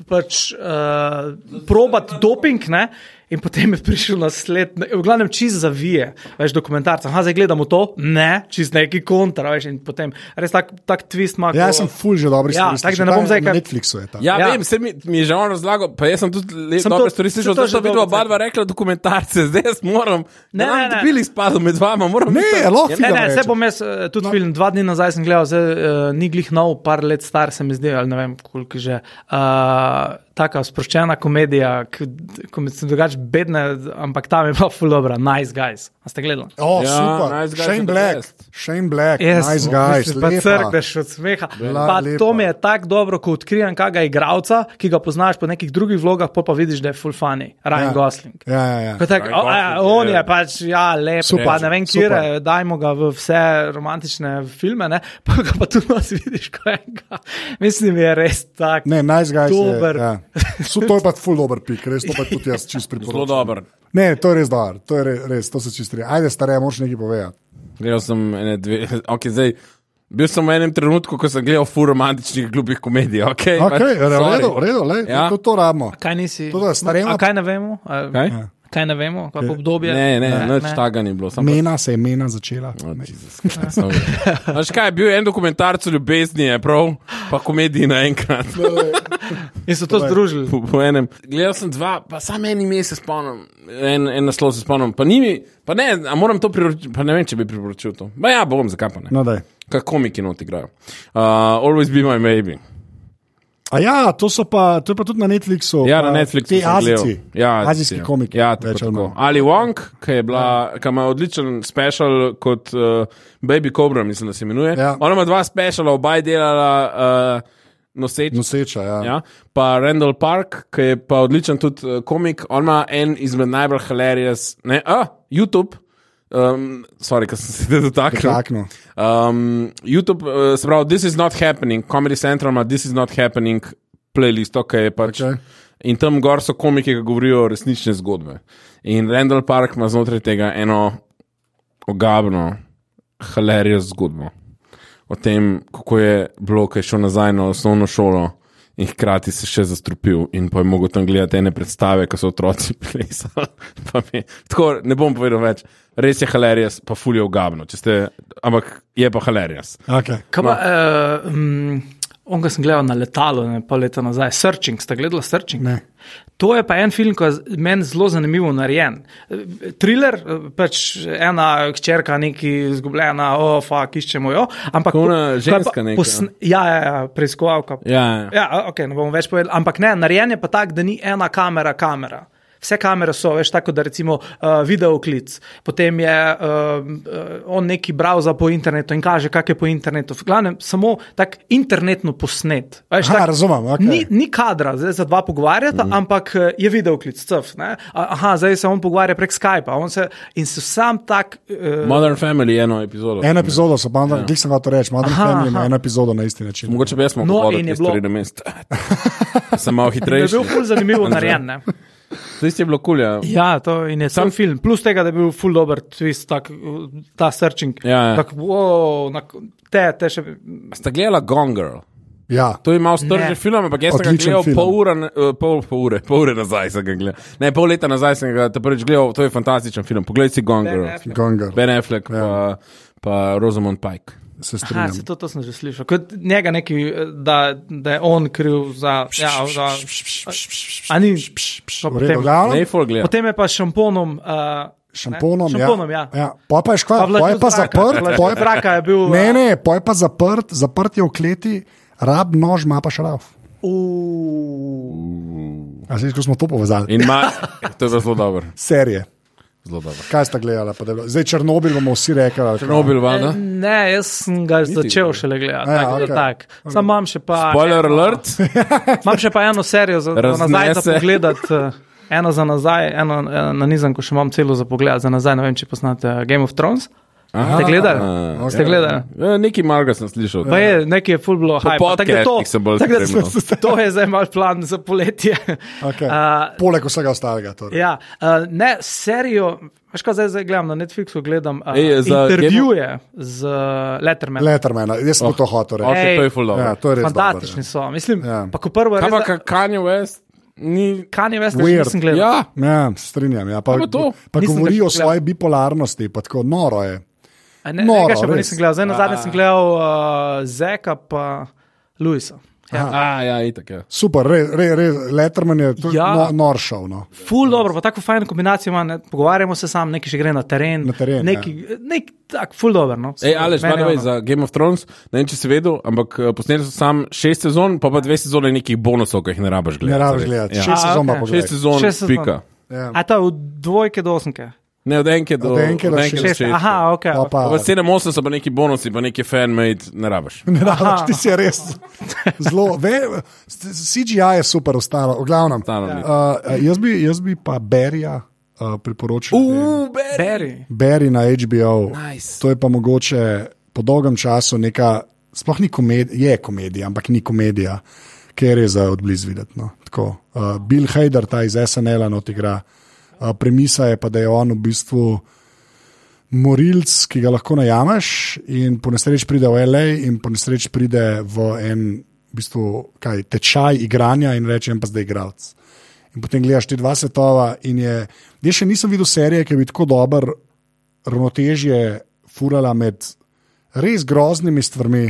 Speaker 2: pač, uh, probat doping. Ne? In potem je prišel naslednji, v glavnem čist zavije, veš, dokumentarce. Aha, zdaj gledamo to, ne, čist neki kontra, veš, in potem res tak, tak twist ima.
Speaker 1: Ja,
Speaker 2: ko-
Speaker 1: jaz sem full že dobro
Speaker 2: Ja, tako da ne bom zdaj
Speaker 1: na
Speaker 2: kar-
Speaker 1: Netflixu. je ta.
Speaker 3: Ja,
Speaker 2: Ja.
Speaker 3: ja, vem, se mi, mi je že on razlagal, pa jaz sem tudi le,
Speaker 2: Sem
Speaker 3: sem dobre
Speaker 2: to-
Speaker 3: stvari
Speaker 2: sem
Speaker 3: slišal,
Speaker 2: to
Speaker 3: da
Speaker 2: že
Speaker 3: sta
Speaker 2: dolgo
Speaker 3: videla oba dva rekla dokumentarce, zdaj jaz moram.
Speaker 2: Ne, ne, ne.
Speaker 3: Bili spadli med vama, moram.
Speaker 1: Ne,
Speaker 3: biti-
Speaker 1: lahko
Speaker 2: Ne,
Speaker 1: film
Speaker 2: ne,
Speaker 1: rečem.
Speaker 2: se bom jaz eh, tudi
Speaker 1: No.
Speaker 2: no. film. Dva dni nazaj sem gledal, zdaj, uh, ni glih nov, par let star se mi zdi, ali ne vem, koliko že. Uh, taka sproščena komedija, ki ko sem drugače bedna, ampak tam je pa full dobro, nice guys. A ste gledali?
Speaker 1: O,
Speaker 3: Ja,
Speaker 1: super.
Speaker 3: nice guys
Speaker 1: Shane
Speaker 3: are the
Speaker 1: Black,
Speaker 3: best.
Speaker 1: Shane Black,
Speaker 2: Jaz,
Speaker 1: nice guy.
Speaker 2: mislim, pa crkneš od smeha.
Speaker 1: Bila
Speaker 2: Pa
Speaker 1: lepa.
Speaker 2: to mi je tako dobro, ko odkrijem kakega igralca, ki ga poznaš po nekih drugih vlogah, pa pa vidiš, da je full funny, Ryan ja. Gosling.
Speaker 1: Ja, ja, ja.
Speaker 2: Ko Tak,
Speaker 3: Ryan
Speaker 2: o, a,
Speaker 3: Gosling
Speaker 2: on
Speaker 3: je-
Speaker 2: je pač ja, lep,
Speaker 1: Super,
Speaker 2: pa ne vem, kje
Speaker 1: super.
Speaker 2: je, dajmo ga v vse romantične filme, ne? pa ga pa tudi nas vidiš, ko enega. Mislim, je res tak.
Speaker 1: Ne, nice guy.
Speaker 2: Dober.
Speaker 1: Je, ja. Su, to je pa full dober pik, res to pa tudi jaz čist
Speaker 3: Zelo
Speaker 1: priporočam.
Speaker 3: dobro.
Speaker 1: Ne, to je res dobro, to je re- res, to se čist reje. Ajde, stare, moraš nekaj povedati.
Speaker 3: Gledal sem ene dve, ok, zdaj. Bil sem v enem trenutku, ko sem gledal fur romantičnih, glupih komedij. pač, Okay,
Speaker 1: Ok, redo,
Speaker 3: redo.
Speaker 1: redo, lej,
Speaker 3: Ja.
Speaker 1: to, to rabimo.
Speaker 2: Kaj nisi?
Speaker 1: To da, starejmo-
Speaker 2: A kaj ne vemo? A,
Speaker 3: Kaj?
Speaker 2: kaj ne vemo? Kaj pa obdobje?
Speaker 3: Ne, ne, nič takega ni bilo. samo
Speaker 1: Mena se je mena začela.
Speaker 3: pač- Jezus, kaj je to? Veš kaj, je bil en dokumentarc o ljubezni, je prav, pa komediji naenkrat.
Speaker 2: In so to
Speaker 1: Povej.
Speaker 2: združili.
Speaker 3: po, po enem. Gledal sem dva, pa samo en ime se spomnim, en, en naslov se spomnim. Pa, ni mi, pa ne, a moram to priporočiti, pa ne vem, če bi priporočil to. Ba ja, bom, zakaj pa ne.
Speaker 1: No, daj.
Speaker 3: kaj komiki not igrajo. Uh, Always be my baby.
Speaker 1: A ja, to, so pa, to je pa tudi na Netflixu.
Speaker 3: Ja,
Speaker 1: pa
Speaker 3: na Netflixu
Speaker 1: Ti
Speaker 3: sem gledal.
Speaker 1: azijci,
Speaker 3: Ja,
Speaker 1: azijski
Speaker 3: ja.
Speaker 1: komiki.
Speaker 3: Ja,
Speaker 1: več ali
Speaker 3: tako, tako.
Speaker 1: manj.
Speaker 3: Ali Wong, ki je bila- ki ima odličen special kot uh, Baby Cobra, mislim, da se imenuje.
Speaker 1: Ja.
Speaker 3: Ona ima dva speciala, oba je delala uh, noseč.
Speaker 1: Noseča, ja.
Speaker 3: Ja. Pa Randall Park, ki je pa odličen tudi eh, komik, on ima en izmed najbolj hilarious, ne, a, YouTube. Um, sorry, ker sem se tega dotaknil.
Speaker 1: Dotaknil.
Speaker 3: Um, YouTube, uh, se pravi, This is not happening, Comedy Central ima This is not happening playlisto, ki je pač.
Speaker 1: Okej.
Speaker 3: Okay. In tam gor so komiki, ki govorijo resnične zgodbe. In Randall Park ima znotraj tega eno ogabno, hilarious zgodbo o tem, kako je bilo, ki je šel nazaj na osnovno šolo in hkrati se še zastrupil. In pa je mogel tam gledati ene predstave, ki so otroci plesali. Pa mi- Tako ne bom povedal več. Res je hilarious, pa fulje ogabno, če ste, ampak je pa hilarious.
Speaker 1: Okay.
Speaker 2: Kaj pa, uh, um, on ga sem gledal na letalu, ne pa leta nazaj, Searching, ste gledali Searching?
Speaker 1: Ne.
Speaker 2: To je pa en film, ki je meni zelo zanimivo narejen. Eh, Thriller, eh, pač ena hčerka, neki izgubljena, ofa, oh, iščemo jo. Ampak
Speaker 3: Tako ona
Speaker 2: ko- ko je
Speaker 3: ženska
Speaker 2: pa
Speaker 3: neka.
Speaker 2: posn- Ja, ja, ja preiskovalka.
Speaker 3: Ja, ja.
Speaker 2: Ja, ok, ne bomo več povedali. Ampak ne, narejen je pa tak, da ni ena kamera, kamera. Vse kamere so, veš, tako da recimo uh, videoklic, potem je uh, on neki browser po internetu in kaže, kak je po internetu. V glavnem, samo tako internetno posnet. Veš,
Speaker 1: Aha,
Speaker 2: tak,
Speaker 1: razumem, okej. Mhm.
Speaker 2: Ni, ni kadra, zdaj se dva pogovarjata, mm. ampak eh, je videoklic, cf. Ne? A- Aha, zdaj se on pogovarja prek Skypa on se, in se sam tak. Uh,
Speaker 3: Modern Family je eno epizodo.
Speaker 1: Eno epizodo so, pa ja. sem hotel reči, Modern
Speaker 2: Aha,
Speaker 1: Family ima
Speaker 2: aha.
Speaker 1: eno epizodo na isti način.
Speaker 3: Mogoče bi jaz
Speaker 2: No,
Speaker 3: mogel
Speaker 2: in je
Speaker 3: hoditi
Speaker 2: bilo-
Speaker 3: stvari na mest. Sem malo
Speaker 2: je
Speaker 3: hitrejši.
Speaker 2: bil ful zanimivo narejen. Ne?
Speaker 3: Tisti je bilo kulja.
Speaker 2: Ja, to in je sam film. Plus tega, da je bil full dober twist, tak, uh, ta searching.
Speaker 3: Ja, ja.
Speaker 2: Tak, wow, na, te, te še.
Speaker 3: Sta gledala Gone Girl.
Speaker 1: Ja.
Speaker 3: To je malo stržen
Speaker 2: Ne.
Speaker 3: film, ampak jaz sem ga
Speaker 1: Odličen
Speaker 3: gledal
Speaker 1: film.
Speaker 3: pol ure, eh, pol, pol ure, pol ure nazaj sem ga gledal. Ne, pol leta nazaj sem ga te prvič gledal, to je fantastičen film. Poglej si Gone
Speaker 2: Ben
Speaker 3: Girl.
Speaker 2: Affleck.
Speaker 1: Gongar,
Speaker 3: Ben Affleck pa, pa Rosamund Pike.
Speaker 1: se
Speaker 2: Aha,
Speaker 1: strinjam.
Speaker 2: se to, to sem že slišal. Kot njega neki, eh, da, da je on kriv za. Ja, za a ni. no,
Speaker 1: V redu,
Speaker 2: Potem,
Speaker 1: glavno,
Speaker 3: Ne, for gleda.
Speaker 2: potem je pa s šamponom. Uh,
Speaker 1: šamponom,
Speaker 2: šamponom,
Speaker 1: ja.
Speaker 2: ja.
Speaker 1: ja. Poj pa je škva,
Speaker 2: vlažil
Speaker 1: poj pa
Speaker 2: zraka,
Speaker 1: zaprt,
Speaker 2: vlažil
Speaker 1: poj
Speaker 2: zraka je bil,
Speaker 1: Ne,
Speaker 2: a-
Speaker 1: ne, poj pa zaprt, zaprt je v kleti, rab nož ima pa šraf.
Speaker 2: Uh,
Speaker 1: A zdaj, ko smo to povezali,
Speaker 3: In ma, to je pa zelo dobro.
Speaker 1: serije.
Speaker 3: Zelo dobro.
Speaker 1: Kaj sta gledala? pa da je bilo- Zdaj Černobil bomo vsi rekli. ali kaj?
Speaker 3: Nobil vada.
Speaker 2: ne, jaz sem ga začel šele gledati.
Speaker 1: Ja,
Speaker 2: Ja, okay.
Speaker 1: okej.
Speaker 2: tak. Sam imam še pa.
Speaker 3: Spoiler alert.
Speaker 2: Imam še pa eno serijo za za nazaj, da
Speaker 3: Raznese.
Speaker 2: pogledam. Eno za nazaj, eno eh, na nizem, ko še imam celo za pogled, za nazaj. Ne vem, če poznate eh, Game of Thrones. Ste
Speaker 3: A,
Speaker 2: gledali? Ja. Ste
Speaker 3: ja.
Speaker 2: gledali?
Speaker 3: Ja, Nekaj marga sem slišal.
Speaker 2: Pa je, nekaj je full bilo hype. Tako da to,
Speaker 3: podcastih sem bolj
Speaker 2: tako da
Speaker 3: spremljal.
Speaker 2: smo- to je zdaj mal plan za poletje.
Speaker 1: Okej.
Speaker 2: A,
Speaker 1: Poleg vsega ostalega. Torej.
Speaker 2: ja, a, ne, serijo, veš kaj zdaj, zdaj gledam na Netflixu, gledam a,
Speaker 3: Ej, za
Speaker 2: intervjuje z eh, Lettermanom.
Speaker 1: Lettermana, jaz sem oh. to hotel
Speaker 3: Ok,
Speaker 1: reči.
Speaker 2: Ej.
Speaker 3: to je full dobro.
Speaker 1: Ja, to je res.
Speaker 2: Fantastični so. Mislim,
Speaker 1: Ja.
Speaker 2: ja. pa ko prvo
Speaker 3: Kaj pa
Speaker 2: rečem,
Speaker 3: ka- Kanye West? Ni...
Speaker 2: Kanye West, še
Speaker 1: Weird.
Speaker 2: nisem gledal.
Speaker 3: Ja,
Speaker 1: Dobro, ja. ja, strinjam. Ja. Pa,
Speaker 3: Kaj pa to?
Speaker 1: pa
Speaker 2: Nisem
Speaker 1: govori
Speaker 2: ga še
Speaker 1: o svoji bipolarnosti, pa tako noro je.
Speaker 2: A Ne,
Speaker 1: Noro,
Speaker 2: Noro, še pa
Speaker 1: res.
Speaker 2: nisem gledal, zdaj na zadnje sem gledal uh, Zeka pa Luisa. Ja.
Speaker 3: A, ja, itak, ja.
Speaker 1: Super, re, re, re, Letterman je to ja.
Speaker 2: Ja.
Speaker 1: no, nor šov. No.
Speaker 2: Ful dobro, pa tako fajn kombinacijo ima, ne, pogovarjamo se sam, neki še gre na teren.
Speaker 1: Na teren,
Speaker 2: Neki, ja. nek, tak, ful dobro. No.
Speaker 3: Ej, Aleš,
Speaker 2: Meni
Speaker 3: by the way,
Speaker 2: ono.
Speaker 3: za Game of Thrones, ne vem, če si vedel, ampak eh, posneli so sam šest sezon, pa pa dve sezone nekih bonusov, ki jih ne rabiš
Speaker 1: Ne
Speaker 3: gledati.
Speaker 1: rabiš
Speaker 3: zares.
Speaker 1: gledati, ja.
Speaker 3: Ja.
Speaker 1: šest
Speaker 2: A,
Speaker 1: sezon pa
Speaker 2: okej.
Speaker 1: pogledaj.
Speaker 3: Šest sezon,
Speaker 2: Šest
Speaker 3: šest
Speaker 2: sezon.
Speaker 3: pika.
Speaker 1: Ja.
Speaker 2: A ta od dvojke do osmke.
Speaker 3: Ne, od enke do,
Speaker 1: Od enke do
Speaker 3: od enke do
Speaker 1: šeste.
Speaker 2: Šest.
Speaker 3: šeste.
Speaker 2: Aha, ok.
Speaker 1: Pa, pa,
Speaker 3: Pa sedem, osem so pa neki bonusi, pa neki fanmade, ne rabiš.
Speaker 1: ne rabiš, ti si je res zelo. ve- CGI je super, ostalo, v glavnem.
Speaker 3: Ostalo ni.
Speaker 1: Uh, jaz, bi, jaz bi pa Berija uh, priporočil.
Speaker 3: beri.
Speaker 2: Berry.
Speaker 1: Barry na HBO.
Speaker 3: Nice.
Speaker 1: To je pa mogoče po dolgem času neka, sploh ni komedija, je komedija, ampak ni komedija, ki je res za odblizu videti. No. Tako, Uh, Bill Hader, ta iz SNL-a, not igra. Uh, premisa je pa, da je on v bistvu morilc, ki ga lahko najameš, in po nesreči pride v L.A., in po nesreči pride v en v bistvu, kaj, tečaj igranja in reče: en pa zdaj igralec. In potem gledaš ti dva svetova. in Je, jaz še nisem videl serije, ki bi tako dobro ravnotežje furala med res groznimi stvarmi,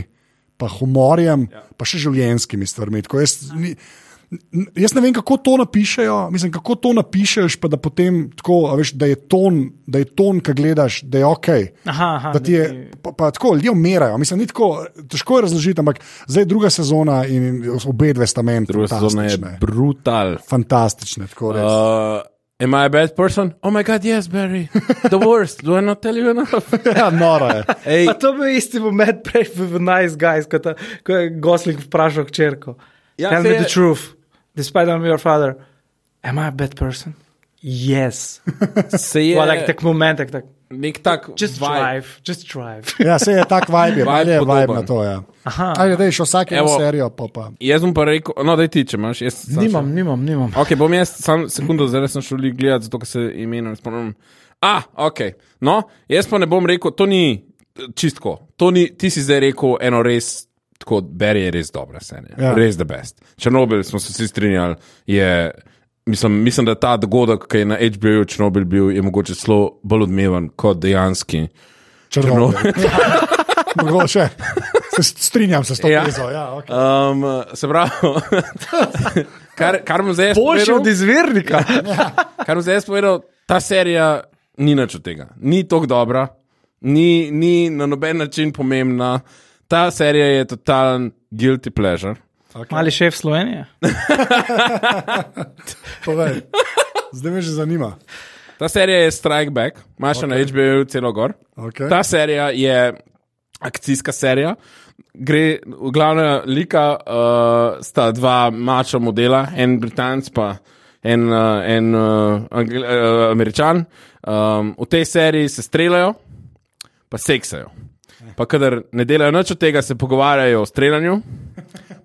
Speaker 1: pa humorjem, ja. pa še življenskimi stvarmi. Tako Jaz, ni, n- Jaz ne vem, kako to napišejo. Mislim, kako to napišeš, pa da potem tako, a veš, da je ton, da je ton, ki gledaš, da je ok.
Speaker 2: Aha, aha,
Speaker 1: da ti
Speaker 2: da ti-
Speaker 1: je, pa, pa tako ljudje umirajo. Mislim, ni tako, težko je razložiti, ampak zdaj je druga sezona in obe dve sta meni.
Speaker 3: Druga sezona je
Speaker 1: fantastične.
Speaker 3: brutal.
Speaker 1: Fantastične, tako res. Uh,
Speaker 3: Uh, am I a bad person? Oh my god, yes, Barry. The worst. Do I not tell you enough?
Speaker 1: ja, noro je.
Speaker 3: Ej,
Speaker 2: Pa to bi isti moment prej v v Nice Guys, ko, ta, ko je Gosling vprašal hčerko. Ja,
Speaker 3: Ja,
Speaker 2: Tell
Speaker 3: saj
Speaker 2: me
Speaker 3: je-
Speaker 2: the truth, despite I'm your father. Am I a bad person? Yes.
Speaker 3: se je
Speaker 2: Yeah. Well, like, tak momentek, tak.
Speaker 3: nek tak
Speaker 2: Just
Speaker 3: vibe.
Speaker 2: drive, just drive.
Speaker 1: Ja, se je tak vibe,
Speaker 3: Vibe
Speaker 1: ali je vibe
Speaker 3: podoben.
Speaker 1: na to. Ja.
Speaker 2: Aha.
Speaker 1: Ajde, da je še vsake
Speaker 3: Evo.
Speaker 1: eno serijo, pa pa.
Speaker 3: Jaz bom pa rekel, no, da ti če imaš. Jaz sam še-
Speaker 2: nimam, nimam, nimam.
Speaker 3: Ok, bom jaz sam sekundo, zdaj sem šel gledati, zato ker se imenujem. Spomnim. Ah, ok. No, jaz pa ne bom rekel, to ni eh, čistko. To ni, ti si zdaj rekel eno res. Tako Barry je res dobra serija,
Speaker 1: Ja.
Speaker 3: ja. res the best. Černobil smo se vsi strinjali, je, mislim, mislim, da ta dogodek, ki je na HBO-ju Černobil bil, je mogoče celo bolj odmeven kot dejanski.
Speaker 1: Črno. Mogoče. Se s- strinjam se s to
Speaker 3: Ja.
Speaker 1: ja. tezo. Ja, okay.
Speaker 3: Um, se pravi, kar, kar bom zdaj jaz
Speaker 2: Boljši
Speaker 3: povedal-
Speaker 2: od izvirnika.
Speaker 3: Kar bom zdaj jaz povedal, ta serija ni nič od tega. Ni tako dobra, ni, ni na noben način pomembna. Ta serija je totalen guilty pleasure.
Speaker 2: Mali šef Slovenije.
Speaker 3: Ja,
Speaker 1: Povej. Zdaj me že zanima.
Speaker 3: Ta serija je Strike Back, imaš okay. na HBO celo gor.
Speaker 1: Okay.
Speaker 3: Ta serija je akcijska serija. Gre, v glavnem, lika uh, sta dva mača modela, en Britanc pa en, uh, en uh, Angli, uh, Američan. Um, v tej seriji se streljajo, pa seksajo. Pa kadar ne delajo nič od tega, se pogovarjajo o streljanju,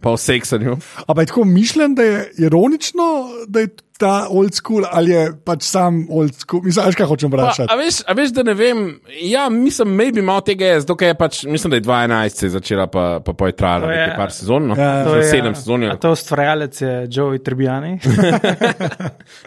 Speaker 3: pa o seksanju.
Speaker 1: Ampak je tako mišljen, da je ironično, da je ta old school ali je pač sam old school. Mislim, veš, kaj hočem
Speaker 3: Pa,
Speaker 1: vprašati.
Speaker 3: a, veš, a veš, da ne vem. Ja, mislim, maybe malo tega je, zato ker je pač, mislim, da je 2011 se je začela, pa, pa, pa je trajala
Speaker 2: To je-
Speaker 3: nekaj par sezon. No?
Speaker 1: Ja, ja.
Speaker 3: Mislim, Sedem sezon je.
Speaker 2: A to ustvarjalec je Joey Tribjani.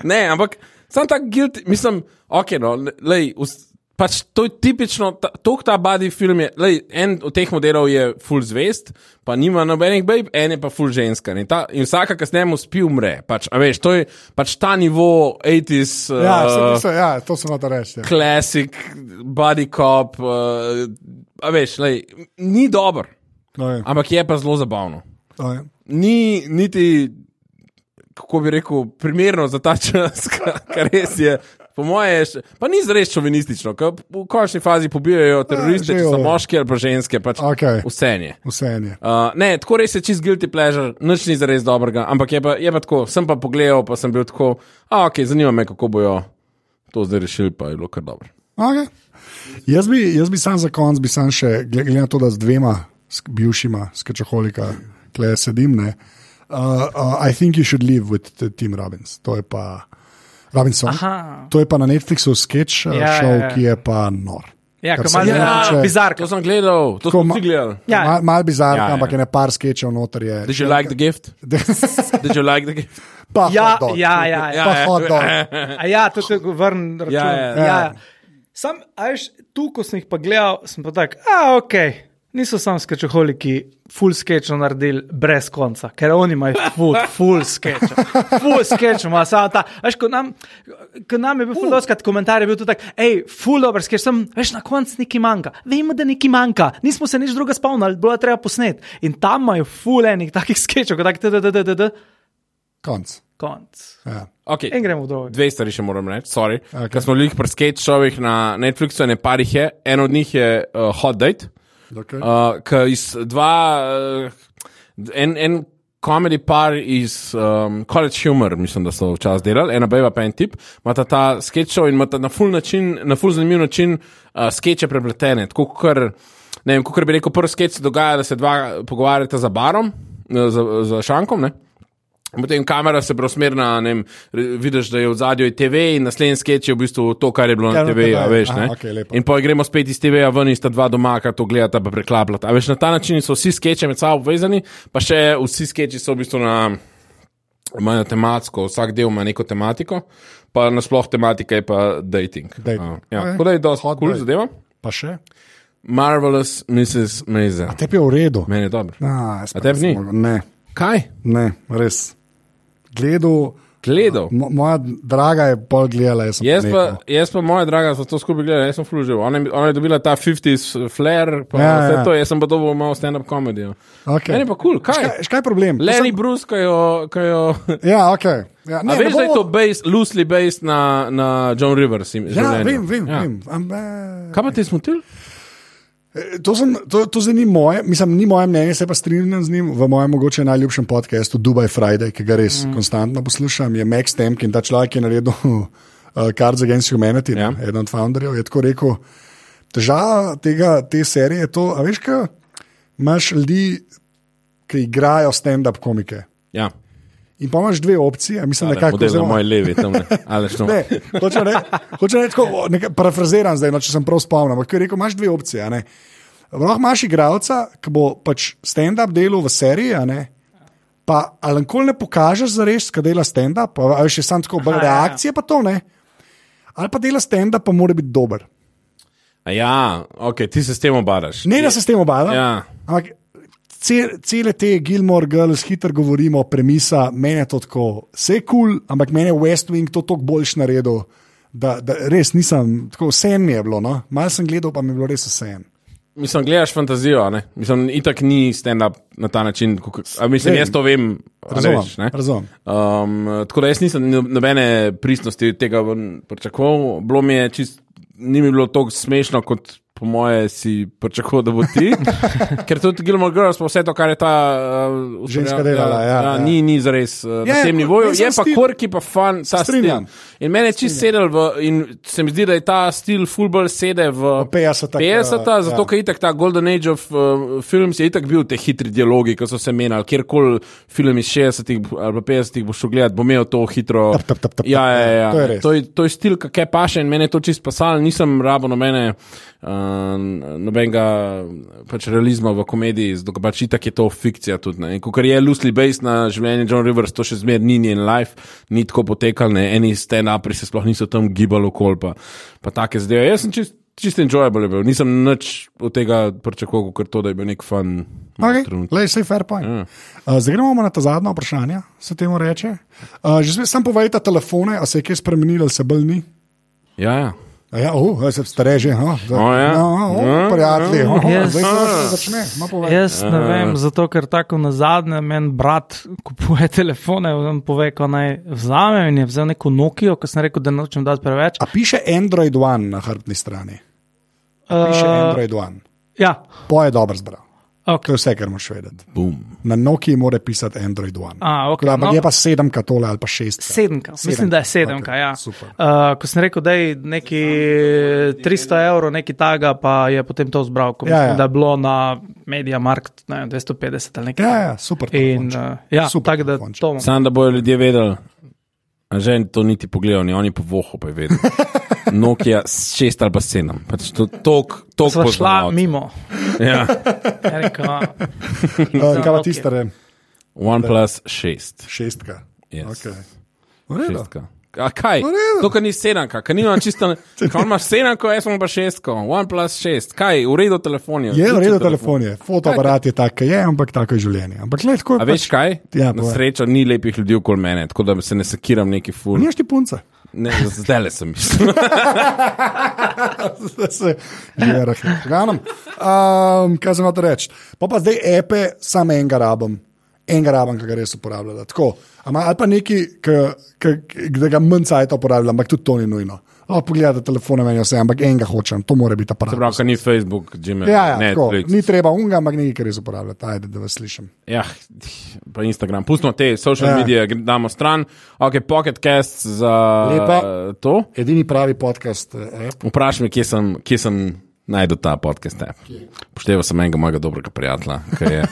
Speaker 3: Ne, ampak sem tak guilty, mislim, ok, no, le- lej, us- pač to je tipično, ta, tok ta body film je, lej, en od teh modelov je full zvest, pa nima nobenih babe, en je pa full ženska. In, ta, in vsaka, ki s njemu spi, umre. Pač, a veš, to je pač ta nivo 80s.
Speaker 1: Ja,
Speaker 3: eh,
Speaker 1: uh, se, ja, to sem hotel reči. ja.
Speaker 3: klasik, body cop, uh, a veš, lej, ni dober,
Speaker 1: No, je,
Speaker 3: ampak je pa zelo zabavno.
Speaker 1: no, je.
Speaker 3: Ni niti, kako bi rekel, primerno za ta čas, ka- kar res je. Po mojem, je še- pa ni res šovinistično, ker v končni fazi pobijajo teroriste,
Speaker 1: že
Speaker 3: če so
Speaker 1: jo.
Speaker 3: moški ali pa ženske, pač
Speaker 1: Okej.
Speaker 3: vse je.
Speaker 1: Vse en je.
Speaker 3: Uh, ne, tako res je čist guilty pleasure, nič ni zares dobrega, ampak je pa, je pa tako, sem pa pogledal, pa sem bil tako, a ok, zanima me, kako bojo to zdaj rešili, pa je bilo kar dobro.
Speaker 1: Okay. Jaz, bi, jaz bi sam za konc, bi sam še, gle- glede na to, da z dvema s- bivšima skačoholika tle sedim, ne. Uh, uh, I think you should live with the Tim Robbins. To je pa Robinson.
Speaker 2: Aha.
Speaker 1: To je pa na Netflixu sketch uh,
Speaker 2: Ja,
Speaker 1: show,
Speaker 2: ja, ja.
Speaker 1: ki je pa nor.
Speaker 2: Ja,
Speaker 1: Kar
Speaker 2: ko
Speaker 1: se
Speaker 2: malo
Speaker 1: mene
Speaker 2: ja,
Speaker 1: tiče-
Speaker 2: bizarka.
Speaker 3: To sem gledal, to
Speaker 1: Tako
Speaker 3: sem
Speaker 1: ma-
Speaker 3: tudi gledal.
Speaker 2: Ja.
Speaker 1: Mal, mal bizarno,
Speaker 3: Ja,
Speaker 1: ja,
Speaker 3: ja.
Speaker 1: ja. ampak je ne par sketchov noter je.
Speaker 3: Did you like the gift? Did you like the gift?
Speaker 1: Pa
Speaker 2: Ja,
Speaker 1: hot dog.
Speaker 2: ja, ja, ja.
Speaker 1: Pa hot dog.
Speaker 3: Eh.
Speaker 2: A ja, to je vrn račun.
Speaker 3: Ja, ja,
Speaker 2: Ja,
Speaker 3: ja.
Speaker 2: ja. Ja. Sam, a veš, tu, ko sem jih pa gledal, sem pa tak, a ok, niso samo skečoholiki, full sketch naredili brez konca, ker oni imajo food, full sketch. Full sketch ima samo ta. Veš, ko nam, ko nam je bil full doskrat komentar, je bil tudi tak, hej, full dober sketch, sem, veš, na koncu neki manjka, vemo, da neki manjka, nismo se nič druga spomnili, bilo je treba posnet. In tam imajo full enih takih sketchov, kot tak, da, da, da, da, da,
Speaker 1: Konc.
Speaker 2: konc.
Speaker 1: Ja.
Speaker 3: Okay.
Speaker 2: In gremo v drugo.
Speaker 3: Dve stvari še moram reči, sorry. Okay.
Speaker 1: Okay.
Speaker 3: Ker smo bili pri skate šovih na Netflixu, ne parih je, en od njih je uh, Hot Date.
Speaker 1: Okay.
Speaker 3: Uh, Ker iz dva, uh, en, en komedi par iz um, College Humor, mislim, da so včasih delali, ena beva pa en tip, imata ta sketch show in imata na full, način, na full zanimiv način uh, skeče prepletene. Tako kar, ne vem, kako bi rekel, prvi sketch se dogaja, da se dva pogovarjata za barom, eh, za, za šankom, ne? In Potem kamera se preusmerna, ne vem, re- vidiš, da je v zadju TV in naslednji sketch je v bistvu to, kar je bilo na
Speaker 1: Ja, na
Speaker 3: TV, a
Speaker 1: TV-ju,
Speaker 3: veš,
Speaker 1: aha,
Speaker 3: ne.
Speaker 1: okej, lepo.
Speaker 3: in pa gremo spet iz TV-ja ven in sta dva doma, kar to gledata, pa preklapljata. A veš, na ta način so vsi sketchi med sabo povezani, pa še vsi sketchi so v bistvu na, imajo tematsko, vsak del ima neko tematiko, pa nasploh tematika je pa dating.
Speaker 1: Dating.
Speaker 3: Ja,
Speaker 1: Okej.
Speaker 3: tako da je dosti
Speaker 1: Hot
Speaker 3: kul cool
Speaker 1: date.
Speaker 3: zadeva.
Speaker 1: Pa še?
Speaker 3: Marvelous Mrs. Maisel.
Speaker 1: Tebi je v redu.
Speaker 3: Meni je dobro.
Speaker 1: A, jaz pa
Speaker 3: A tebi
Speaker 1: nisem
Speaker 3: ni?
Speaker 1: mogel. Ne,
Speaker 3: Kaj?
Speaker 1: ne, res. gledal.
Speaker 3: Gledal.
Speaker 1: Mo- Moja draga je pol gledala, jaz sem
Speaker 3: Jaz pa,
Speaker 1: nehal.
Speaker 3: jaz pa, moja draga, za to skupaj gledam, jaz sem flužil. Ona, je- ona je dobila ta 50s flair, pa
Speaker 1: Ja,
Speaker 3: ja, vse
Speaker 1: ja.
Speaker 3: ja. to, jaz sem pa dobil malo stand-up komedijo.
Speaker 1: Okej.
Speaker 3: Meni pa kul, cool,
Speaker 1: Veš
Speaker 3: kaj?
Speaker 1: Kaj, veš, kaj je problem? To
Speaker 3: Lenny
Speaker 1: sem-
Speaker 3: Bruce, ki jo. Ko jo
Speaker 1: Ja, okay. ja, ne,
Speaker 3: a
Speaker 1: ne
Speaker 3: veš, da je
Speaker 1: bomo-
Speaker 3: to based, loosely based na, na John Rivers. im-
Speaker 1: Ja,
Speaker 3: življenju.
Speaker 1: vem, vem. Ja. vem. Am, eh,
Speaker 3: Kaj pa ti smo ti?
Speaker 1: to, sem, to, to zdaj ni moje, mislim, ni moje mnenje, se pa strinjam z njim. V mojem mogoče najljubšem podkastu Dubai Friday, ki ga res mm. konstantno poslušam, je Max Temkin, ta človek, ki je naredil eh, Cards Against Humanity, ja.
Speaker 3: Ja.
Speaker 1: eden od founderjev, je tako rekel. Težava tega, te serije je to, a veš, kaj imaš ljudi, ki igrajo stand-up komike.
Speaker 3: Ja,
Speaker 1: In pa imaš dve opcije, mislim, da
Speaker 3: Model
Speaker 1: kako
Speaker 3: na moji levi, tam ne. no. Ali što?
Speaker 1: Ne, hočem reči, hočem reči tako, o, nekaj, parafraziram zdaj, no, če sem prav spomnil. Ampak ko je rekel, imaš dve opcije. a ne. Lahko imaš igralca, ki bo pač stand-up delal v seriji, a ne. pa ali nikoli ne pokažeš za res, kaj dela stand-up, a a veš, je samo tako, bolj
Speaker 2: Aha, ja, ja.
Speaker 1: reakcije pa to ne. Ali pa dela stand-up, pa mora biti dober.
Speaker 3: A Ja, ok, ti se s tem obadaš.
Speaker 1: Ne, da se s tem obadam.
Speaker 3: Ja.
Speaker 1: Ampak ce- cele te Gilmore Girls, hitro govorimo, premisa, meni je to tako, vse je kul, cool, ampak meni je West Wing to toliko boljš naredil, da, da res nisem, tako vse mi je bilo, no? malo sem gledal, pa mi je bilo res vse.
Speaker 3: Mislim, gledaš fantazijo, a ne? Mislim, itak ni stand-up na ta način. kako- a Mislim,
Speaker 1: Vem.
Speaker 3: jaz to vem. a ne
Speaker 1: Razumem,
Speaker 3: veš, ne?
Speaker 1: razumem.
Speaker 3: Um, tako da jaz nisem no- nobene pristnosti tega ven pričakoval. Bilo mi je čist, ni mi bilo tako smešno, kot po moje si pričakoval, da bo ti. Ker tudi Gilmore Girls, pa vse to, kar je ta uh, ustvarjala,
Speaker 1: Ženska delala, ja, ja.
Speaker 3: Ni, ni zares uh, na
Speaker 1: Je,
Speaker 3: tem nivoju,
Speaker 1: mislim,
Speaker 3: je pa
Speaker 1: stil.
Speaker 3: korki, pa fan, ta
Speaker 1: Strinjam.
Speaker 3: stil. In mene je čist sedel v, in se mi zdi, da je ta stil fullball sede v
Speaker 1: 50-ta,
Speaker 3: 50-ta,
Speaker 1: ja.
Speaker 3: zato ker je itak ta Golden Age of uh, Films je itak bil te hitri dialogi, ki so se menjali. Kjerkoli film iz 60-ih ali pa 50-ih boš gledal, bo imel to hitro.
Speaker 1: Tap, tap, tap, tap,
Speaker 3: ja, ja, ja.
Speaker 1: to je res.
Speaker 3: To, je, to je stil, kak je paše in meni je to čist pasal. Nisem rabo nobene, uh, nobenega pač realizma v komediji, zato ker pač itak je to fikcija tudi. ne. In ko je loosely based na življenje John Rivers, to še zmer ni njen life, ni tako potekal, ne. eni stand-upri se sploh niso tam gibali okol, pa, pa take zadeve. Jaz sem čist čisto enjoyable je bil. Nisem nič od tega pričakoval, ker to, da je bil nek fan.
Speaker 1: Okay,
Speaker 3: trenutek.
Speaker 1: lej, saj fair point.
Speaker 3: Ja.
Speaker 1: Uh. Uh, zdaj gremo na ta zadnja vprašanja, se temu reče. Uh, že spet sam povejte telefone, a se je kaj spremenilo, ali se bolj ni.
Speaker 3: Ja, ja.
Speaker 1: A Ja, uh, se stareže, no,
Speaker 3: O, ja.
Speaker 1: prijatelji, oh,
Speaker 2: Jaz-
Speaker 1: zdaj se lahko začne. No, povej.
Speaker 2: Jaz ne vem, zato ker tako na zadnje meni brat kupuje telefone, on pove, ko naj vzamem in je vzel neko Nokijo, ker sem rekel, da nočem dati preveč.
Speaker 1: A piše Android One na hrbtni strani, piše uh,
Speaker 2: Uh,
Speaker 1: Android One.
Speaker 2: ja,
Speaker 1: Po je dobro zbral. To
Speaker 2: ok.
Speaker 1: je vse, kar moraš vedeti.
Speaker 3: Bum.
Speaker 1: Na Noki mora pisati Android One.
Speaker 2: A, ok,
Speaker 1: Tako da, Ampak
Speaker 2: no.
Speaker 1: no. je pa sedem katole ali pa šest.
Speaker 2: Sedemka, mislim, da je sedemka. Ja.
Speaker 1: Super.
Speaker 2: Uh, ko sem rekel, da je neki 300 evrov, neki taga, pa je potem to zbral,
Speaker 1: Ja,
Speaker 2: ko mislim,
Speaker 1: ja.
Speaker 2: da je bilo na Media Markt ne, vem, 250 ali nekaj.
Speaker 1: Ja,
Speaker 2: takega.
Speaker 1: ja, super.
Speaker 2: In,
Speaker 1: In,
Speaker 2: uh, ja,
Speaker 1: Super
Speaker 2: tako da
Speaker 1: telefonček.
Speaker 2: to imam.
Speaker 3: Sam da bojo ljudje vedeli, a že to niti pogledal, ni oni po vohu pa je vedel. Nokia s šest ali pa sedem. Pač to tok, tok
Speaker 2: Sva šla mimo.
Speaker 3: Ja.
Speaker 2: Ja, rekel, a,
Speaker 1: uh, kaj pa
Speaker 2: Nokia.
Speaker 1: tiste, re?
Speaker 3: OnePlus šest.
Speaker 1: šestka.
Speaker 3: Yes.
Speaker 1: Okay. V redu.
Speaker 3: Šestka. A kaj?
Speaker 1: redu.
Speaker 3: To, kar ni sedemka, kar nima čisto. Kaj imaš sedemko, jaz sem pa šestko, OnePlus šest. Kaj, v redu telefon je.
Speaker 1: Je v
Speaker 3: odličen
Speaker 1: redu
Speaker 3: telefon.
Speaker 1: telefon, je. fotoaparat je tak, je, ampak tako je življenje. Ampak le tako je.
Speaker 3: A veš kaj?
Speaker 1: Ja,
Speaker 3: Na
Speaker 1: povej.
Speaker 3: srečo ni lepih ljudi okoli mene, tako da se ne sekiram neki ful.
Speaker 1: pač- Nimaš ti punce.
Speaker 3: Ne, zdaj le sem mislil.
Speaker 1: da se že reče. Um, kaj sem hotel reči? Pa pa zdaj epe, samo enega rabim. Enega rabim, ki ga res uporabljam. Tako. Ama, ali pa neki, da ga manj cajt uporabljam, ampak tudi to ni nujno. Lahko pogledate telefone, meni je vse, ampak enega hočem, to mora biti aparat.
Speaker 3: Pravka ni Facebook, Gmail,
Speaker 1: Ja, ja, tako,
Speaker 3: Netflix.
Speaker 1: ni treba unga, ampak nekaj, kar res uporabljate. Ajde, da vas slišim.
Speaker 3: Ja, pa Instagram. Pustimo te
Speaker 1: Ja.
Speaker 3: social ja. medije, gre- damo stran. Ok, pocketcast za eh,
Speaker 1: Lepa.
Speaker 3: to.
Speaker 1: Edini pravi podcast, eh, app.
Speaker 3: Vprašaj me, kje sem, kje sem najdel ta podcast. app. Pošteval sem enega mojega dobrega prijatelja, ki je,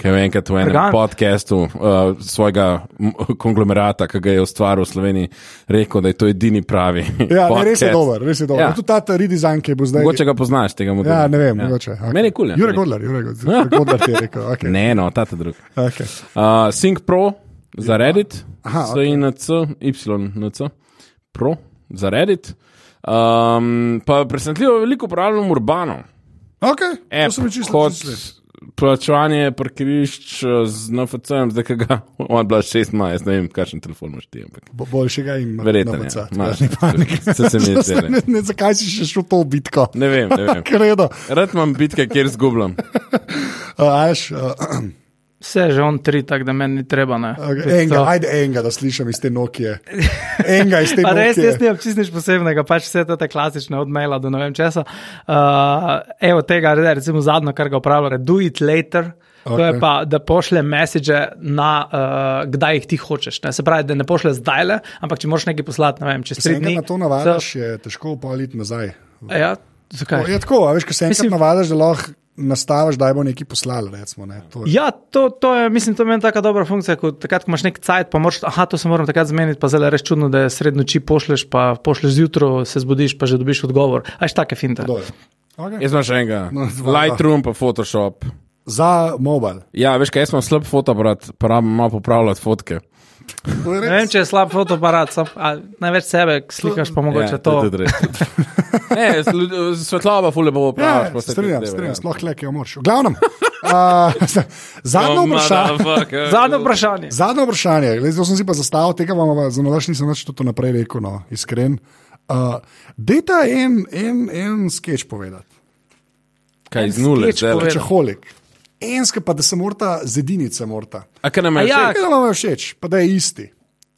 Speaker 3: ki je enkrat v enem
Speaker 2: Dragan.
Speaker 3: podkastu uh, svojega m, konglomerata, ki ga je ustvaril v Sloveniji, rekel, da je to edini pravi.
Speaker 1: Ja, ne, res je
Speaker 3: podcast.
Speaker 1: dober, res je dober.
Speaker 3: Ja.
Speaker 1: Ja. Tudi ta ta redesign, ki bo zdaj.
Speaker 3: Mogoče ga poznaš, tega modela.
Speaker 1: ja, ne vem, ja. mogoče. Okay.
Speaker 3: Meni je kul. ja.
Speaker 1: Jure
Speaker 3: Meni-
Speaker 1: Godler, Jure Godler, Godler ti je rekel. Okay.
Speaker 3: Ne, no, ta ta drug.
Speaker 1: Okay.
Speaker 3: Uh, Sync Pro za Reddit,
Speaker 1: Ja. Aha,
Speaker 3: SINC, YNC, Pro za Reddit. Um, pa presenetljivo veliko uporabljam urbano.
Speaker 1: Okay, to
Speaker 3: App
Speaker 1: sem čisto
Speaker 3: kot
Speaker 1: mislil.
Speaker 3: plačevanje parkirišč eh, z NFC-jem, zdaj ki ga on bila 6 maja, jaz ne vem, kakšen telefon imaš ti. Ampak.
Speaker 1: Bo, boljšega in
Speaker 3: Verjetno ne. Imaš. Se- se mi je zdelo.
Speaker 1: ne, ne, zakaj si še šel v to bitko?
Speaker 3: Ne vem, ne vem.
Speaker 1: Kredo.
Speaker 3: Rad imam bitke, kjer zgubljam.
Speaker 1: A, Aš, uh,
Speaker 2: Vse je že on tri, tako da meni ni treba. Ne.
Speaker 1: enega, ajde enega, da slišim iz te Nokije. Enega iz te
Speaker 2: Pa res, jaz
Speaker 1: Nokije.
Speaker 2: nisem čist nič posebnega, pač vse te klasične odmela do ne vem česa. Uh, evo tega, re- recimo zadnjo, kar ga upravlja, do it later. Okay. To je
Speaker 1: Ok.
Speaker 2: pa, da pošle message na uh, kdaj jih ti hočeš. Ne? Se pravi, da ne pošle zdaj le, ampak če moraš nekaj poslati, ne vem, čez
Speaker 1: Če
Speaker 2: tri
Speaker 1: se enkrat
Speaker 2: dni.
Speaker 1: na to navadiš, je težko politi nazaj.
Speaker 2: So, ja, zakaj?
Speaker 1: Je tako, a veš, ko se enkrat
Speaker 2: Mislim-
Speaker 1: navadiš, da lahko nastaviš, da bo nekaj poslal. Recimo, ne, to, je-
Speaker 2: Ja, to, to je, mislim, to je meni tako dobra funkcija, kot takrat, ko imaš nek cajt, pa moraš, aha, to se moram takrat zmeniti, pa zdaj je res čudno, da je sred noči pošleš, pa pošleš zjutraj, se zbudiš, pa že dobiš odgovor. Aj, take finte.
Speaker 1: to je. Okay.
Speaker 3: Jaz imam še enega.
Speaker 1: No, dva, dva.
Speaker 3: Lightroom pa Photoshop.
Speaker 1: Za mobil.
Speaker 3: Ja, veš kaj, jaz imam slab fotoaparat, pa rabim malo popravljati fotke.
Speaker 1: To je
Speaker 2: Ne vem,
Speaker 1: res.
Speaker 2: če je slab fotoaparat, sam, a, največ sebe slikaš, pa mogoče
Speaker 3: ja,
Speaker 2: ja, to.
Speaker 3: je tudi res. Ne, slu- svetloba ful lepo
Speaker 1: Ja,
Speaker 3: popravljaš. pa vse te
Speaker 1: strinjam,
Speaker 3: zadeve,
Speaker 1: strinjam,
Speaker 3: ja.
Speaker 1: sploh le, ki jo moraš. V glavnem, uh, zadnje
Speaker 3: Oh,
Speaker 1: vprašanje.
Speaker 3: motherfucker.
Speaker 2: Zadnje vprašanje.
Speaker 1: Zadnje vprašanje, glej, zdaj sem si pa zastavil, tega vam pa za nalaš nisem več tudi naprej rekel, no, iskren. Uh, Dejta en, en, en sketch povedati,
Speaker 3: Kaj iz nule,
Speaker 2: sketch
Speaker 3: zdaj.
Speaker 2: povedal.
Speaker 1: če holik. Enska pa, da se morata zedinice morata.
Speaker 3: A kaj nam
Speaker 2: A
Speaker 3: je
Speaker 2: ja,
Speaker 3: všeč?
Speaker 1: Kaj vam je všeč, pa da je isti.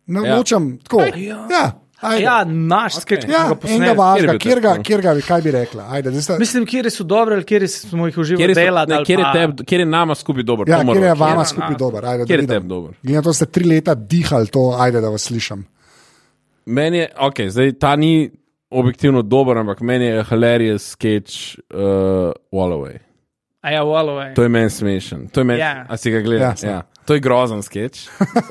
Speaker 1: Ne
Speaker 3: Ja.
Speaker 1: odločam tako.
Speaker 2: Ja.
Speaker 1: Ja, ajde.
Speaker 2: Ja, naš okay. sketch, ki
Speaker 1: ja
Speaker 2: smo ga
Speaker 1: enega
Speaker 2: posneli.
Speaker 1: vašega,
Speaker 3: Kateri bi
Speaker 1: kjer ga,
Speaker 3: tako?
Speaker 1: kjer ga bi, kaj bi rekla. Ajde, zdaj sta-
Speaker 2: Mislim, kje so dobre, ali kje smo jih
Speaker 3: Kjer
Speaker 2: uživali
Speaker 3: je,
Speaker 2: delati.
Speaker 3: ne,
Speaker 2: ali
Speaker 3: kjer, je
Speaker 2: pa-
Speaker 3: teb, kjer je nama skupaj dobro?
Speaker 1: Ja,
Speaker 3: to
Speaker 1: kjer
Speaker 3: moramo-
Speaker 1: je vama
Speaker 2: kjer-
Speaker 1: skupaj dober? Ajde, da
Speaker 3: Kjer je
Speaker 1: vidim.
Speaker 3: tebi dober?
Speaker 1: Glede na to, da ste tri leta dihali to, ajde, da vas slišim.
Speaker 3: Meni je, ok, zdaj ta ni objektivno dober, ampak meni je hilarious sketch uh, Walloway.
Speaker 2: A ja, Walloway.
Speaker 3: To je meni smešen. To je meni,
Speaker 2: Ja.
Speaker 3: yeah. A si ga gledal?
Speaker 1: Ja,
Speaker 3: Yeah,
Speaker 1: sem.
Speaker 3: ja. To je grozen sketch.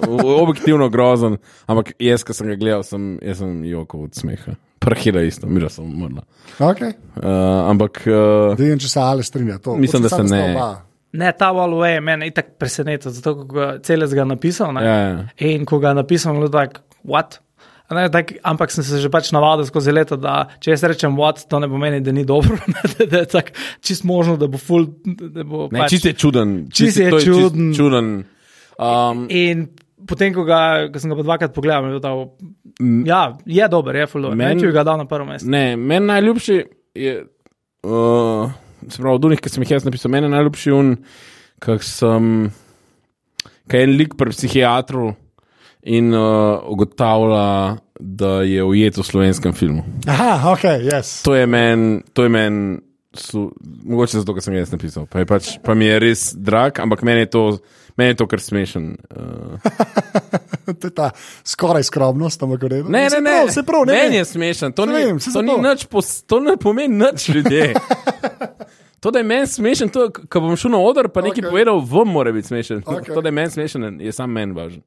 Speaker 3: O- Objektivno grozen, ampak jaz, ki sem ga gledal, sem, jaz sem joko od smeha. Prahila isto, mira sem umrla.
Speaker 1: Okay.
Speaker 3: Uh, ampak uh,
Speaker 1: Da vidim, če se ali strinja. To. Hočem
Speaker 3: Mislim, da
Speaker 1: samo,
Speaker 3: se
Speaker 1: sta
Speaker 3: ne.
Speaker 1: oba.
Speaker 2: Ne, ta Walloway je mene itak presenetil, zato ko ga celes ga napisal. Ne?
Speaker 3: Ja, ja.
Speaker 2: In ko ga napisal, je bilo tako, what? A Ne, tak, ampak sem se že pač navadil skozi leta, da če jaz rečem what, to ne pomeni, da ni dobro, ne, da, da je tako čist možno, da bo full. Da bo
Speaker 3: ne,
Speaker 2: pač.
Speaker 3: čist je čuden.
Speaker 2: Čisto je
Speaker 3: to čist
Speaker 2: čuden.
Speaker 3: čuden. Um,
Speaker 2: In potem, ko, ga, ko sem ga pa dvakrat pogledal, je bil ta, ja, je dober, je full.
Speaker 3: Meni-
Speaker 2: Meni je ga dal na prvo mesto.
Speaker 3: Ne, meni najljubši je, uh, se pravi, od unih, ki sem jih jaz napisal, meni je najljubši un, kak sem, kaj je en lik pri psihiatru in uh, ugotavlja, da je ujet v slovenskem filmu.
Speaker 1: Aha, ok, yes.
Speaker 3: To je meni, to je meni. Su, mogoče zato, ker sem jaz napisal. Pa, je pač, pa mi je res drag, ampak meni je to, meni je to kar smešen. Uh,
Speaker 1: to je ta skoraj skromnost, ampak v redu.
Speaker 3: Ne,
Speaker 1: Se
Speaker 3: ne, ne,
Speaker 1: prav, Se prav, ne.
Speaker 3: Meni
Speaker 1: ne.
Speaker 3: je smešen, to,
Speaker 1: Ne
Speaker 3: ni,
Speaker 1: vem, saj
Speaker 3: to, ni
Speaker 1: zato.
Speaker 3: nič pos, to ne pomeni nič ljudi. To, da je meni smešen, to, k- ko bom šel na oder, pa nekaj
Speaker 1: Okej.
Speaker 3: okay. povedal, vam mora biti smešen.
Speaker 1: Okej.
Speaker 3: Okay. To, da je meni smešen, je sam meni važen.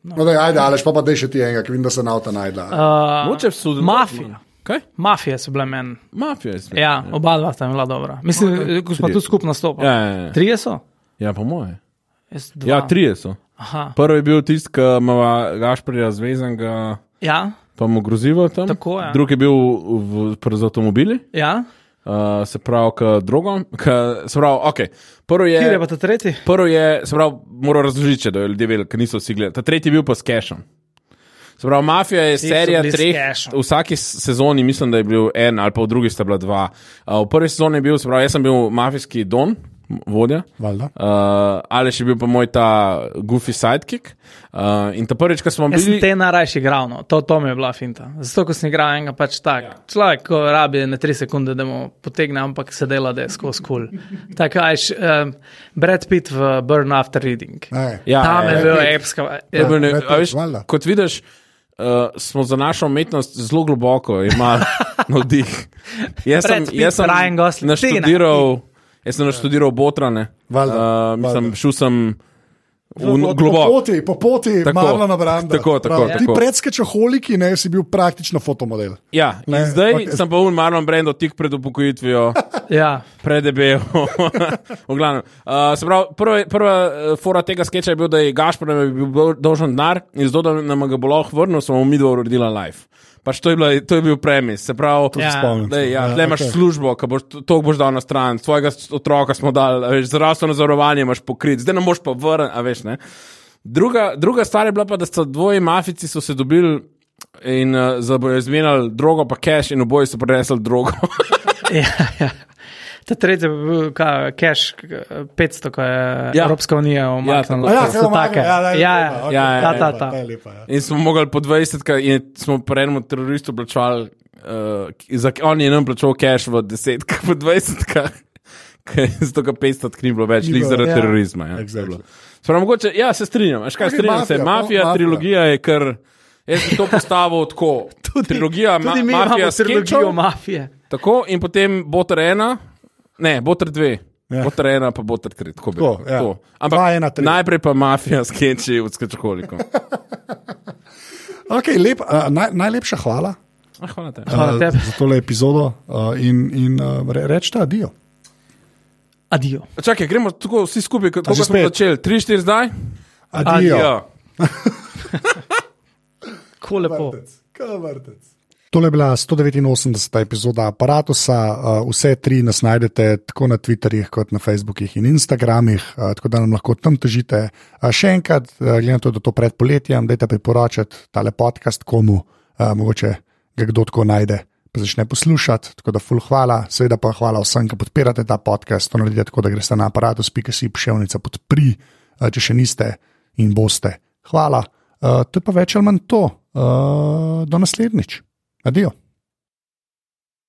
Speaker 1: No, daj, ajde, ali pa pa dej še ti enega, ki vidim, da se na avto najdla.
Speaker 2: Uh,
Speaker 3: Moče v sudu.
Speaker 2: mafija.
Speaker 3: Kaj?
Speaker 2: Mafije so bile meni.
Speaker 3: Mafija je smešna.
Speaker 2: Ja, oba dva sta bila dobra.
Speaker 3: No,
Speaker 2: Mislim, okay. ko smo tudi skupno nastopili.
Speaker 3: Ja, ja, ja.
Speaker 2: Trije so?
Speaker 3: ja, po moje.
Speaker 2: Jaz dva.
Speaker 3: Ja, trije so.
Speaker 2: Aha.
Speaker 3: Prvi je bil tisti, ki ima Gašprija zvezanga,
Speaker 2: Ja,
Speaker 3: pa mu grozivo tam.
Speaker 2: Tako, ja.
Speaker 3: Drugi je bil v, v, z avtomobili,
Speaker 2: ja.
Speaker 3: uh, se pravi, k drugom. K, se pravi, okay. prvi je.
Speaker 2: Kjer je pa ta tretji?
Speaker 3: Prvo je, se pravi, moral razložiti, če da ljudje vedeli, ker niso vsi gledali. Ta tretji je bil pa s cashom. Se pravi, mafija je
Speaker 2: so
Speaker 3: serija
Speaker 2: bili s
Speaker 3: treh.
Speaker 2: cashom.
Speaker 3: V vsaki s- sezoni mislim, da je bil en ali pa v drugi sta bila dva. Uh, v prvi sezoni je bil, se pravi, jaz sem bil mafijski don, m- vodja.
Speaker 1: Valjda.
Speaker 3: Uh, ali še bil pa moj ta goofy sidekick. Uh, in ta prvič, ko smo
Speaker 2: Jaz sem
Speaker 3: bili.
Speaker 2: te najrajši igral, no. to, to mi je bila finta. Zato, ko sem igral enega, pač tak. Ja. Človek, ko rabi na tri sekunde, da mu potegne, ampak se dela, da je skozi kul. Cool. Tako ajš, um, Brad Pitt v Burn After Reading.
Speaker 1: Ej.
Speaker 3: Ja,
Speaker 2: Tam
Speaker 3: ja,
Speaker 2: je
Speaker 3: ja.
Speaker 2: bil epska.
Speaker 3: Je bil ne-
Speaker 1: Brad Pitt,
Speaker 3: a veš,
Speaker 1: valjda.
Speaker 3: Kot vidiš, uh, smo za našo umetnost zelo globoko imeli navdih. Jaz sem,
Speaker 2: Brad Pitt,
Speaker 3: jaz sem
Speaker 2: Ryan Gosling,
Speaker 3: naštudiral, jaz sem naštudiral Botrane.
Speaker 1: Valjda,
Speaker 3: Uh, mislim,
Speaker 1: valjda.
Speaker 3: šel sem v-
Speaker 1: Po
Speaker 3: globoko.
Speaker 1: poti, po poti,
Speaker 3: Tako,
Speaker 1: malo na brand.
Speaker 3: tako, tako,
Speaker 1: Ti
Speaker 3: tako.
Speaker 1: predskečoholiki, ne, si bil praktično fotomodel.
Speaker 3: Ja, in
Speaker 1: Ne,
Speaker 3: zdaj
Speaker 1: okej.
Speaker 3: okay. sem pa v Marlon Brandu tik pred upokojitvijo.
Speaker 2: Ja.
Speaker 3: Predebel, v glavnem. Uh, se pravi, prva, prva eh, fora tega sketcha je bil, da je Gašpor nam je bil dol- dolžan denar in zato, da nam ga bo lahko vrnil, smo mu mi dva uredila live. Pač to, je bila, to je bil premis. Se pravi,
Speaker 2: Ja.
Speaker 1: Spomnim. se.
Speaker 3: Lej, ja, tle imaš
Speaker 1: okej.
Speaker 3: okay. službo, ki boš to boš dal na stran, svojega s- otroka smo dal, a veš, zdravstveno zavarovanje imaš pokrit, zdaj ne moreš pa vrniti, a veš ne. Druga, druga stvar je bila pa, da sta dvoji mafici so se dobili in uh, zamenjali drogo pa cash in oboji so prenesli drogo.
Speaker 2: Ja, ja. Ta tretji je bil ka- cash k- 500, ko je
Speaker 3: Ja.
Speaker 2: ja. Evropska unija umaknila.
Speaker 3: tako.
Speaker 1: Ja,
Speaker 2: So
Speaker 1: zelo malo.
Speaker 2: take.
Speaker 1: Ja,
Speaker 2: ja, ja,
Speaker 3: ja, ja,
Speaker 2: ta, ta, ta.
Speaker 3: in smo mogli po 20, in smo pa enemu teroristu plačali, uh, za, on je nam plačal cash v 10, po 20. Zato, ker 500 ni bilo več,
Speaker 1: Ni
Speaker 3: lih
Speaker 1: bilo,
Speaker 3: zaradi
Speaker 2: ja.
Speaker 3: terorizma. Ja,
Speaker 1: Exactly.
Speaker 3: Bilo. Spravo, mogoče, ja, se strinjam. Veš, kaj,
Speaker 1: Okej,
Speaker 3: strinjam mafija, se.
Speaker 1: mafija,
Speaker 3: Mafija,
Speaker 1: mafija.
Speaker 3: mafija, trilogija je kar. Jaz sem to postavil tako. tudi, trilogija,
Speaker 2: Tudi mi
Speaker 3: ma, mafija,
Speaker 2: imamo trilogijo
Speaker 3: sketchov,
Speaker 2: mafije.
Speaker 3: Tako in potem boter ena, ne, boter dve.
Speaker 1: Ja.
Speaker 3: Ja. Boter ena, pa boter tri. Tako, bi
Speaker 1: Tako,
Speaker 3: rekel,
Speaker 1: ja.
Speaker 3: tako.
Speaker 1: Dva, ena,
Speaker 3: Ampak
Speaker 1: tri.
Speaker 3: najprej pa mafija, skeči od skečkoliko.
Speaker 1: Okay, lep, uh, naj, najlepša hvala,
Speaker 3: Ah, Hvala te.
Speaker 2: Hvala
Speaker 1: uh,
Speaker 2: tebi.
Speaker 1: za tole epizodo uh, in, in uh, re, rečete adijo.
Speaker 2: Adijo.
Speaker 3: Čakaj, gremo tako vsi skupaj, kot
Speaker 1: A
Speaker 3: kot
Speaker 1: že
Speaker 3: smo
Speaker 1: spet?
Speaker 3: začeli. Tri, štiri zdaj?
Speaker 1: Adijo. adijo.
Speaker 2: Ko lepo.
Speaker 1: Tole je bila 189. epizoda aparata. Vse tri nas najdete tako na Twitterjih, kot na Facebookih in Instagramih, uh, tako da nam lahko tam težite. Uh, Še enkrat, uh, glede na to, da je to pred poletjem, dajte priporočati tale podcast komu, uh, mogoče ga kdo tako najde. Pa začne poslušati, tako da ful hvala, seveda pa hvala vsem, ki podpirate ta podcast. To naredite tako, da greste na aparatus.si pševnica podpri, uh, če še niste in boste. Eh, Hvala. Uh, to je pa več ali manj to. Uh, do Eh, naslednjič. Adijo.